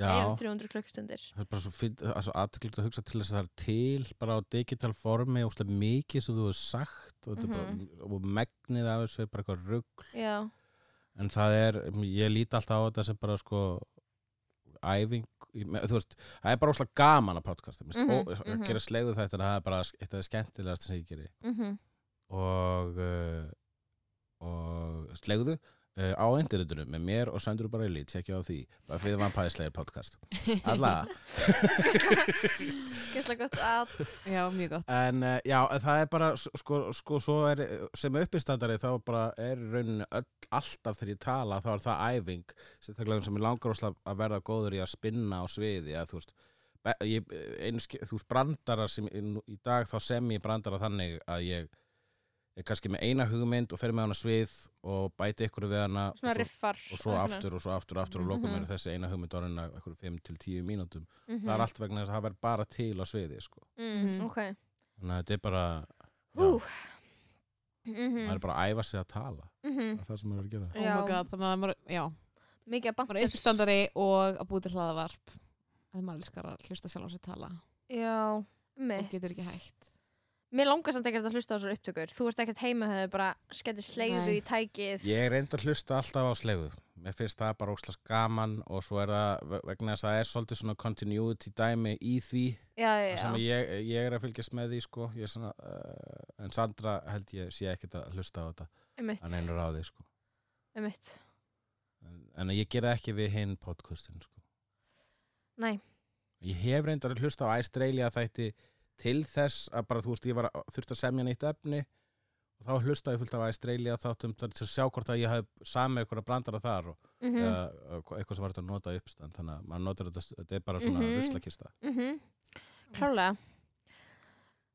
[SPEAKER 3] Já.
[SPEAKER 2] Meira en 300 klukkustundir.
[SPEAKER 3] Það er bara svo fint, altså aðtöklut að hugsa til þess að það er til bara á digital formi og slega mikið sem þú hefur sagt og, mm
[SPEAKER 2] Mhm.
[SPEAKER 3] bara, og megnið af þessu er bara eitthvað rugg
[SPEAKER 2] Já,
[SPEAKER 3] en það er, ég líti alltaf á þetta sem bara sko æfing, ég me- þú veist, það er bara óslega gaman að podcasta, mm
[SPEAKER 2] Mhm,
[SPEAKER 3] -hmm, og,
[SPEAKER 2] mhm.
[SPEAKER 3] að gera slegðu þetta það er bara eitt af það skemmtilegast sem ég geri
[SPEAKER 2] mm
[SPEAKER 3] og uh, og slegðu uh, á internetinu með mér og Söndur bara í lít, tjekkja á því, bara fyrir vampæðislegir podcast alla
[SPEAKER 2] gott að,
[SPEAKER 1] já, mjög gott
[SPEAKER 3] En uh, já, en það er bara, s- sko, sko svo er, sem uppistandari þá bara er í rauninni öll, alltaf þegar ég tala þá er það æfing, sérstaklega sem ég langar óslega að verða góður í að spinna á sviði, að þú veist, be- ég, einu, ske- þú veist, brandara sem ég- nú- í dag þá sem ég brandara þannig að ég er kannski með eina hugmynd og fer með hana á svið og bæti ykkur við hana og
[SPEAKER 2] svona
[SPEAKER 3] svo,
[SPEAKER 2] riffar.
[SPEAKER 3] og svo aftur og svo aftur og aftur og lokum
[SPEAKER 2] Mhm.
[SPEAKER 3] er þessi eina hugmynd orðin að ykkur 5-10 mínútum.
[SPEAKER 2] Mm
[SPEAKER 3] Það er allt vegna þess að það verð bara til á sviði, sko.
[SPEAKER 1] Mhm.
[SPEAKER 2] Mm, ok.
[SPEAKER 3] Þannig að þetta er bara já,
[SPEAKER 2] Hú. Mm
[SPEAKER 3] maður er bara að æfa sig að tala um það er það sem maður er að gera
[SPEAKER 1] oh
[SPEAKER 2] Mhm. Já.
[SPEAKER 1] my god, þannig að maður, já,
[SPEAKER 2] Mikið að
[SPEAKER 1] maður
[SPEAKER 2] bantur.
[SPEAKER 1] er uppstandari og að búið til hlaðvarp að maður elskar að hlusta sjálf á sér tala
[SPEAKER 2] Já,
[SPEAKER 1] og
[SPEAKER 2] mitt.
[SPEAKER 1] getur ekki hægt
[SPEAKER 2] Mér langar samt ekkert að hlusta á þessar upptökur. Þú ert ekkert heima þegar bara skellir sleiðu
[SPEAKER 1] Nei.
[SPEAKER 2] í tækið.
[SPEAKER 3] ég er reynd að hlusta alltaf á slegu mér finnst það bara óslast gaman og svo er það ve- vegna þess að það er svolítið svona continuity dæmi í því
[SPEAKER 2] Já, já,
[SPEAKER 3] sem
[SPEAKER 2] já.
[SPEAKER 3] ég, ég er að fylgjast með því sko. Ég er svona, uh, en Sandra held ég sé ekkert að hlusta á þetta
[SPEAKER 2] Einmitt.
[SPEAKER 3] hann einu ráði sko.
[SPEAKER 2] Einmitt.
[SPEAKER 3] en, en ég gera ekki við hinn podcastin sko.
[SPEAKER 2] Nei.
[SPEAKER 3] ég hef reyndar að hlusta á Australia þætti til þess að bara þú veist ég var að, þurfti að semja neitt efni og þá hlusta ég fullt af Australia þáttum þar til að sjá hvort að ég hafði samið eitthvað að brandara þar og
[SPEAKER 2] Mm
[SPEAKER 3] mm.
[SPEAKER 2] -hmm.
[SPEAKER 3] eitthvað sem var þetta að nota í uppstand þannig að maður notar þetta, þetta er bara svona
[SPEAKER 2] Mhm.
[SPEAKER 3] ruslakista
[SPEAKER 2] Klárlega.
[SPEAKER 1] Hann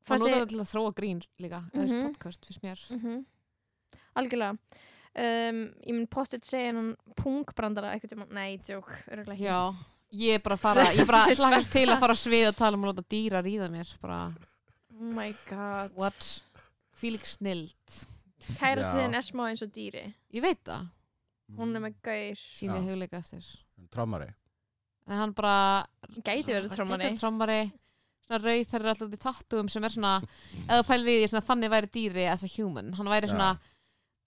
[SPEAKER 2] Fannst
[SPEAKER 1] notar
[SPEAKER 2] ég-
[SPEAKER 1] þetta til að þróa grín líka eða þessi
[SPEAKER 2] Mhm.
[SPEAKER 1] podcast fyrst mér
[SPEAKER 2] -hmm. Algjörlega um, Ég mun postið segja hennan pungbrandara eitthvað tíma, nei, djók, örgulega
[SPEAKER 1] Já, ég er bara að fara ég bara
[SPEAKER 2] Þetta er
[SPEAKER 1] slakast til
[SPEAKER 2] besta.
[SPEAKER 1] að fara á svið að tala um að láta dýra ríða mér bara,
[SPEAKER 2] Oh my god
[SPEAKER 1] what? Fílík snild
[SPEAKER 2] Kærast
[SPEAKER 3] Já.
[SPEAKER 2] þinn er smá eins og dýri
[SPEAKER 1] Ég veit það,
[SPEAKER 2] Hún er með gaur
[SPEAKER 1] síni
[SPEAKER 3] Já.
[SPEAKER 1] hugleika eftir
[SPEAKER 3] Trammari
[SPEAKER 1] En hann bara
[SPEAKER 2] Gæti verið trommari
[SPEAKER 1] Gæti verið Ah, trommari Svona rauð þær eru alltaf út í tattúum sem er svona
[SPEAKER 3] Mm.
[SPEAKER 1] eða þú pælir í því svona þannig væri dýri as a human hann væri svona,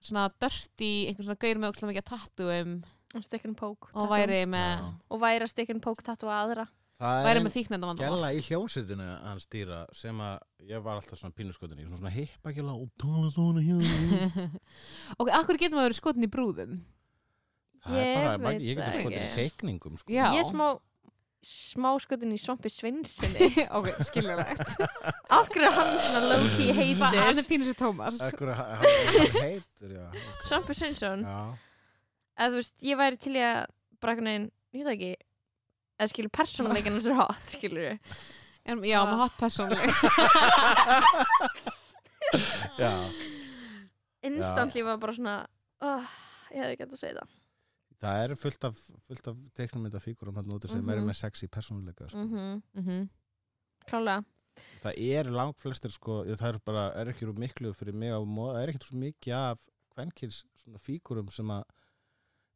[SPEAKER 1] svona dörsti einhvern svona gaur með ókslega mikið af tattúum
[SPEAKER 2] Og stikkin pók
[SPEAKER 1] og væri með,
[SPEAKER 3] Já.
[SPEAKER 2] Og væri að stikkin pók tattu að aðra
[SPEAKER 3] Það er
[SPEAKER 1] væri
[SPEAKER 3] ein
[SPEAKER 1] með þýknenda
[SPEAKER 3] gæla
[SPEAKER 1] vandamál
[SPEAKER 3] í hljómsveitinu hans dýra sem að ég var alltaf svona pínuskotin í svona, svona hippagjöla og tala svona hérna
[SPEAKER 1] ok, akkur getum við að vera skotin í brúðum
[SPEAKER 3] Það
[SPEAKER 2] Ég
[SPEAKER 3] er bara,
[SPEAKER 2] veit
[SPEAKER 3] mag- ég
[SPEAKER 2] það
[SPEAKER 3] getur skotin í
[SPEAKER 2] ekki.
[SPEAKER 3] teikningum sko.
[SPEAKER 1] Já.
[SPEAKER 2] Ég er smá smá skotin í svampi Sveinsinni
[SPEAKER 1] ok, skiljulegt
[SPEAKER 2] Af hverju er hann svona low-key
[SPEAKER 1] hann
[SPEAKER 2] heitur
[SPEAKER 1] er pínur sér Tómas
[SPEAKER 3] Akkur, hann, hann heitur, já
[SPEAKER 2] Svampi Sveinsson
[SPEAKER 3] Já,
[SPEAKER 2] eða þú veist, ég væri til í að bara einhvern veginn, ég veit það ekki eða skilur persónuleikin hans er hot, skilur
[SPEAKER 1] En- já, með hot personleg
[SPEAKER 3] já
[SPEAKER 2] instantly var bara svona oh, ég hefði gett að segja það
[SPEAKER 3] Það er fullt af, fullt af teiknumynda fígurum hann úti sem eru
[SPEAKER 1] Mhm.
[SPEAKER 3] með sexy persónuleika sko.
[SPEAKER 2] mm -hmm.
[SPEAKER 1] Mhm.
[SPEAKER 2] klálega,
[SPEAKER 3] Það eru langt flestir sko, ég- það er bara, er ekki úr miklu fyrir mig að móða, það er ekkert svo mikið af kvenkins svona fígurum sem að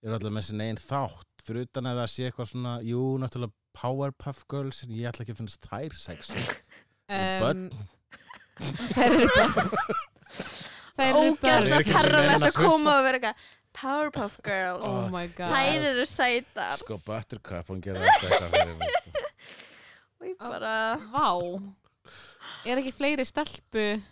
[SPEAKER 3] eru alltaf með sinni einn þátt fyrir utan að það sé eitthvað svona, jú, náttúrulega Powerpuff Girls, en ég ætla ekki að finnast þær sexy.
[SPEAKER 1] um, þær eru börn þær eru
[SPEAKER 3] Ég
[SPEAKER 1] börn
[SPEAKER 2] ógæðslega
[SPEAKER 3] er ekki eins og
[SPEAKER 2] perralegt
[SPEAKER 3] neina
[SPEAKER 2] að koma og vera eitthvað Powerpuff Girls,
[SPEAKER 1] oh my god
[SPEAKER 2] þær eru sætar
[SPEAKER 3] Sko, Buttercup, hún gerir alltaf þetta fyrir mig. sko.
[SPEAKER 2] og ég bara,
[SPEAKER 1] Vá Er ekki fleiri stelpu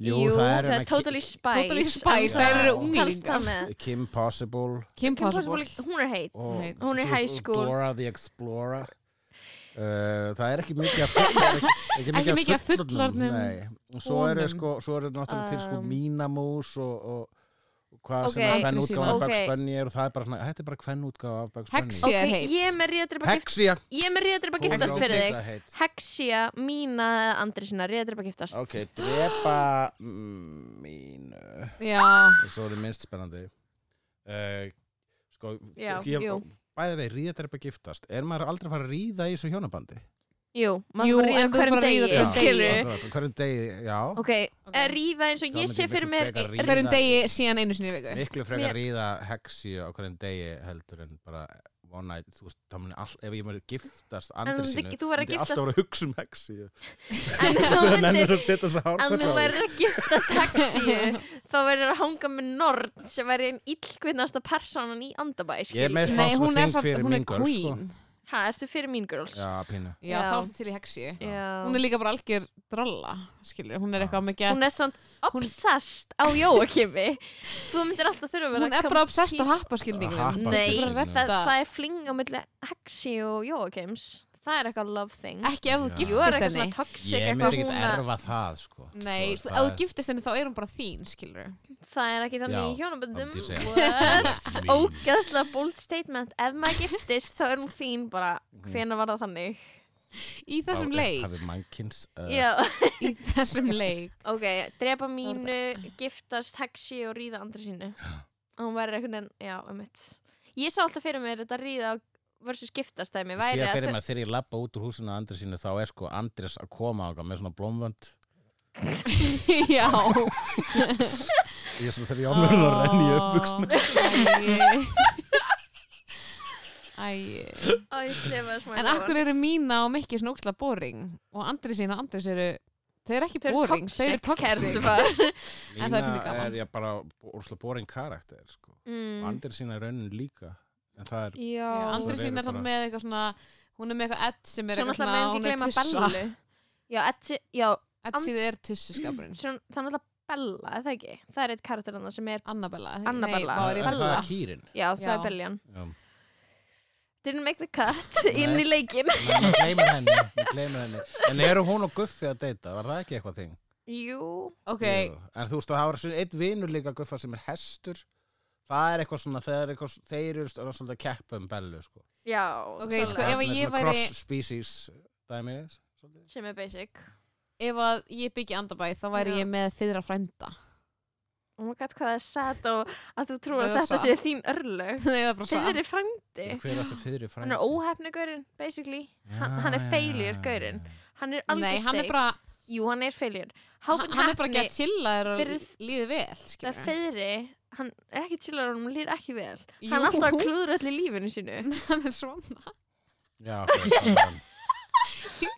[SPEAKER 2] jú,
[SPEAKER 3] það
[SPEAKER 2] það
[SPEAKER 3] er
[SPEAKER 2] er totally spice
[SPEAKER 1] Totally Spice,
[SPEAKER 3] þær eru
[SPEAKER 1] unglingar.
[SPEAKER 2] unglingar
[SPEAKER 3] Kim Possible
[SPEAKER 1] Kim Possible
[SPEAKER 2] hún er heit
[SPEAKER 3] og
[SPEAKER 1] Nei.
[SPEAKER 2] Hún er
[SPEAKER 3] Oh, þú veist,
[SPEAKER 2] high school.
[SPEAKER 3] Dora the Explorer Uh, það er ekki mikið af full- það er ekki, ekki
[SPEAKER 1] Ekki mikið af fullorðnum
[SPEAKER 3] nei. og svo eru
[SPEAKER 1] konum.
[SPEAKER 3] sko, svo eru náttúrulega til sko
[SPEAKER 2] Um,
[SPEAKER 3] mínamús og, og, og hvað sem
[SPEAKER 2] Ok.
[SPEAKER 3] að fenn útgáfa af
[SPEAKER 2] Ok.
[SPEAKER 3] Bugs Bunny er og það er bara, svona- þetta er bara hvern útgáfa af Bugs Bunny
[SPEAKER 1] Hexi.
[SPEAKER 2] ok,
[SPEAKER 1] Sé heit.
[SPEAKER 2] ég er með ríðadrepa gift
[SPEAKER 3] Hexia
[SPEAKER 2] ég er með ríðadrepa
[SPEAKER 3] Hún er
[SPEAKER 2] giftast fyrir
[SPEAKER 3] ógeðslega
[SPEAKER 2] þig
[SPEAKER 3] heit.
[SPEAKER 2] Hexia, Mína eða Andri sinna, ríðadrepa giftast
[SPEAKER 3] ok, drepa mm, mínu
[SPEAKER 1] Já,
[SPEAKER 3] og svo er minnst spennandi uh, sko
[SPEAKER 2] Já,
[SPEAKER 3] ég,
[SPEAKER 2] jú.
[SPEAKER 3] bæði vei, ríðadrepa giftast er maður aldrei að fara að ríða í þessu hjónabandi
[SPEAKER 2] Jú,
[SPEAKER 1] Jú, en þú
[SPEAKER 2] maður ríða
[SPEAKER 1] bara
[SPEAKER 2] hverjum
[SPEAKER 1] ríða
[SPEAKER 2] degi,
[SPEAKER 1] hverjum
[SPEAKER 2] skilur
[SPEAKER 1] degi.
[SPEAKER 3] akkurat, á hverjum degi, já
[SPEAKER 2] Ok,
[SPEAKER 1] Ok.
[SPEAKER 2] að ríða eins og
[SPEAKER 3] Það
[SPEAKER 2] ég
[SPEAKER 3] myndi
[SPEAKER 2] sé fyrir
[SPEAKER 3] miklu
[SPEAKER 2] mér
[SPEAKER 3] frekar
[SPEAKER 2] er-
[SPEAKER 3] ríða.
[SPEAKER 1] hverjum degi síðan einu sinni í viku
[SPEAKER 3] miklu frekar
[SPEAKER 2] Mér-
[SPEAKER 3] ríða hexi á hverjum degi heldur en bara one night, þú veist, það muni all, ef ég muni giftast
[SPEAKER 2] þú
[SPEAKER 3] andri
[SPEAKER 2] myndi-
[SPEAKER 3] sínu,
[SPEAKER 2] þú væri að
[SPEAKER 3] myndi ég
[SPEAKER 2] giftast-
[SPEAKER 3] alltaf voru að hugsa um hexi
[SPEAKER 2] En þú
[SPEAKER 3] þess að
[SPEAKER 2] myndir-
[SPEAKER 3] nennir að setja þess að
[SPEAKER 2] en þú
[SPEAKER 3] hárkvöld
[SPEAKER 2] verður að giftast hexi þá verður að hanga með Nord sem verður einn illkvinnasta personan í andabæ
[SPEAKER 3] ég er
[SPEAKER 2] skilur.
[SPEAKER 3] með smá
[SPEAKER 1] Nei, hún
[SPEAKER 3] svona
[SPEAKER 1] er
[SPEAKER 3] þing
[SPEAKER 1] samt,
[SPEAKER 3] fyrir
[SPEAKER 1] hún er
[SPEAKER 3] mingur sko.
[SPEAKER 1] queen
[SPEAKER 2] ha, ertu fyrir Mean Girls
[SPEAKER 3] já, pínu
[SPEAKER 1] Já,
[SPEAKER 2] Já.
[SPEAKER 1] þá ertu til í hexi
[SPEAKER 2] Já.
[SPEAKER 1] Hún er líka bara algjör dralla skilur, hún er eitthvað mikið
[SPEAKER 2] hún er samt obsessed á Jóakimi þú myndir alltaf þurfa að vera
[SPEAKER 1] hún er bara obsessed á happaskildingum
[SPEAKER 3] Happa-
[SPEAKER 2] Nei,
[SPEAKER 1] Bara
[SPEAKER 3] skilningnum.
[SPEAKER 2] það,
[SPEAKER 1] redda.
[SPEAKER 2] það er fling á milli hexi og Jóakims það er eitthvað love thing
[SPEAKER 1] Ekki ef þú
[SPEAKER 3] Já.
[SPEAKER 2] Jú, er
[SPEAKER 1] giftist
[SPEAKER 2] eitthvað
[SPEAKER 1] henni
[SPEAKER 2] svona toxic
[SPEAKER 3] ég
[SPEAKER 2] eitthvað
[SPEAKER 3] myndi ekkert
[SPEAKER 2] hún að-
[SPEAKER 3] erfa það sko. Þú veist,
[SPEAKER 1] Nei, þú- ef
[SPEAKER 3] það
[SPEAKER 1] þú
[SPEAKER 3] er-
[SPEAKER 1] giftist henni þá er hún bara þín skilur
[SPEAKER 2] Það er ekki þannig í
[SPEAKER 3] Já,
[SPEAKER 2] hjónaböndum
[SPEAKER 3] myndi ég segja.
[SPEAKER 2] What?
[SPEAKER 3] Mín.
[SPEAKER 2] Ógæðslega bold statement Ef maður giftist þá er hún þín bara
[SPEAKER 3] Mhm.
[SPEAKER 2] Hvenær var það þannig?
[SPEAKER 1] Í þessum
[SPEAKER 3] Þá
[SPEAKER 1] leik,
[SPEAKER 3] hafi mannkins uh,
[SPEAKER 2] Já,
[SPEAKER 1] í þessum leik
[SPEAKER 2] ok, drepa mínu Giftast, hexi og ríða andri sínu Og hún verður einhvern veginn Já, um mitt Ég sá alltaf fyrir mér þetta ríða versus giftast dæmi
[SPEAKER 3] Ég sé að
[SPEAKER 2] væri að
[SPEAKER 3] fyrir
[SPEAKER 2] þau-
[SPEAKER 3] maður þegar ég lappa út úr húsinu að Andri sínu þá er sko Andris að koma ákvað með svona blómvönd
[SPEAKER 1] Já
[SPEAKER 3] ég er svona þegar ég ámörður að renni upp buksna
[SPEAKER 1] buksna Æi
[SPEAKER 2] Ó, ég slefaði smá í
[SPEAKER 1] En
[SPEAKER 2] lófann.
[SPEAKER 1] akkur eru mína og Mikki svona ógstlega boring og Andri sína og Andris eru þau eru ekki
[SPEAKER 2] Þau eru
[SPEAKER 1] boring, þau eru
[SPEAKER 2] toxic,
[SPEAKER 1] toxic
[SPEAKER 2] kærastupar.
[SPEAKER 1] En það er pínu gaman.
[SPEAKER 3] er ég bara úrslega boring karakter sko. mm.
[SPEAKER 2] Mm,
[SPEAKER 3] Andri sína er raunin líka en það er
[SPEAKER 2] Já,
[SPEAKER 1] Andri
[SPEAKER 3] Svo eru
[SPEAKER 1] sína er
[SPEAKER 3] bara-
[SPEAKER 1] svona með eitthvað svona hún er með eitthvað Ed sem er
[SPEAKER 2] Svo
[SPEAKER 1] eitthvað
[SPEAKER 2] náttúrulega
[SPEAKER 1] hún
[SPEAKER 2] meðum ekki
[SPEAKER 1] er
[SPEAKER 2] gleyma
[SPEAKER 1] tussa
[SPEAKER 2] Bellu Já, Edsi, já,
[SPEAKER 1] Ed síðan er tussuskapurinn
[SPEAKER 2] svona, það er náttúrulega Bella, er það ekki? Það er eitt karakterinn sem er,
[SPEAKER 1] Annabella
[SPEAKER 2] Annabella.
[SPEAKER 1] Nei,
[SPEAKER 3] er
[SPEAKER 1] var
[SPEAKER 3] það
[SPEAKER 2] Bella.
[SPEAKER 1] ég
[SPEAKER 3] er kýrin
[SPEAKER 2] já, það
[SPEAKER 1] Já.
[SPEAKER 2] er Bellian
[SPEAKER 3] Já.
[SPEAKER 2] Didn't make the cut inn í leikin
[SPEAKER 3] Nei, hún gleymir henni, hún gleymir henni En eru hún og Guffi að deyta? Var það ekki eitthvað þing?
[SPEAKER 2] Jú,
[SPEAKER 1] Ok,
[SPEAKER 3] Jú. En þú veist að það var svona einn vinur líka Guffa sem er hestur Það er eitthvað svona, þeir eru eitthvað, þeir eru svolítið að keppa um bellu sko.
[SPEAKER 2] já
[SPEAKER 1] Ok, sko, ef að
[SPEAKER 3] Svona
[SPEAKER 1] ég væri-
[SPEAKER 3] Cross species dæmi svolítið.
[SPEAKER 2] sem er basic
[SPEAKER 1] ef að ég byggi andabæð þá væri
[SPEAKER 2] Já.
[SPEAKER 1] ég með fyrra frænda
[SPEAKER 2] Oh my god, hvað það er sad og að þú trúir að
[SPEAKER 1] Það er
[SPEAKER 2] þetta
[SPEAKER 1] satt.
[SPEAKER 2] sé þín örlög.
[SPEAKER 1] Nei, það er bara satt.
[SPEAKER 2] Þeir eru frændi.
[SPEAKER 3] Hver átti fyrir frændi?
[SPEAKER 2] Hann er óhefnugurinn, basically. hann- hann er failure, gaurinn. Hann er algjör
[SPEAKER 1] Nei, hann er
[SPEAKER 2] steik.
[SPEAKER 1] bara
[SPEAKER 2] Jú, hann er failure.
[SPEAKER 1] hann,
[SPEAKER 2] Hápin
[SPEAKER 1] hann er bara ekki
[SPEAKER 2] hefni,
[SPEAKER 1] að chilla þér og
[SPEAKER 2] fyrir-
[SPEAKER 1] líði vel skilurðu.
[SPEAKER 2] það feyri, hann er ekki chillar og hann lýr ekki vel.
[SPEAKER 1] Jú,
[SPEAKER 2] Hann er alltaf að klúður öll í lífinu sínu.
[SPEAKER 1] hann er svona
[SPEAKER 3] Já, ok, það er hann.
[SPEAKER 1] ég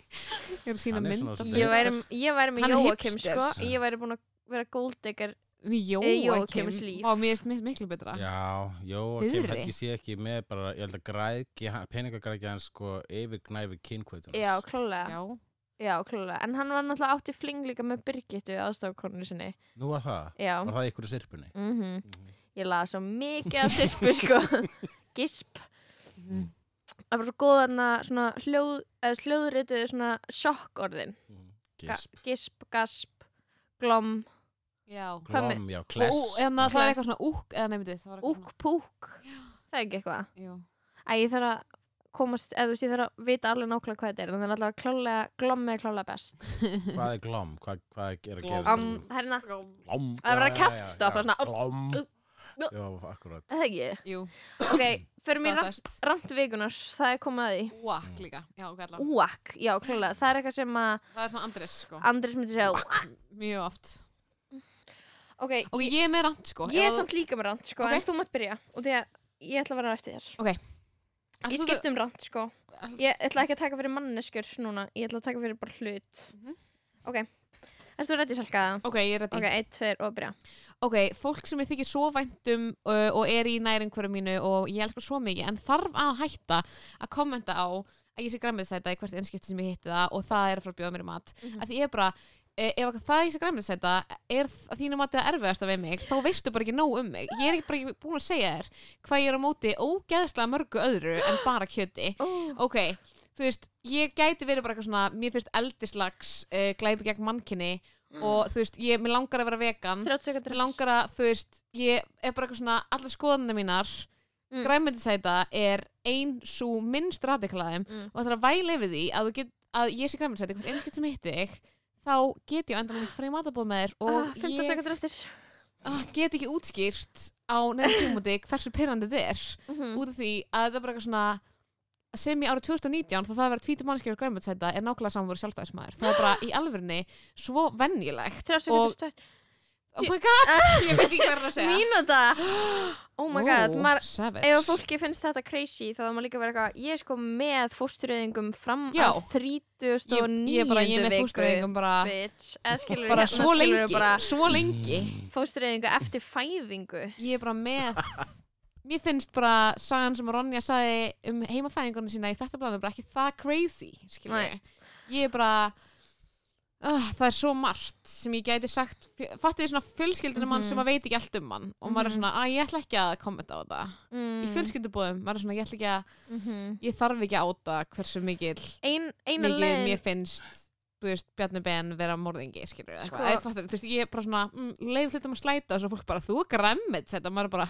[SPEAKER 1] er að sína
[SPEAKER 3] Hann er
[SPEAKER 1] mynd
[SPEAKER 3] svona
[SPEAKER 1] af
[SPEAKER 3] svolítið-
[SPEAKER 2] Ég væri, ég væri
[SPEAKER 1] Hann
[SPEAKER 2] með
[SPEAKER 1] er
[SPEAKER 2] Jóakim,
[SPEAKER 1] hipster.
[SPEAKER 2] sko. Ég væri búin að vera góldeggar.
[SPEAKER 1] við
[SPEAKER 2] Eh,
[SPEAKER 1] Jóakim
[SPEAKER 2] Jóakims líf.
[SPEAKER 1] Vá, mér finnst mik- miklu betra
[SPEAKER 3] Já, jó, ok,
[SPEAKER 1] Fiðri.
[SPEAKER 3] held ég sé ekki með bara, ég held að græðgi, peningagræðgi hans sko yfirgnæfi kynkvötunum.
[SPEAKER 2] Já, klálega.
[SPEAKER 1] já,
[SPEAKER 2] Já, klálega. En hann var náttúrulega átti fling líka með Birgittu aðstofkonu sinni.
[SPEAKER 3] Nú var það,
[SPEAKER 2] Já.
[SPEAKER 3] var það í ykkur í sirpunni?
[SPEAKER 2] Mhm.
[SPEAKER 3] Mhm.
[SPEAKER 2] Ég laði svo mikið af sirpu, sko. Gisp.
[SPEAKER 3] Mm.
[SPEAKER 1] Mhm.
[SPEAKER 2] Það var svo góð þarna svona hljóð, eða hljóðrituðu svona sjokkorðin.
[SPEAKER 3] Mhm.
[SPEAKER 2] Ga-
[SPEAKER 3] Gisp,
[SPEAKER 2] Gisp, gasp, glom,
[SPEAKER 1] já.
[SPEAKER 2] hvað með- hérna-
[SPEAKER 3] glom, já, kless.
[SPEAKER 1] og en hérna, það
[SPEAKER 2] Kless.
[SPEAKER 1] er eitthvað svona úk eða nefndi það var eitthvað
[SPEAKER 2] úk, púk. Það er ekki
[SPEAKER 1] svona-
[SPEAKER 2] eitthvað.
[SPEAKER 1] jú.
[SPEAKER 2] Æ, ég þarf að komast, eða þú veist, ég þarf að vita alveg nákvæmlega hvað þetta er, en það er alltaf klálega, glom er klálega best.
[SPEAKER 3] Hvað er glom? Hvað, hvað er að
[SPEAKER 1] Glom.
[SPEAKER 3] gera?
[SPEAKER 2] Um, herna,
[SPEAKER 3] glom.
[SPEAKER 2] Það er verið
[SPEAKER 3] Já, já, já,
[SPEAKER 2] að kjaftstopp,
[SPEAKER 3] já,
[SPEAKER 2] og svona,
[SPEAKER 3] Glom.
[SPEAKER 2] uh, uh.
[SPEAKER 3] Já, akkurat.
[SPEAKER 2] er það ekki?
[SPEAKER 1] jú,
[SPEAKER 2] Ok, förum í rant,
[SPEAKER 1] staðfest
[SPEAKER 2] rant vikunars, það er komið að því.
[SPEAKER 3] Mm.
[SPEAKER 1] úak líka já, ok, allan
[SPEAKER 2] Úak, já, klálega, það er eitthvað sem að
[SPEAKER 1] það er svona Andris sko
[SPEAKER 2] Andris myndi segja,
[SPEAKER 1] mjög oft
[SPEAKER 2] ok,
[SPEAKER 1] og ég er með rand sko
[SPEAKER 2] Ég er
[SPEAKER 1] Ef-
[SPEAKER 2] samt líka með rand sko,
[SPEAKER 1] Ok.
[SPEAKER 2] en þú mátt byrja og því að ég ætla að vera eftir þér
[SPEAKER 1] Ætlar
[SPEAKER 2] Ég
[SPEAKER 1] þú-
[SPEAKER 2] skipt um rand sko
[SPEAKER 1] Ætlar-
[SPEAKER 2] Ég ætla ekki að taka fyrir manneskur núna Ég ætla að taka fyrir bara hlut
[SPEAKER 1] Mhm.
[SPEAKER 2] Ok, erstu reddi salkaða?
[SPEAKER 1] ok, ég er ready
[SPEAKER 2] Ok, eitt, tveir og byrja
[SPEAKER 1] ok, fólk sem ég þykir svo væntum uh, og er í næringkvöru mínu og ég elskar svo mikið en þarf að hætta að kommenta á að ég sé græmiðsæta í hvert einskipti sem ég hitti það og það er að fara að bjóða mér í mat
[SPEAKER 2] Mhm.
[SPEAKER 1] af því ég er bara, eh, ef það ég sé græmiðsæta er þ- að þínu matið að erfiðasta við mig þá veistu bara ekki nóg um mig ég er ekki bara ekki búin að segja þér hvað ég er á móti ógeðslega mörgu öðru en bara kjöti
[SPEAKER 2] oh.
[SPEAKER 1] ok, þú veist, ég gæti verið bara eitthvað svona, mér finnst eldislags uh, glæpi gegn mannkinni og þú veist, ég, mér langar að vera vegan
[SPEAKER 2] 30
[SPEAKER 1] Mig
[SPEAKER 2] sekundir
[SPEAKER 1] langar að, þú veist, ég er bara eitthvað svona, allar skoðanir mínar
[SPEAKER 2] Mm.
[SPEAKER 1] mm. er ein svo minnst radikalæðum
[SPEAKER 2] Mm.
[SPEAKER 1] og það er að væla yfir því að, þú get, að ég sé græmyndisæti, hvert einskitt sem ég hitti þig þá get ég á endanum ekki fara í matabóð með þér og
[SPEAKER 2] ah, 15
[SPEAKER 1] ég
[SPEAKER 2] sekundir eftir
[SPEAKER 1] ah, get ekki útskýrt á nefnum tímúti hversu pyrrandi þetta er
[SPEAKER 2] Mhm.
[SPEAKER 1] út af því að þetta er bara eitthvað svona sem í árið 2019 þá það að vera tvítum mannskjöf græmyndisæta er nákvæmlega samvöru sjálfstæðismæður það er bara í alvörinni svo venjulegt
[SPEAKER 2] 30
[SPEAKER 1] Og-
[SPEAKER 2] sekundir eftir
[SPEAKER 1] oh my god, ég veit ekki hvað er að segja
[SPEAKER 2] Mínúta Oh my god, maður
[SPEAKER 1] savage
[SPEAKER 2] Ef að fólki finnst þetta crazy þá það maður líka vera eitthvað, ég er sko með fóstureyðingum fram
[SPEAKER 1] Já.
[SPEAKER 2] að 39.
[SPEAKER 1] ég, ég bara, ég er með
[SPEAKER 2] viku.
[SPEAKER 1] fóstureyðingum bara,
[SPEAKER 2] bitch eða skilur
[SPEAKER 1] bara svo lengi
[SPEAKER 2] bara Mm.
[SPEAKER 1] svo lengi,
[SPEAKER 3] Mm.
[SPEAKER 2] fóstureyðingu eftir fæðingu
[SPEAKER 1] ég er bara með mér finnst bara sagan sem Ronja sagði um heimafæðingunum sína í frettablanum bara ekki það crazy skilur
[SPEAKER 2] Nei.
[SPEAKER 1] ég, ég er bara uh, það er svo margt sem ég gæti sagt, fattið þið svona fjölskyldinu mann
[SPEAKER 2] Mhm.
[SPEAKER 1] sem að veit ekki allt um mann og maður er
[SPEAKER 2] Mhm.
[SPEAKER 1] svona, að ég ætla ekki að kommenta á þetta
[SPEAKER 2] mm.
[SPEAKER 1] í fjölskyldubóðum, maður er svona, ég ætla ekki að
[SPEAKER 2] mm -hmm.
[SPEAKER 1] ég þarf ekki að áta hversu mikill
[SPEAKER 2] ein, eina
[SPEAKER 1] mikið
[SPEAKER 2] leiðin
[SPEAKER 1] mér finnst þú veist, Bjarni Ben vera morðingi skilur við,
[SPEAKER 2] Sko-
[SPEAKER 1] eitthvað, eða fattar, þú veist, ég er bara svona mm, leif hlutum að slæta og svo fólk bara, þú er græmmit þetta, maður er bara,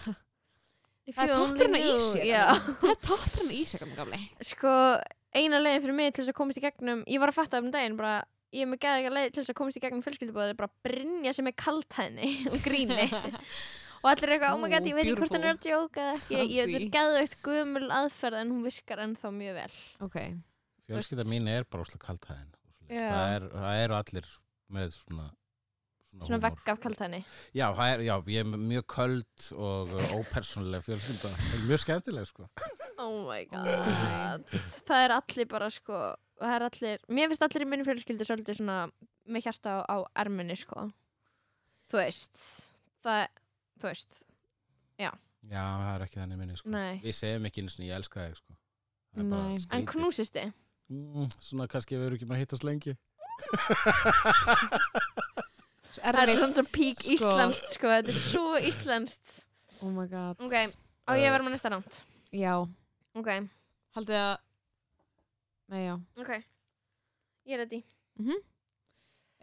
[SPEAKER 2] If
[SPEAKER 1] það er
[SPEAKER 2] you only
[SPEAKER 1] toppurinn á
[SPEAKER 2] knew, já.
[SPEAKER 1] ísjökum það er toppurinn á ísjökum, gamli
[SPEAKER 2] sko eina leiðin fyrir mig til þess að komast í gegnum ég var að fatta um daginn bara ég er með geða eitthvað leið til þess að komast í gegnum fjölskyldubóð er bara að brinja sem er kaltæðni og gríni og allir eru eitthvað, oh my god,
[SPEAKER 1] Ú,
[SPEAKER 2] ég veit ekki hvort hann er að djóka eða ekki, ég
[SPEAKER 1] Því.
[SPEAKER 2] þetta er geða eitt gömul aðferð en hún virkar ennþá mjög vel
[SPEAKER 1] ok,
[SPEAKER 3] Fjölskylda
[SPEAKER 2] veist-
[SPEAKER 3] mín er bara óslega kaltæðin.
[SPEAKER 2] Já.
[SPEAKER 3] Það, er, það eru allir með svona
[SPEAKER 2] svona
[SPEAKER 3] húmor.
[SPEAKER 2] vegg af kaltæðni
[SPEAKER 3] Já, það er, já, ég er mjög köld og uh, ópersónuleg fjölskylda. Það er Mjög skemmtileg, sko.
[SPEAKER 2] Oh my
[SPEAKER 1] Oh
[SPEAKER 2] god
[SPEAKER 1] my.
[SPEAKER 2] Það er allir bara sko það er allir, Mér finnst allir í minni fjölskyldu svolítið svona með hjarta á, á erminni sko Þú veist Það, þú veist
[SPEAKER 3] Já, það er ekki þannig minni, sko.
[SPEAKER 2] Nei.
[SPEAKER 3] Við segjum ekki einu sinni, ég elska þig, sko. Það er bara
[SPEAKER 1] Nei. En
[SPEAKER 2] En
[SPEAKER 3] skrítið.
[SPEAKER 2] knúsist þið?
[SPEAKER 3] Mm, svona kannski við erum ekki með að hittast lengi.
[SPEAKER 1] Svo
[SPEAKER 2] Það er
[SPEAKER 1] erfitt,
[SPEAKER 2] svona svo pík
[SPEAKER 1] Sko.
[SPEAKER 2] íslenskt sko Þetta er svo íslenskt
[SPEAKER 1] oh my god
[SPEAKER 2] Ok, á ég að vera með næsta námt
[SPEAKER 1] já,
[SPEAKER 2] Ok,
[SPEAKER 1] haldið að nei, já,
[SPEAKER 2] ok Ég er ready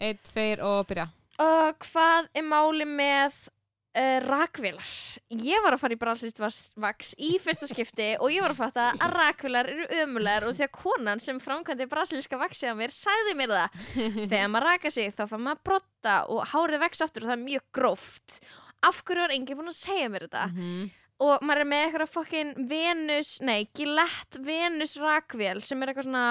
[SPEAKER 1] einn, tveir og byrja
[SPEAKER 2] uh, Hvað er máli með uh, rakvélar ég var að fara í bralsist vaks í fyrsta skipti og ég var að fatta að rakvélar eru ömulegar og því að konan sem framkvæmdi brasilíska vaksið á mér sagði mér það þegar maður raka sig þá fann maður að brotta og hárið vex aftur og það er mjög gróft af hverju var enginn búin að segja mér þetta
[SPEAKER 1] Mhm.
[SPEAKER 2] og maður er með eitthvað fokkin Venus, nei, Gillette Venus rakvél sem er eitthvað svona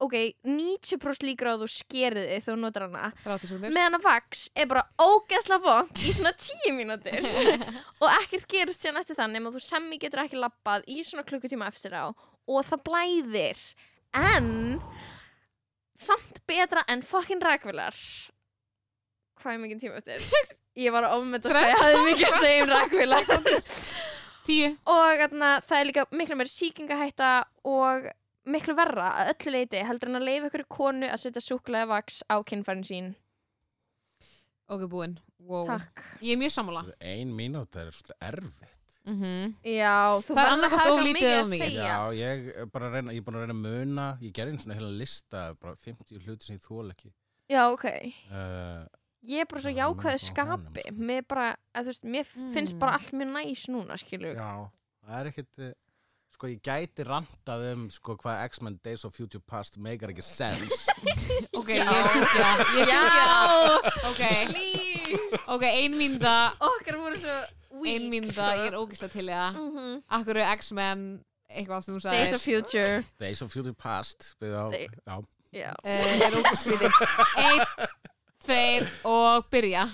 [SPEAKER 2] ok, 90% líkur á að þú skerið þig þegar þú notar hana
[SPEAKER 1] 30 sekundir
[SPEAKER 2] meðan að vaks er bara ógeðsla vond í svona tíu mínútur og ekkert gerist síðan eftir það nema þú semmi getur ekki labbað í svona klukkutíma eftir á og það blæðir en samt betra en fokkin rækvilar hvað er mikið tíma eftir? ég var að ofmynda hvað ég hafði mikið að segja um rækvilar
[SPEAKER 1] 10
[SPEAKER 2] og þarna, það er líka miklu meira sýkingahætta og miklu verra að öllu leiti heldur en að leifa ykkur konu að setja súkulega vaks á kinnfærin sín
[SPEAKER 1] Ok, búinn wow.
[SPEAKER 2] Takk
[SPEAKER 1] Ég er mjög sammála
[SPEAKER 3] Ein mínúta er svolítið erfitt.
[SPEAKER 1] mm
[SPEAKER 2] Mhm. Já, þú
[SPEAKER 1] Það er
[SPEAKER 2] verður
[SPEAKER 1] annaðhvort
[SPEAKER 2] að hafa
[SPEAKER 1] of lítið
[SPEAKER 2] mikið
[SPEAKER 1] eða
[SPEAKER 2] að
[SPEAKER 1] mikið.
[SPEAKER 2] segja.
[SPEAKER 3] Já, ég er bara að reyna, ég er búin að reyna að muna, ég gerði einu svona heila lista, bara 50 hluti sem ég þól ekki.
[SPEAKER 2] Já, ok.
[SPEAKER 3] Uh,
[SPEAKER 2] Ég er bara svo
[SPEAKER 3] Já, það er
[SPEAKER 2] jákvæðu
[SPEAKER 3] mjög góð
[SPEAKER 2] skapi.
[SPEAKER 3] honum, sko.
[SPEAKER 2] Mér, bara, að, þú veist, mér finnst
[SPEAKER 1] Mm.
[SPEAKER 2] bara allt mjög næs núna, skilju.
[SPEAKER 3] já, það er ekkit, eh, sko ég gæti rantað um sko hvað X-Men Days of Future Past megar ekki sens.
[SPEAKER 1] Ok, ég er sjúkja Ég er sjúkja Ok,
[SPEAKER 2] please.
[SPEAKER 1] ok, ein mínda
[SPEAKER 2] Okkar voru svo weak,
[SPEAKER 1] Ein mínda, ég er ógislega til í það
[SPEAKER 2] Mm -hmm.
[SPEAKER 1] Akkur eru X-Men Eitthvað sem þú sagði
[SPEAKER 2] Days of Future.
[SPEAKER 3] Days of Future Past, byrðu á,
[SPEAKER 2] Day-
[SPEAKER 3] já.
[SPEAKER 2] Já.
[SPEAKER 1] uh, Er ógislega skrítið Einn, tveir og byrja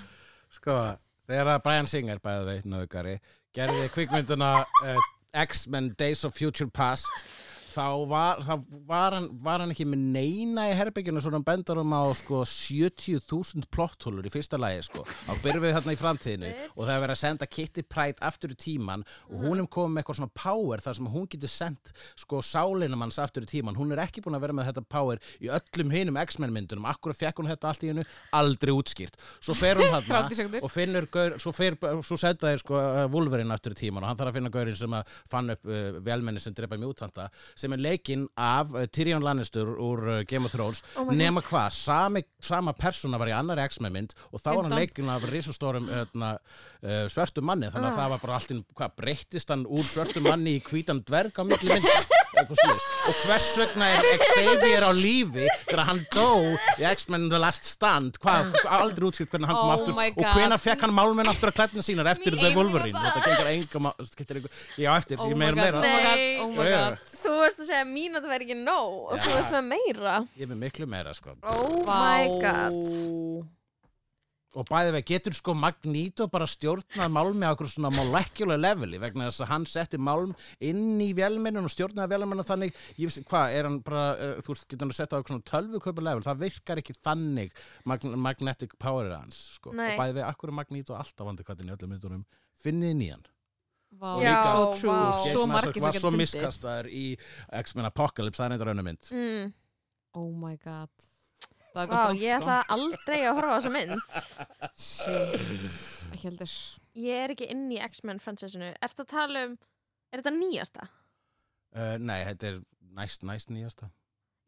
[SPEAKER 3] Sko, þegar að Brian Singer, bæði vei, nöðugari, gerði kvikmynduna uh, X-Men Days of Future Past, þá var, þá var, hann, var hann ekki með neina í herbygginu svona bendar um á sko, 70.000 plotthólur í fyrsta lagi sko. Þá byrjum við þarna í framtíðinu og það er verið að senda Kitty Pryde aftur í tíman og hún er komið með eitthvað svona power þar sem hún getur sendt sko sálinum hans aftur í tíman. Hún er ekki búin að vera með þetta power í öllum hinum X-Men myndunum. Akkur fekk hún þetta allt í hennu aldrei útskýrt. Svo fer hún hann
[SPEAKER 1] Þrjátíu sekúndur.
[SPEAKER 3] og finnur gaur, svo, fer, svo senda þeir sko uh, Wolverine aftur í tíman og hann þarf að finna gaurin sem að fann upp uh, velmenni sem drepa mjútanta sem er leikinn af uh, Tyrion Lannister úr uh, Game of Thrones
[SPEAKER 2] Oh my
[SPEAKER 3] nema hvað, sami, sama persóna var í annari X-Men mynd og þá var hann
[SPEAKER 1] Fimmtán.
[SPEAKER 3] leikinn af risustórum uh, uh, svörtum manni þannig að það var bara allt inn, hvað, breyttist hann úr svörtum manni í hvítan dverg á milli mynd og hvers vegna er Xavier á lífi þegar hann dó í X-Men The Last Stand hvað, aldrei útskipt hvernig hann hann kom
[SPEAKER 1] Oh
[SPEAKER 3] aftur
[SPEAKER 1] my
[SPEAKER 3] og
[SPEAKER 1] God.
[SPEAKER 3] hvenar fekk hann málmenn aftur að klætna sínar eftir
[SPEAKER 1] Mín
[SPEAKER 3] The
[SPEAKER 1] einu
[SPEAKER 3] Wolverine
[SPEAKER 1] bara.
[SPEAKER 3] þetta gengur engum að getur einhver já eftir,
[SPEAKER 1] Oh
[SPEAKER 3] ég
[SPEAKER 1] my
[SPEAKER 3] meira
[SPEAKER 1] god,
[SPEAKER 3] meira
[SPEAKER 1] oh my god,
[SPEAKER 2] Nei.
[SPEAKER 1] oh my
[SPEAKER 3] Já, já.
[SPEAKER 1] god
[SPEAKER 2] Þú varst að segja að mín að það væri ekki nóg og þú
[SPEAKER 3] Já.
[SPEAKER 2] varst með meira.
[SPEAKER 3] ég er með miklu meira sko
[SPEAKER 2] Oh
[SPEAKER 1] Vá.
[SPEAKER 2] my god.
[SPEAKER 3] Oh og bæði við getur sko Magneto bara stjórnað málmi á okkur svona molecular leveli vegna þess að hann setti málm inn í velminnun og stjórnaði velminnun þannig, ég veist, hvað, er hann bara er, þú veist, getur hann að setja á okkur svona tölvuköpa level það virkar ekki þannig mag magnetic power hans, sko
[SPEAKER 2] Nei.
[SPEAKER 3] og bæði við, akkur er Magneto alltaf vandi hvað í öllum myndunum finnið nýjan
[SPEAKER 1] Vá,
[SPEAKER 3] Já,
[SPEAKER 1] so true
[SPEAKER 2] vá.
[SPEAKER 1] Svo
[SPEAKER 3] Jason
[SPEAKER 1] margir
[SPEAKER 3] Isaac var
[SPEAKER 1] sem
[SPEAKER 3] svo
[SPEAKER 1] getur fundið
[SPEAKER 3] miskastaður í X-Men Apocalypse, það er eitthvað raunum mynd
[SPEAKER 2] Mm.
[SPEAKER 1] Oh my god Það er
[SPEAKER 2] Vá,
[SPEAKER 1] gott sko.
[SPEAKER 2] ég ætla aldrei að horfa á þessa mynd.
[SPEAKER 1] Shit Ekki heldur
[SPEAKER 2] Ég er ekki inn í X-Men fransessinu. Ertu að tala um, er þetta nýjasta?
[SPEAKER 3] uh, Nei, þetta er næst, næst nýjasta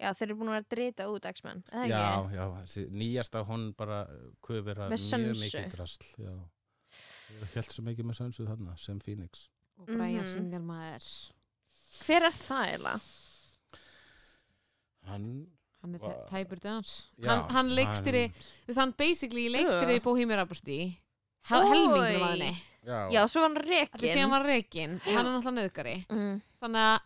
[SPEAKER 2] Já, þeir eru búin að vera að drita út X-Men, eða
[SPEAKER 3] Já,
[SPEAKER 2] ekki?
[SPEAKER 3] já, þessi nýjasta hún bara uh, kufir að
[SPEAKER 2] Með
[SPEAKER 3] mjög
[SPEAKER 2] sönsu.
[SPEAKER 3] mikið drasl Já, ég held svo mikið með sönsu þarna sem Phoenix
[SPEAKER 1] Og Brian
[SPEAKER 2] Mhm.
[SPEAKER 1] Singer maður
[SPEAKER 2] Hver er það eiginlega?
[SPEAKER 3] Hann,
[SPEAKER 1] Hann er
[SPEAKER 3] Vá.
[SPEAKER 1] þe- tæpur döns
[SPEAKER 3] já,
[SPEAKER 1] Hann, hann leikstýri Þú veist, hann basically leikstýri
[SPEAKER 2] Ugh.
[SPEAKER 1] Bohemian Rhapsody
[SPEAKER 2] Oj.
[SPEAKER 1] Hel, helmingnum að henni
[SPEAKER 3] Já,
[SPEAKER 2] Já, svo var hann
[SPEAKER 1] af því síðan
[SPEAKER 2] rekin.
[SPEAKER 1] var reikinn og hann er náttúrulega nöðgari
[SPEAKER 2] Mm,
[SPEAKER 1] þannig að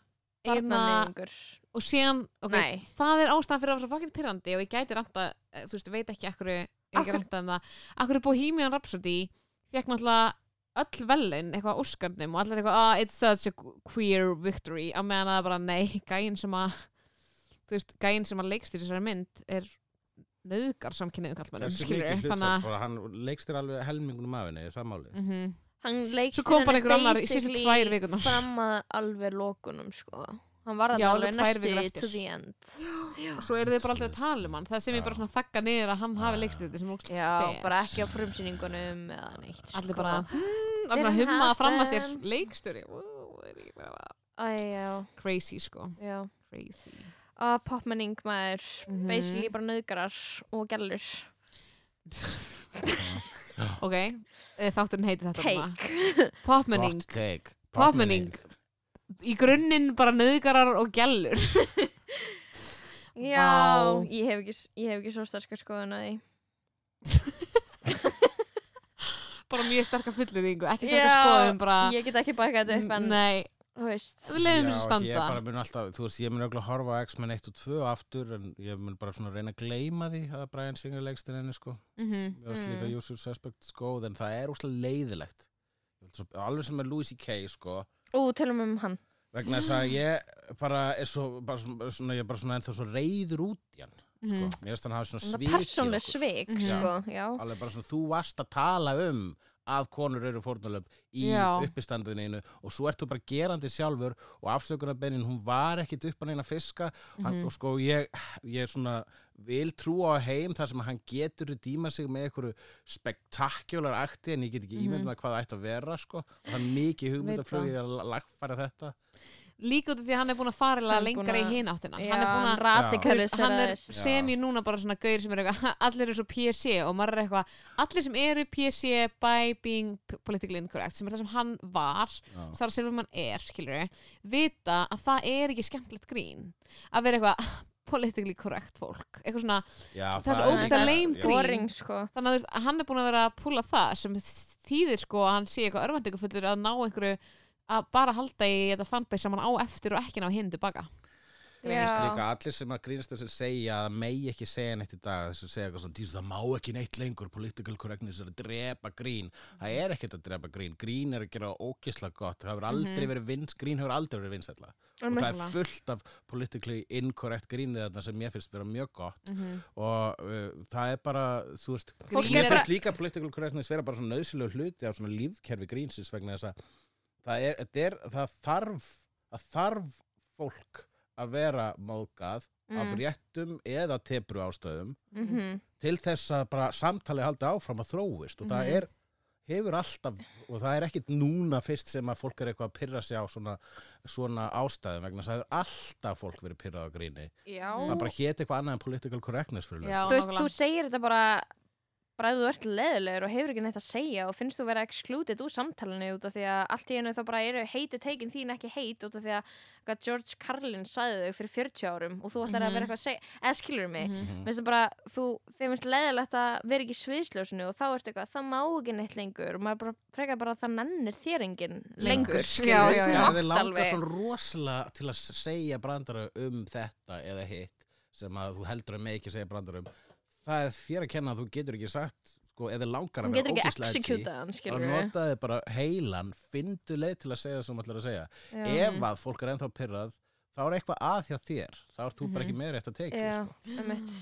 [SPEAKER 1] hérna,
[SPEAKER 2] Barnaneðingur.
[SPEAKER 1] og síðan, ok,
[SPEAKER 2] Nei.
[SPEAKER 1] það er ástæðan fyrir að það var svo fucking pyrrandi og ég gæti ranta eh, þú veist, veit ekki akkur ég er ekki
[SPEAKER 2] Akkur-
[SPEAKER 1] rantað um það akkur Bohemian Rhapsody fekk náttúrulega öll velun eitthvað á Óskarnum og allir eitthvað, ah, it's such a queer victory á meðan að bara, nei, gæinn sem að þú veist, gæinn sem að leikst í þessari mynd er nöðgar samkynniðum kallmennum,
[SPEAKER 3] Hversu
[SPEAKER 1] skilur
[SPEAKER 3] mikið
[SPEAKER 1] þannig
[SPEAKER 3] hlutfall,
[SPEAKER 1] að
[SPEAKER 3] bara hann leikstýr alveg helmingunum af henni, það er málið
[SPEAKER 1] mhm.
[SPEAKER 2] Hann leikst
[SPEAKER 1] Svo kom bara einhver annar í síðustu tvær vikurnar.
[SPEAKER 2] fram að alveg lokunum, sko. Hann var
[SPEAKER 1] Já,
[SPEAKER 2] þarna
[SPEAKER 1] alveg
[SPEAKER 2] alveg
[SPEAKER 1] tvær vikur
[SPEAKER 2] næstu
[SPEAKER 1] eftir.
[SPEAKER 2] to the end. Já,
[SPEAKER 1] svo eru þið bara alltaf að tala um hann það sem ég bara
[SPEAKER 3] Já.
[SPEAKER 1] svona þakka niður að hann hafi
[SPEAKER 3] Já,
[SPEAKER 1] leikst þetta sem er ógeðslega spes.
[SPEAKER 2] bara ekki á frumsýningunum eða neitt, sko.
[SPEAKER 1] allir bara hmm, allir að
[SPEAKER 2] Didn't
[SPEAKER 1] humma fram að sér
[SPEAKER 2] happen.
[SPEAKER 1] leikstjóri Wow, er ég bara-
[SPEAKER 2] Æ, já,
[SPEAKER 1] crazy sko
[SPEAKER 2] já.
[SPEAKER 1] crazy
[SPEAKER 2] Að popmenning maður,
[SPEAKER 1] Mhm.
[SPEAKER 2] basically bara nöðgarar og gælur.
[SPEAKER 1] ok, eh, þátturinn heitir þetta núna.
[SPEAKER 2] take
[SPEAKER 1] popmenning
[SPEAKER 3] Hot take
[SPEAKER 1] popmenning í grunninn bara nöðgarar og gælur
[SPEAKER 2] Já,
[SPEAKER 1] Vá.
[SPEAKER 2] ég hef ekki, s- ég hef ekki svo starka skoðun að því
[SPEAKER 1] bara mjög sterka fullurðingu, ekki sterka
[SPEAKER 2] Já,
[SPEAKER 1] skoðum bara,
[SPEAKER 2] Ég get ekki bakað þetta upp en
[SPEAKER 1] nei,
[SPEAKER 2] þú veist
[SPEAKER 1] við leiðum þessu
[SPEAKER 3] ég
[SPEAKER 1] standa
[SPEAKER 3] bara mun alltaf, þú veist, ég mun örugglega horfa á X-Men 1 og 2 aftur en ég mun bara svona reyna að gleyma því að Brian Singer leggst inn henni sko
[SPEAKER 1] Mhm.
[SPEAKER 3] Mér varst
[SPEAKER 2] Mm.
[SPEAKER 3] líka Usual Suspects góð en það er úrslega leiðilegt Ég held svo- alveg sem með Louis C.K. sko
[SPEAKER 2] Ú, tölum um hann
[SPEAKER 3] vegna þess að ég bara er svo, bara svona, svona- ég er bara svona ennþá svo reyður út í hann sko.
[SPEAKER 1] Mhm.
[SPEAKER 3] mér finnst hann hafa svona
[SPEAKER 2] Það
[SPEAKER 3] svikið
[SPEAKER 2] er persónleg
[SPEAKER 3] okkur.
[SPEAKER 2] svik,
[SPEAKER 1] Mhm.
[SPEAKER 2] sko Já,
[SPEAKER 3] alveg bara svona þú varst að tala um að konur eru fórnulöf í
[SPEAKER 1] Já.
[SPEAKER 3] uppistandinu og svo ert þú bara gerandi sjálfur og afsökunarbeinin hún var ekkit upp hann eina fiska hann,
[SPEAKER 1] Mhm.
[SPEAKER 3] og sko ég, ég svona vil trúa á heim þar sem hann getur dýma sig með einhverju spektakjólar akti en ég get ekki
[SPEAKER 1] Mhm.
[SPEAKER 3] ímynd með hvað það ætti að vera sko. og það er mikið hugmyndaflögi að lagfæra þetta
[SPEAKER 1] líka út af því að hann er búin að fara
[SPEAKER 2] Hann er búinn
[SPEAKER 1] lengra í
[SPEAKER 2] að-
[SPEAKER 1] hinn áttina
[SPEAKER 2] já,
[SPEAKER 1] hann er búin að Þú veist, hann er
[SPEAKER 2] radikaliserast
[SPEAKER 1] sem ég núna bara svona gaur sem er eitthvað allir eru svo PC og maður er eitthvað allir sem eru PC by being p- politically incorrect sem er það sem hann var
[SPEAKER 3] Já.
[SPEAKER 1] Sara Silverman er, skilur við vita að það er ekki skemmtilegt grín að vera eitthvað politically correct fólk eitthvað svona,
[SPEAKER 3] Já,
[SPEAKER 1] Það er svo ógeðslega lame grín.
[SPEAKER 2] Boring, sko
[SPEAKER 1] þannig að þú veist, að hann er búin að vera að púla það sem þýðir sko að hann sé eitthvað örvendingufullur að ná einhverju að bara halda í þetta fanbase sem hann á eftir og ekki ná hinn tilbaka
[SPEAKER 3] grínist
[SPEAKER 2] Já.
[SPEAKER 3] líka allir sem að grínist þess að segja að það megi ekki segja neitt í dag þess að segja eitthvað svona, "Jesus, það má ekki neitt lengur political correctness er að drepa grín það er ekkert að drepa grín, grín er að gera ógislega gott, það hefur aldrei verið vins grín hefur aldrei verið vinsætla og það er
[SPEAKER 1] Nákvæmlega.
[SPEAKER 3] fullt af politically incorrect grínið þarna sem mér finnst vera mjög gott
[SPEAKER 1] Mhm.
[SPEAKER 3] og uh, það er bara, þú veist
[SPEAKER 1] Fólk
[SPEAKER 3] mér
[SPEAKER 1] er
[SPEAKER 3] finnst líka political correctness vera bara svona nöðsilegu hluti af svona lífkerfi grínsins vegna þess að það, er, þetta er, það þarf að þarf fólk að vera móðgað af
[SPEAKER 2] Mm.
[SPEAKER 3] réttum eða tepru ástöðum
[SPEAKER 2] Mhm.
[SPEAKER 3] til þess að bara samtalið haldi áfram að þróist og það
[SPEAKER 1] Mhm.
[SPEAKER 3] er hefur alltaf, og það er ekkit núna fyrst sem að fólk er eitthvað að pyrra sig á svona, svona ástæðum vegna þess að það hefur alltaf fólk verið pyrrað á gríni
[SPEAKER 2] Já
[SPEAKER 3] það bara hét eitthvað annað en political correctness fyrir löngu.
[SPEAKER 1] Mm. Já,
[SPEAKER 2] Mm. Þú veist,
[SPEAKER 1] nákvæmlega.
[SPEAKER 2] þú segir þetta bara bara ef þú ert leðilegur og hefur ekki neitt að segja og finnst þú vera excluded úr samtalinu út af því að allt í einu þá bara eru heitu teikin þín ekki heit út af því að hvað George Carlin sagði þau fyrir 40 árum og þú ætlar að
[SPEAKER 1] Mhm.
[SPEAKER 2] vera eitthvað að segja eða skilur mig,
[SPEAKER 1] Mhm.
[SPEAKER 3] Mhm.
[SPEAKER 2] Mér finnst það bara, þú, þeim finnst leiðilegt að vera ekki í sviðsljósinu og þá ertu eitthvað, það má ekki neitt lengur og maður bara frekar bara að það nennir þér enginn lengur,
[SPEAKER 1] Lengur.
[SPEAKER 2] skilur,
[SPEAKER 1] Já,
[SPEAKER 2] við,
[SPEAKER 1] já,
[SPEAKER 2] þú
[SPEAKER 1] já.
[SPEAKER 3] Já,
[SPEAKER 2] mátt
[SPEAKER 3] þið langar
[SPEAKER 2] alveg
[SPEAKER 3] svona rosalega til að segja brandara um þetta eða hitt sem að þú heldur að með ekki segja brandara um það er þér að kenna að þú getur ekki sagt sko, eða þið langar
[SPEAKER 2] hún
[SPEAKER 3] að vera
[SPEAKER 2] getur ekki
[SPEAKER 3] ógeðslega edgy,
[SPEAKER 2] executað hann,
[SPEAKER 3] þá
[SPEAKER 2] skilur við
[SPEAKER 3] notaði bara heilan, fyndu leið til að segja það sem þú ætlar að segja
[SPEAKER 2] Já,
[SPEAKER 3] ef að fólk er ennþá pyrrað þá er eitthvað að hjá þér þá ert þú bara
[SPEAKER 1] Mhm.
[SPEAKER 3] ekki með rétt að teki
[SPEAKER 2] já,
[SPEAKER 3] sko.
[SPEAKER 2] emitt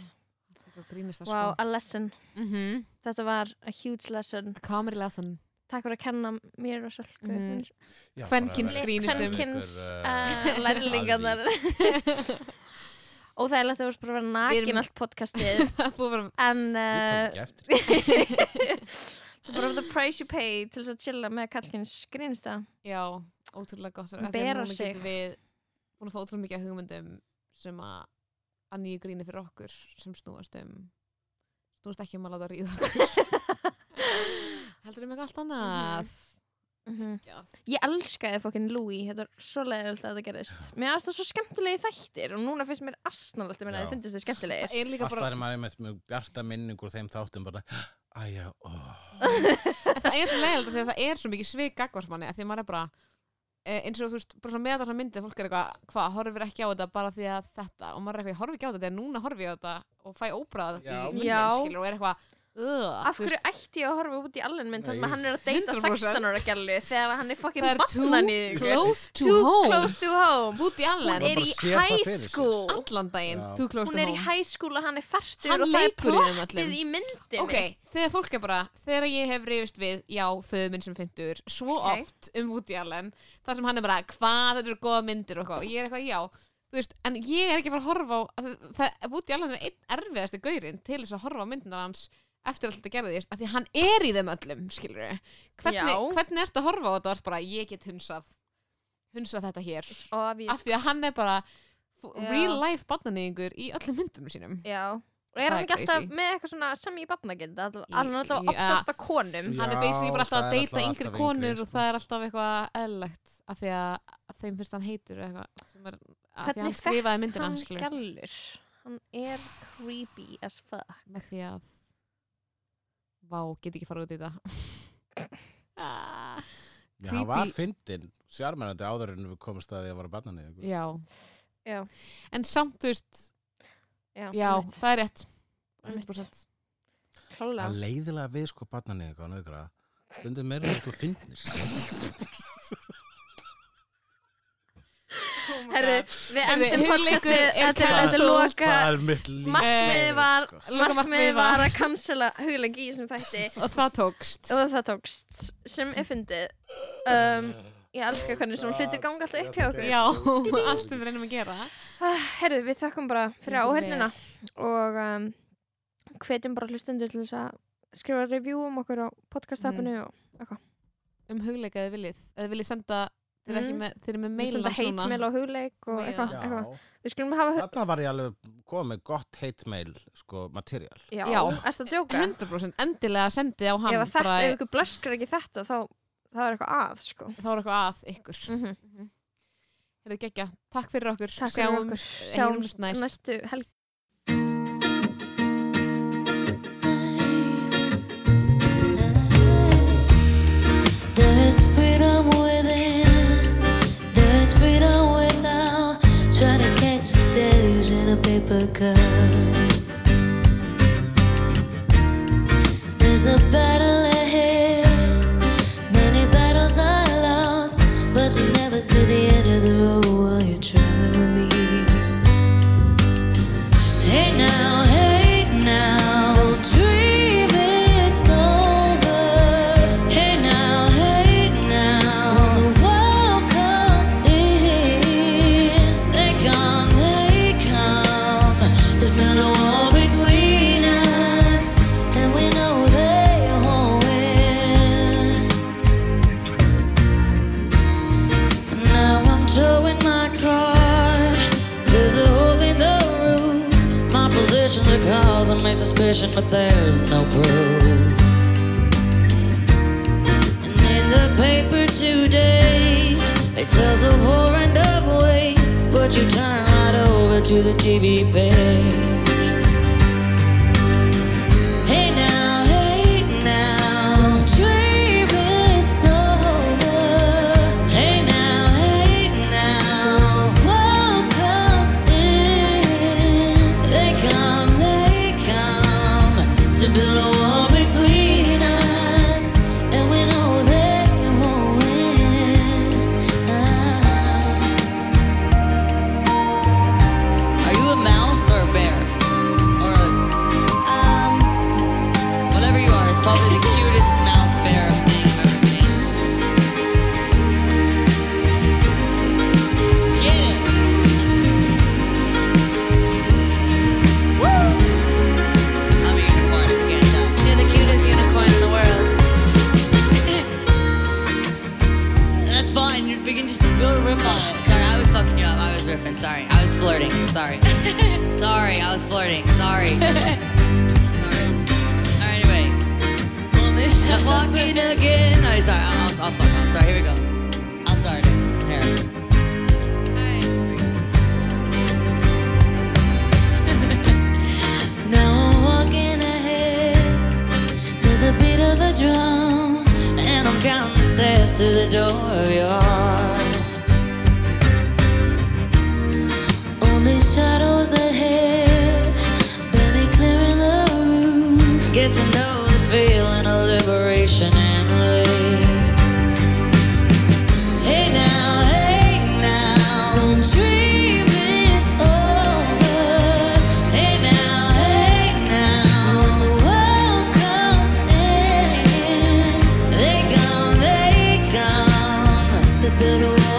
[SPEAKER 1] Eitthvað grínist það
[SPEAKER 2] Wow,
[SPEAKER 1] sko
[SPEAKER 2] a lesson,
[SPEAKER 1] Mhm.
[SPEAKER 2] þetta var a huge lesson
[SPEAKER 1] Comedy lesson
[SPEAKER 2] Takk fyrir að kenna mér og svolgu
[SPEAKER 1] Mhm.
[SPEAKER 3] Já,
[SPEAKER 1] Kvenkyns
[SPEAKER 3] bara-
[SPEAKER 1] grínist um.
[SPEAKER 2] Kvenkins
[SPEAKER 3] Ykkur,
[SPEAKER 2] uh, lærlingarnar Og það er lett að þú varst bara að vera
[SPEAKER 1] Við erum-
[SPEAKER 2] nakin allt podcastið
[SPEAKER 1] Það búið bara
[SPEAKER 2] En
[SPEAKER 3] Ég tók
[SPEAKER 2] uh,
[SPEAKER 3] ekki eftir
[SPEAKER 2] Það er bara the price you pay til þess að chilla með kallkins grínist það
[SPEAKER 1] Já, ótrúlega gott
[SPEAKER 2] Að
[SPEAKER 1] Af því að
[SPEAKER 2] bera
[SPEAKER 1] núna
[SPEAKER 2] sig.
[SPEAKER 1] getum Við búin að fá ótrúlega mikið af hugmyndum sem að að nýju gríni fyrir okkur sem snúast um snúast ekki um að láta ríða okkur Heldur um eitthvað allt annað
[SPEAKER 2] Mhm.
[SPEAKER 1] Já.
[SPEAKER 2] Ég elskaði fokkin Louis, þetta er svo leiðilegt að þetta gerist Mér finnst það svo skemmtilegi þættir og núna finnst mér asnalegt að mér að
[SPEAKER 3] Já.
[SPEAKER 2] þið finnst þið skemmtilegir
[SPEAKER 1] Það er líka
[SPEAKER 3] alltaf
[SPEAKER 1] bara,
[SPEAKER 3] er maður einmitt með bjarta minningur þeim þáttum bara, æja, óh
[SPEAKER 1] það er svo leiðilegt af því að það er svo mikið svik gagvarsmanni að því að maður er bara eh, eins og þú veist, bara svona með þarna myndið fólk er eitthvað, hvað, horfir ekki á þetta bara því að þetta og maður er eitthvað, ég horfi ekki á þetta, en núna horfi ég á þetta og fæ
[SPEAKER 3] Já.
[SPEAKER 1] óbræða þetta í
[SPEAKER 2] Já.
[SPEAKER 1] munninn, skilur, og er eitthvað "Ugh",
[SPEAKER 2] Af
[SPEAKER 1] þú veist,
[SPEAKER 2] hverju ætti ég að horfa út í allen minn þar sem að
[SPEAKER 3] Nei.
[SPEAKER 2] hann er að deyta
[SPEAKER 1] 100%.
[SPEAKER 2] 16 ára gælu þegar hann er fokkin
[SPEAKER 1] það er
[SPEAKER 2] bannan í
[SPEAKER 1] too
[SPEAKER 2] þig
[SPEAKER 1] close to
[SPEAKER 2] Too
[SPEAKER 1] home
[SPEAKER 2] close to home
[SPEAKER 1] Woody Allen
[SPEAKER 2] Hún
[SPEAKER 1] er
[SPEAKER 2] er
[SPEAKER 3] bara
[SPEAKER 2] í
[SPEAKER 3] sér það
[SPEAKER 2] high
[SPEAKER 3] fyrir sér.
[SPEAKER 2] school
[SPEAKER 1] allan daginn
[SPEAKER 3] Já.
[SPEAKER 1] Too close
[SPEAKER 2] Hún
[SPEAKER 1] to
[SPEAKER 2] er í
[SPEAKER 1] home
[SPEAKER 2] high school og hann er fartur
[SPEAKER 1] Hann
[SPEAKER 2] og það er
[SPEAKER 1] leikur í þeim öllum.
[SPEAKER 2] plottið í myndinni
[SPEAKER 1] Ok, þegar fólk er bara, þegar ég hef reyfist við, já, föðu minn sem fyndur, svo
[SPEAKER 2] Ok.
[SPEAKER 1] oft um Woody Allen, þar sem hann er bara, hvað, þetta eru góða myndir og eitthvað, og ég er eitthvað, já, þú veist, en ég er ekki að fara að horfa á, það, Woody Allen er einn erfiðasti gaurinn til þess að horfa á myndinar hans eftir allt þetta gerðist, af því hann er í þeim öllum, skilur við, hvernig,
[SPEAKER 2] Já.
[SPEAKER 1] hvernig ertu að horfa á þetta og ert bara, ég get hunsað, hunsað þetta hér,
[SPEAKER 2] Obvious
[SPEAKER 1] af því að hann er bara f-
[SPEAKER 2] Já.
[SPEAKER 1] real life barnanýðingur í öllum myndunum sínum.
[SPEAKER 2] Já, og er
[SPEAKER 1] Það
[SPEAKER 2] hann
[SPEAKER 1] er
[SPEAKER 2] ekki alltaf
[SPEAKER 1] crazy.
[SPEAKER 2] með eitthvað svona sem ég batnagind
[SPEAKER 1] Í-
[SPEAKER 2] hann er alltaf
[SPEAKER 1] í-
[SPEAKER 2] að obsasta konum
[SPEAKER 1] hann er
[SPEAKER 3] Já,
[SPEAKER 1] basically bara
[SPEAKER 3] það
[SPEAKER 1] alltaf að
[SPEAKER 3] er
[SPEAKER 1] deyta
[SPEAKER 3] alltaf-
[SPEAKER 1] yngri
[SPEAKER 3] alltaf
[SPEAKER 1] konur
[SPEAKER 3] yngri,
[SPEAKER 1] og
[SPEAKER 3] sko.
[SPEAKER 1] það er allegt eitthvað eðlilegt af því að að þeim finnst hann heitur eða eitthvað sem er, af því að hann
[SPEAKER 2] fekk
[SPEAKER 1] skrifaði myndina
[SPEAKER 2] hann
[SPEAKER 1] skilur,
[SPEAKER 2] gælur hann er creepy as fuck
[SPEAKER 1] með því að vá, get ekki fara út í þetta Ah,
[SPEAKER 3] Já, hann var
[SPEAKER 1] creepy.
[SPEAKER 3] fyndin, sjármennandi áður en við komumst að því að vara barnan í
[SPEAKER 1] já.
[SPEAKER 2] Já.
[SPEAKER 1] en samt, þú veist já,
[SPEAKER 2] einmitt,
[SPEAKER 1] það er rétt
[SPEAKER 2] einmitt.
[SPEAKER 1] 100%
[SPEAKER 2] Klárlega.
[SPEAKER 3] Það leiðilega við sko barnan í eitthvað nöðgra Stundum meira en þú fyndnir
[SPEAKER 2] Herru, við
[SPEAKER 1] Herru,
[SPEAKER 2] endum
[SPEAKER 1] hugleikur
[SPEAKER 2] podcastið,
[SPEAKER 1] er
[SPEAKER 2] þetta er- þetta er
[SPEAKER 1] cancelled.
[SPEAKER 2] loka
[SPEAKER 3] Það er mitt líf
[SPEAKER 2] markmiðið var
[SPEAKER 3] sko.
[SPEAKER 1] Lokamarkmiðið
[SPEAKER 2] markmiðið
[SPEAKER 1] var-
[SPEAKER 2] var að cancela hugleiki í þessum þætti
[SPEAKER 1] og það tókst
[SPEAKER 2] og það tókst sem er fyndið um, ég elska hvernig svona hlutir ganga alltaf upp hjá okkur
[SPEAKER 1] já, allt sem við reynum að gera
[SPEAKER 2] Ah, Herðu, við þakkum bara fyrir
[SPEAKER 1] Engu
[SPEAKER 2] áhörnina og um, hvetjum bara hlustendur til þess að skrifa review um okkur á
[SPEAKER 1] Mhm.
[SPEAKER 2] podcast-appinu og
[SPEAKER 1] um hugleika eða viljið eða viljið senda, þeir eru
[SPEAKER 2] Mm.
[SPEAKER 1] ekki með, þeir eru með
[SPEAKER 2] við senda
[SPEAKER 1] meila
[SPEAKER 2] heitmeil og hugleik og
[SPEAKER 1] Meila.
[SPEAKER 2] eitthvað eitthva.
[SPEAKER 3] Já,
[SPEAKER 2] Við skulum hafa hug...
[SPEAKER 3] þarna var ég alveg komið með gott heitmeil sko, materiál
[SPEAKER 2] Já,
[SPEAKER 1] Já.
[SPEAKER 2] ertu að djóka?
[SPEAKER 1] 100% endilega sendið á hann
[SPEAKER 2] Ef að þetta,
[SPEAKER 1] bara-
[SPEAKER 2] ef ykkur blöskrar ekki þetta þá, þá er eitthvað að, sko
[SPEAKER 1] þá er eitthvað að ykkur Mhm.
[SPEAKER 2] mm
[SPEAKER 1] Þetta er geggja, takk fyrir okkur
[SPEAKER 2] Takk fyrir
[SPEAKER 1] Sjáum-
[SPEAKER 2] okkur
[SPEAKER 1] heyrumst næst.
[SPEAKER 2] næstu helgi
[SPEAKER 4] There's freedom within, there's freedom without. Trying to catch the days in a paper cup. There's a battle ahead, many battles are lost, but you never see the end of the road while you're traveling with me. Hey now, hey now, don't dream it's over. Hey now, hey now, when the world comes in, they come, they come to build a wall between us, and we know they won't win. Now I'm towing my car. There's a hole in the roof. My position the cause of my suspicion, but there's no proof. And in the paper today, it tells of war and of waste, but you turn right over to the TV page. Hey now, hey now, don't dream it's over. Hey now, hey now, world comes in. They come, they come to build a wall between us, and we know they won't win. Are you a mouse or a bear or a? Um. Whatever you are, it's probably the cutest mouse bear thing I've ever seen. Get it! Woo! I'm a unicorn, if you can't tell. You're the cutest unicorn in the world. That's fine, you're beginning to build a riff on it.
[SPEAKER 5] Sorry, I was fucking you up. I was riffing. Sorry, I was flirting. Sorry. Sorry, I was flirting. Sorry. Sorry. All right, anyway.
[SPEAKER 4] Only
[SPEAKER 5] I'm walking again. No, sorry. I'll, I'll, I'll fuck off. Sorry, here we go. I'll start it. Here. Here we go.
[SPEAKER 4] Now I'm walking ahead to the beat of a drum, and I'm counting the steps to the door of your heart. Only shadows ahead, barely clearing the roof. Get to know the feeling of liberation and relief. Hey now, hey now, don't dream it's over. Hey now, hey now, when the world comes in, they come, they come to build a wall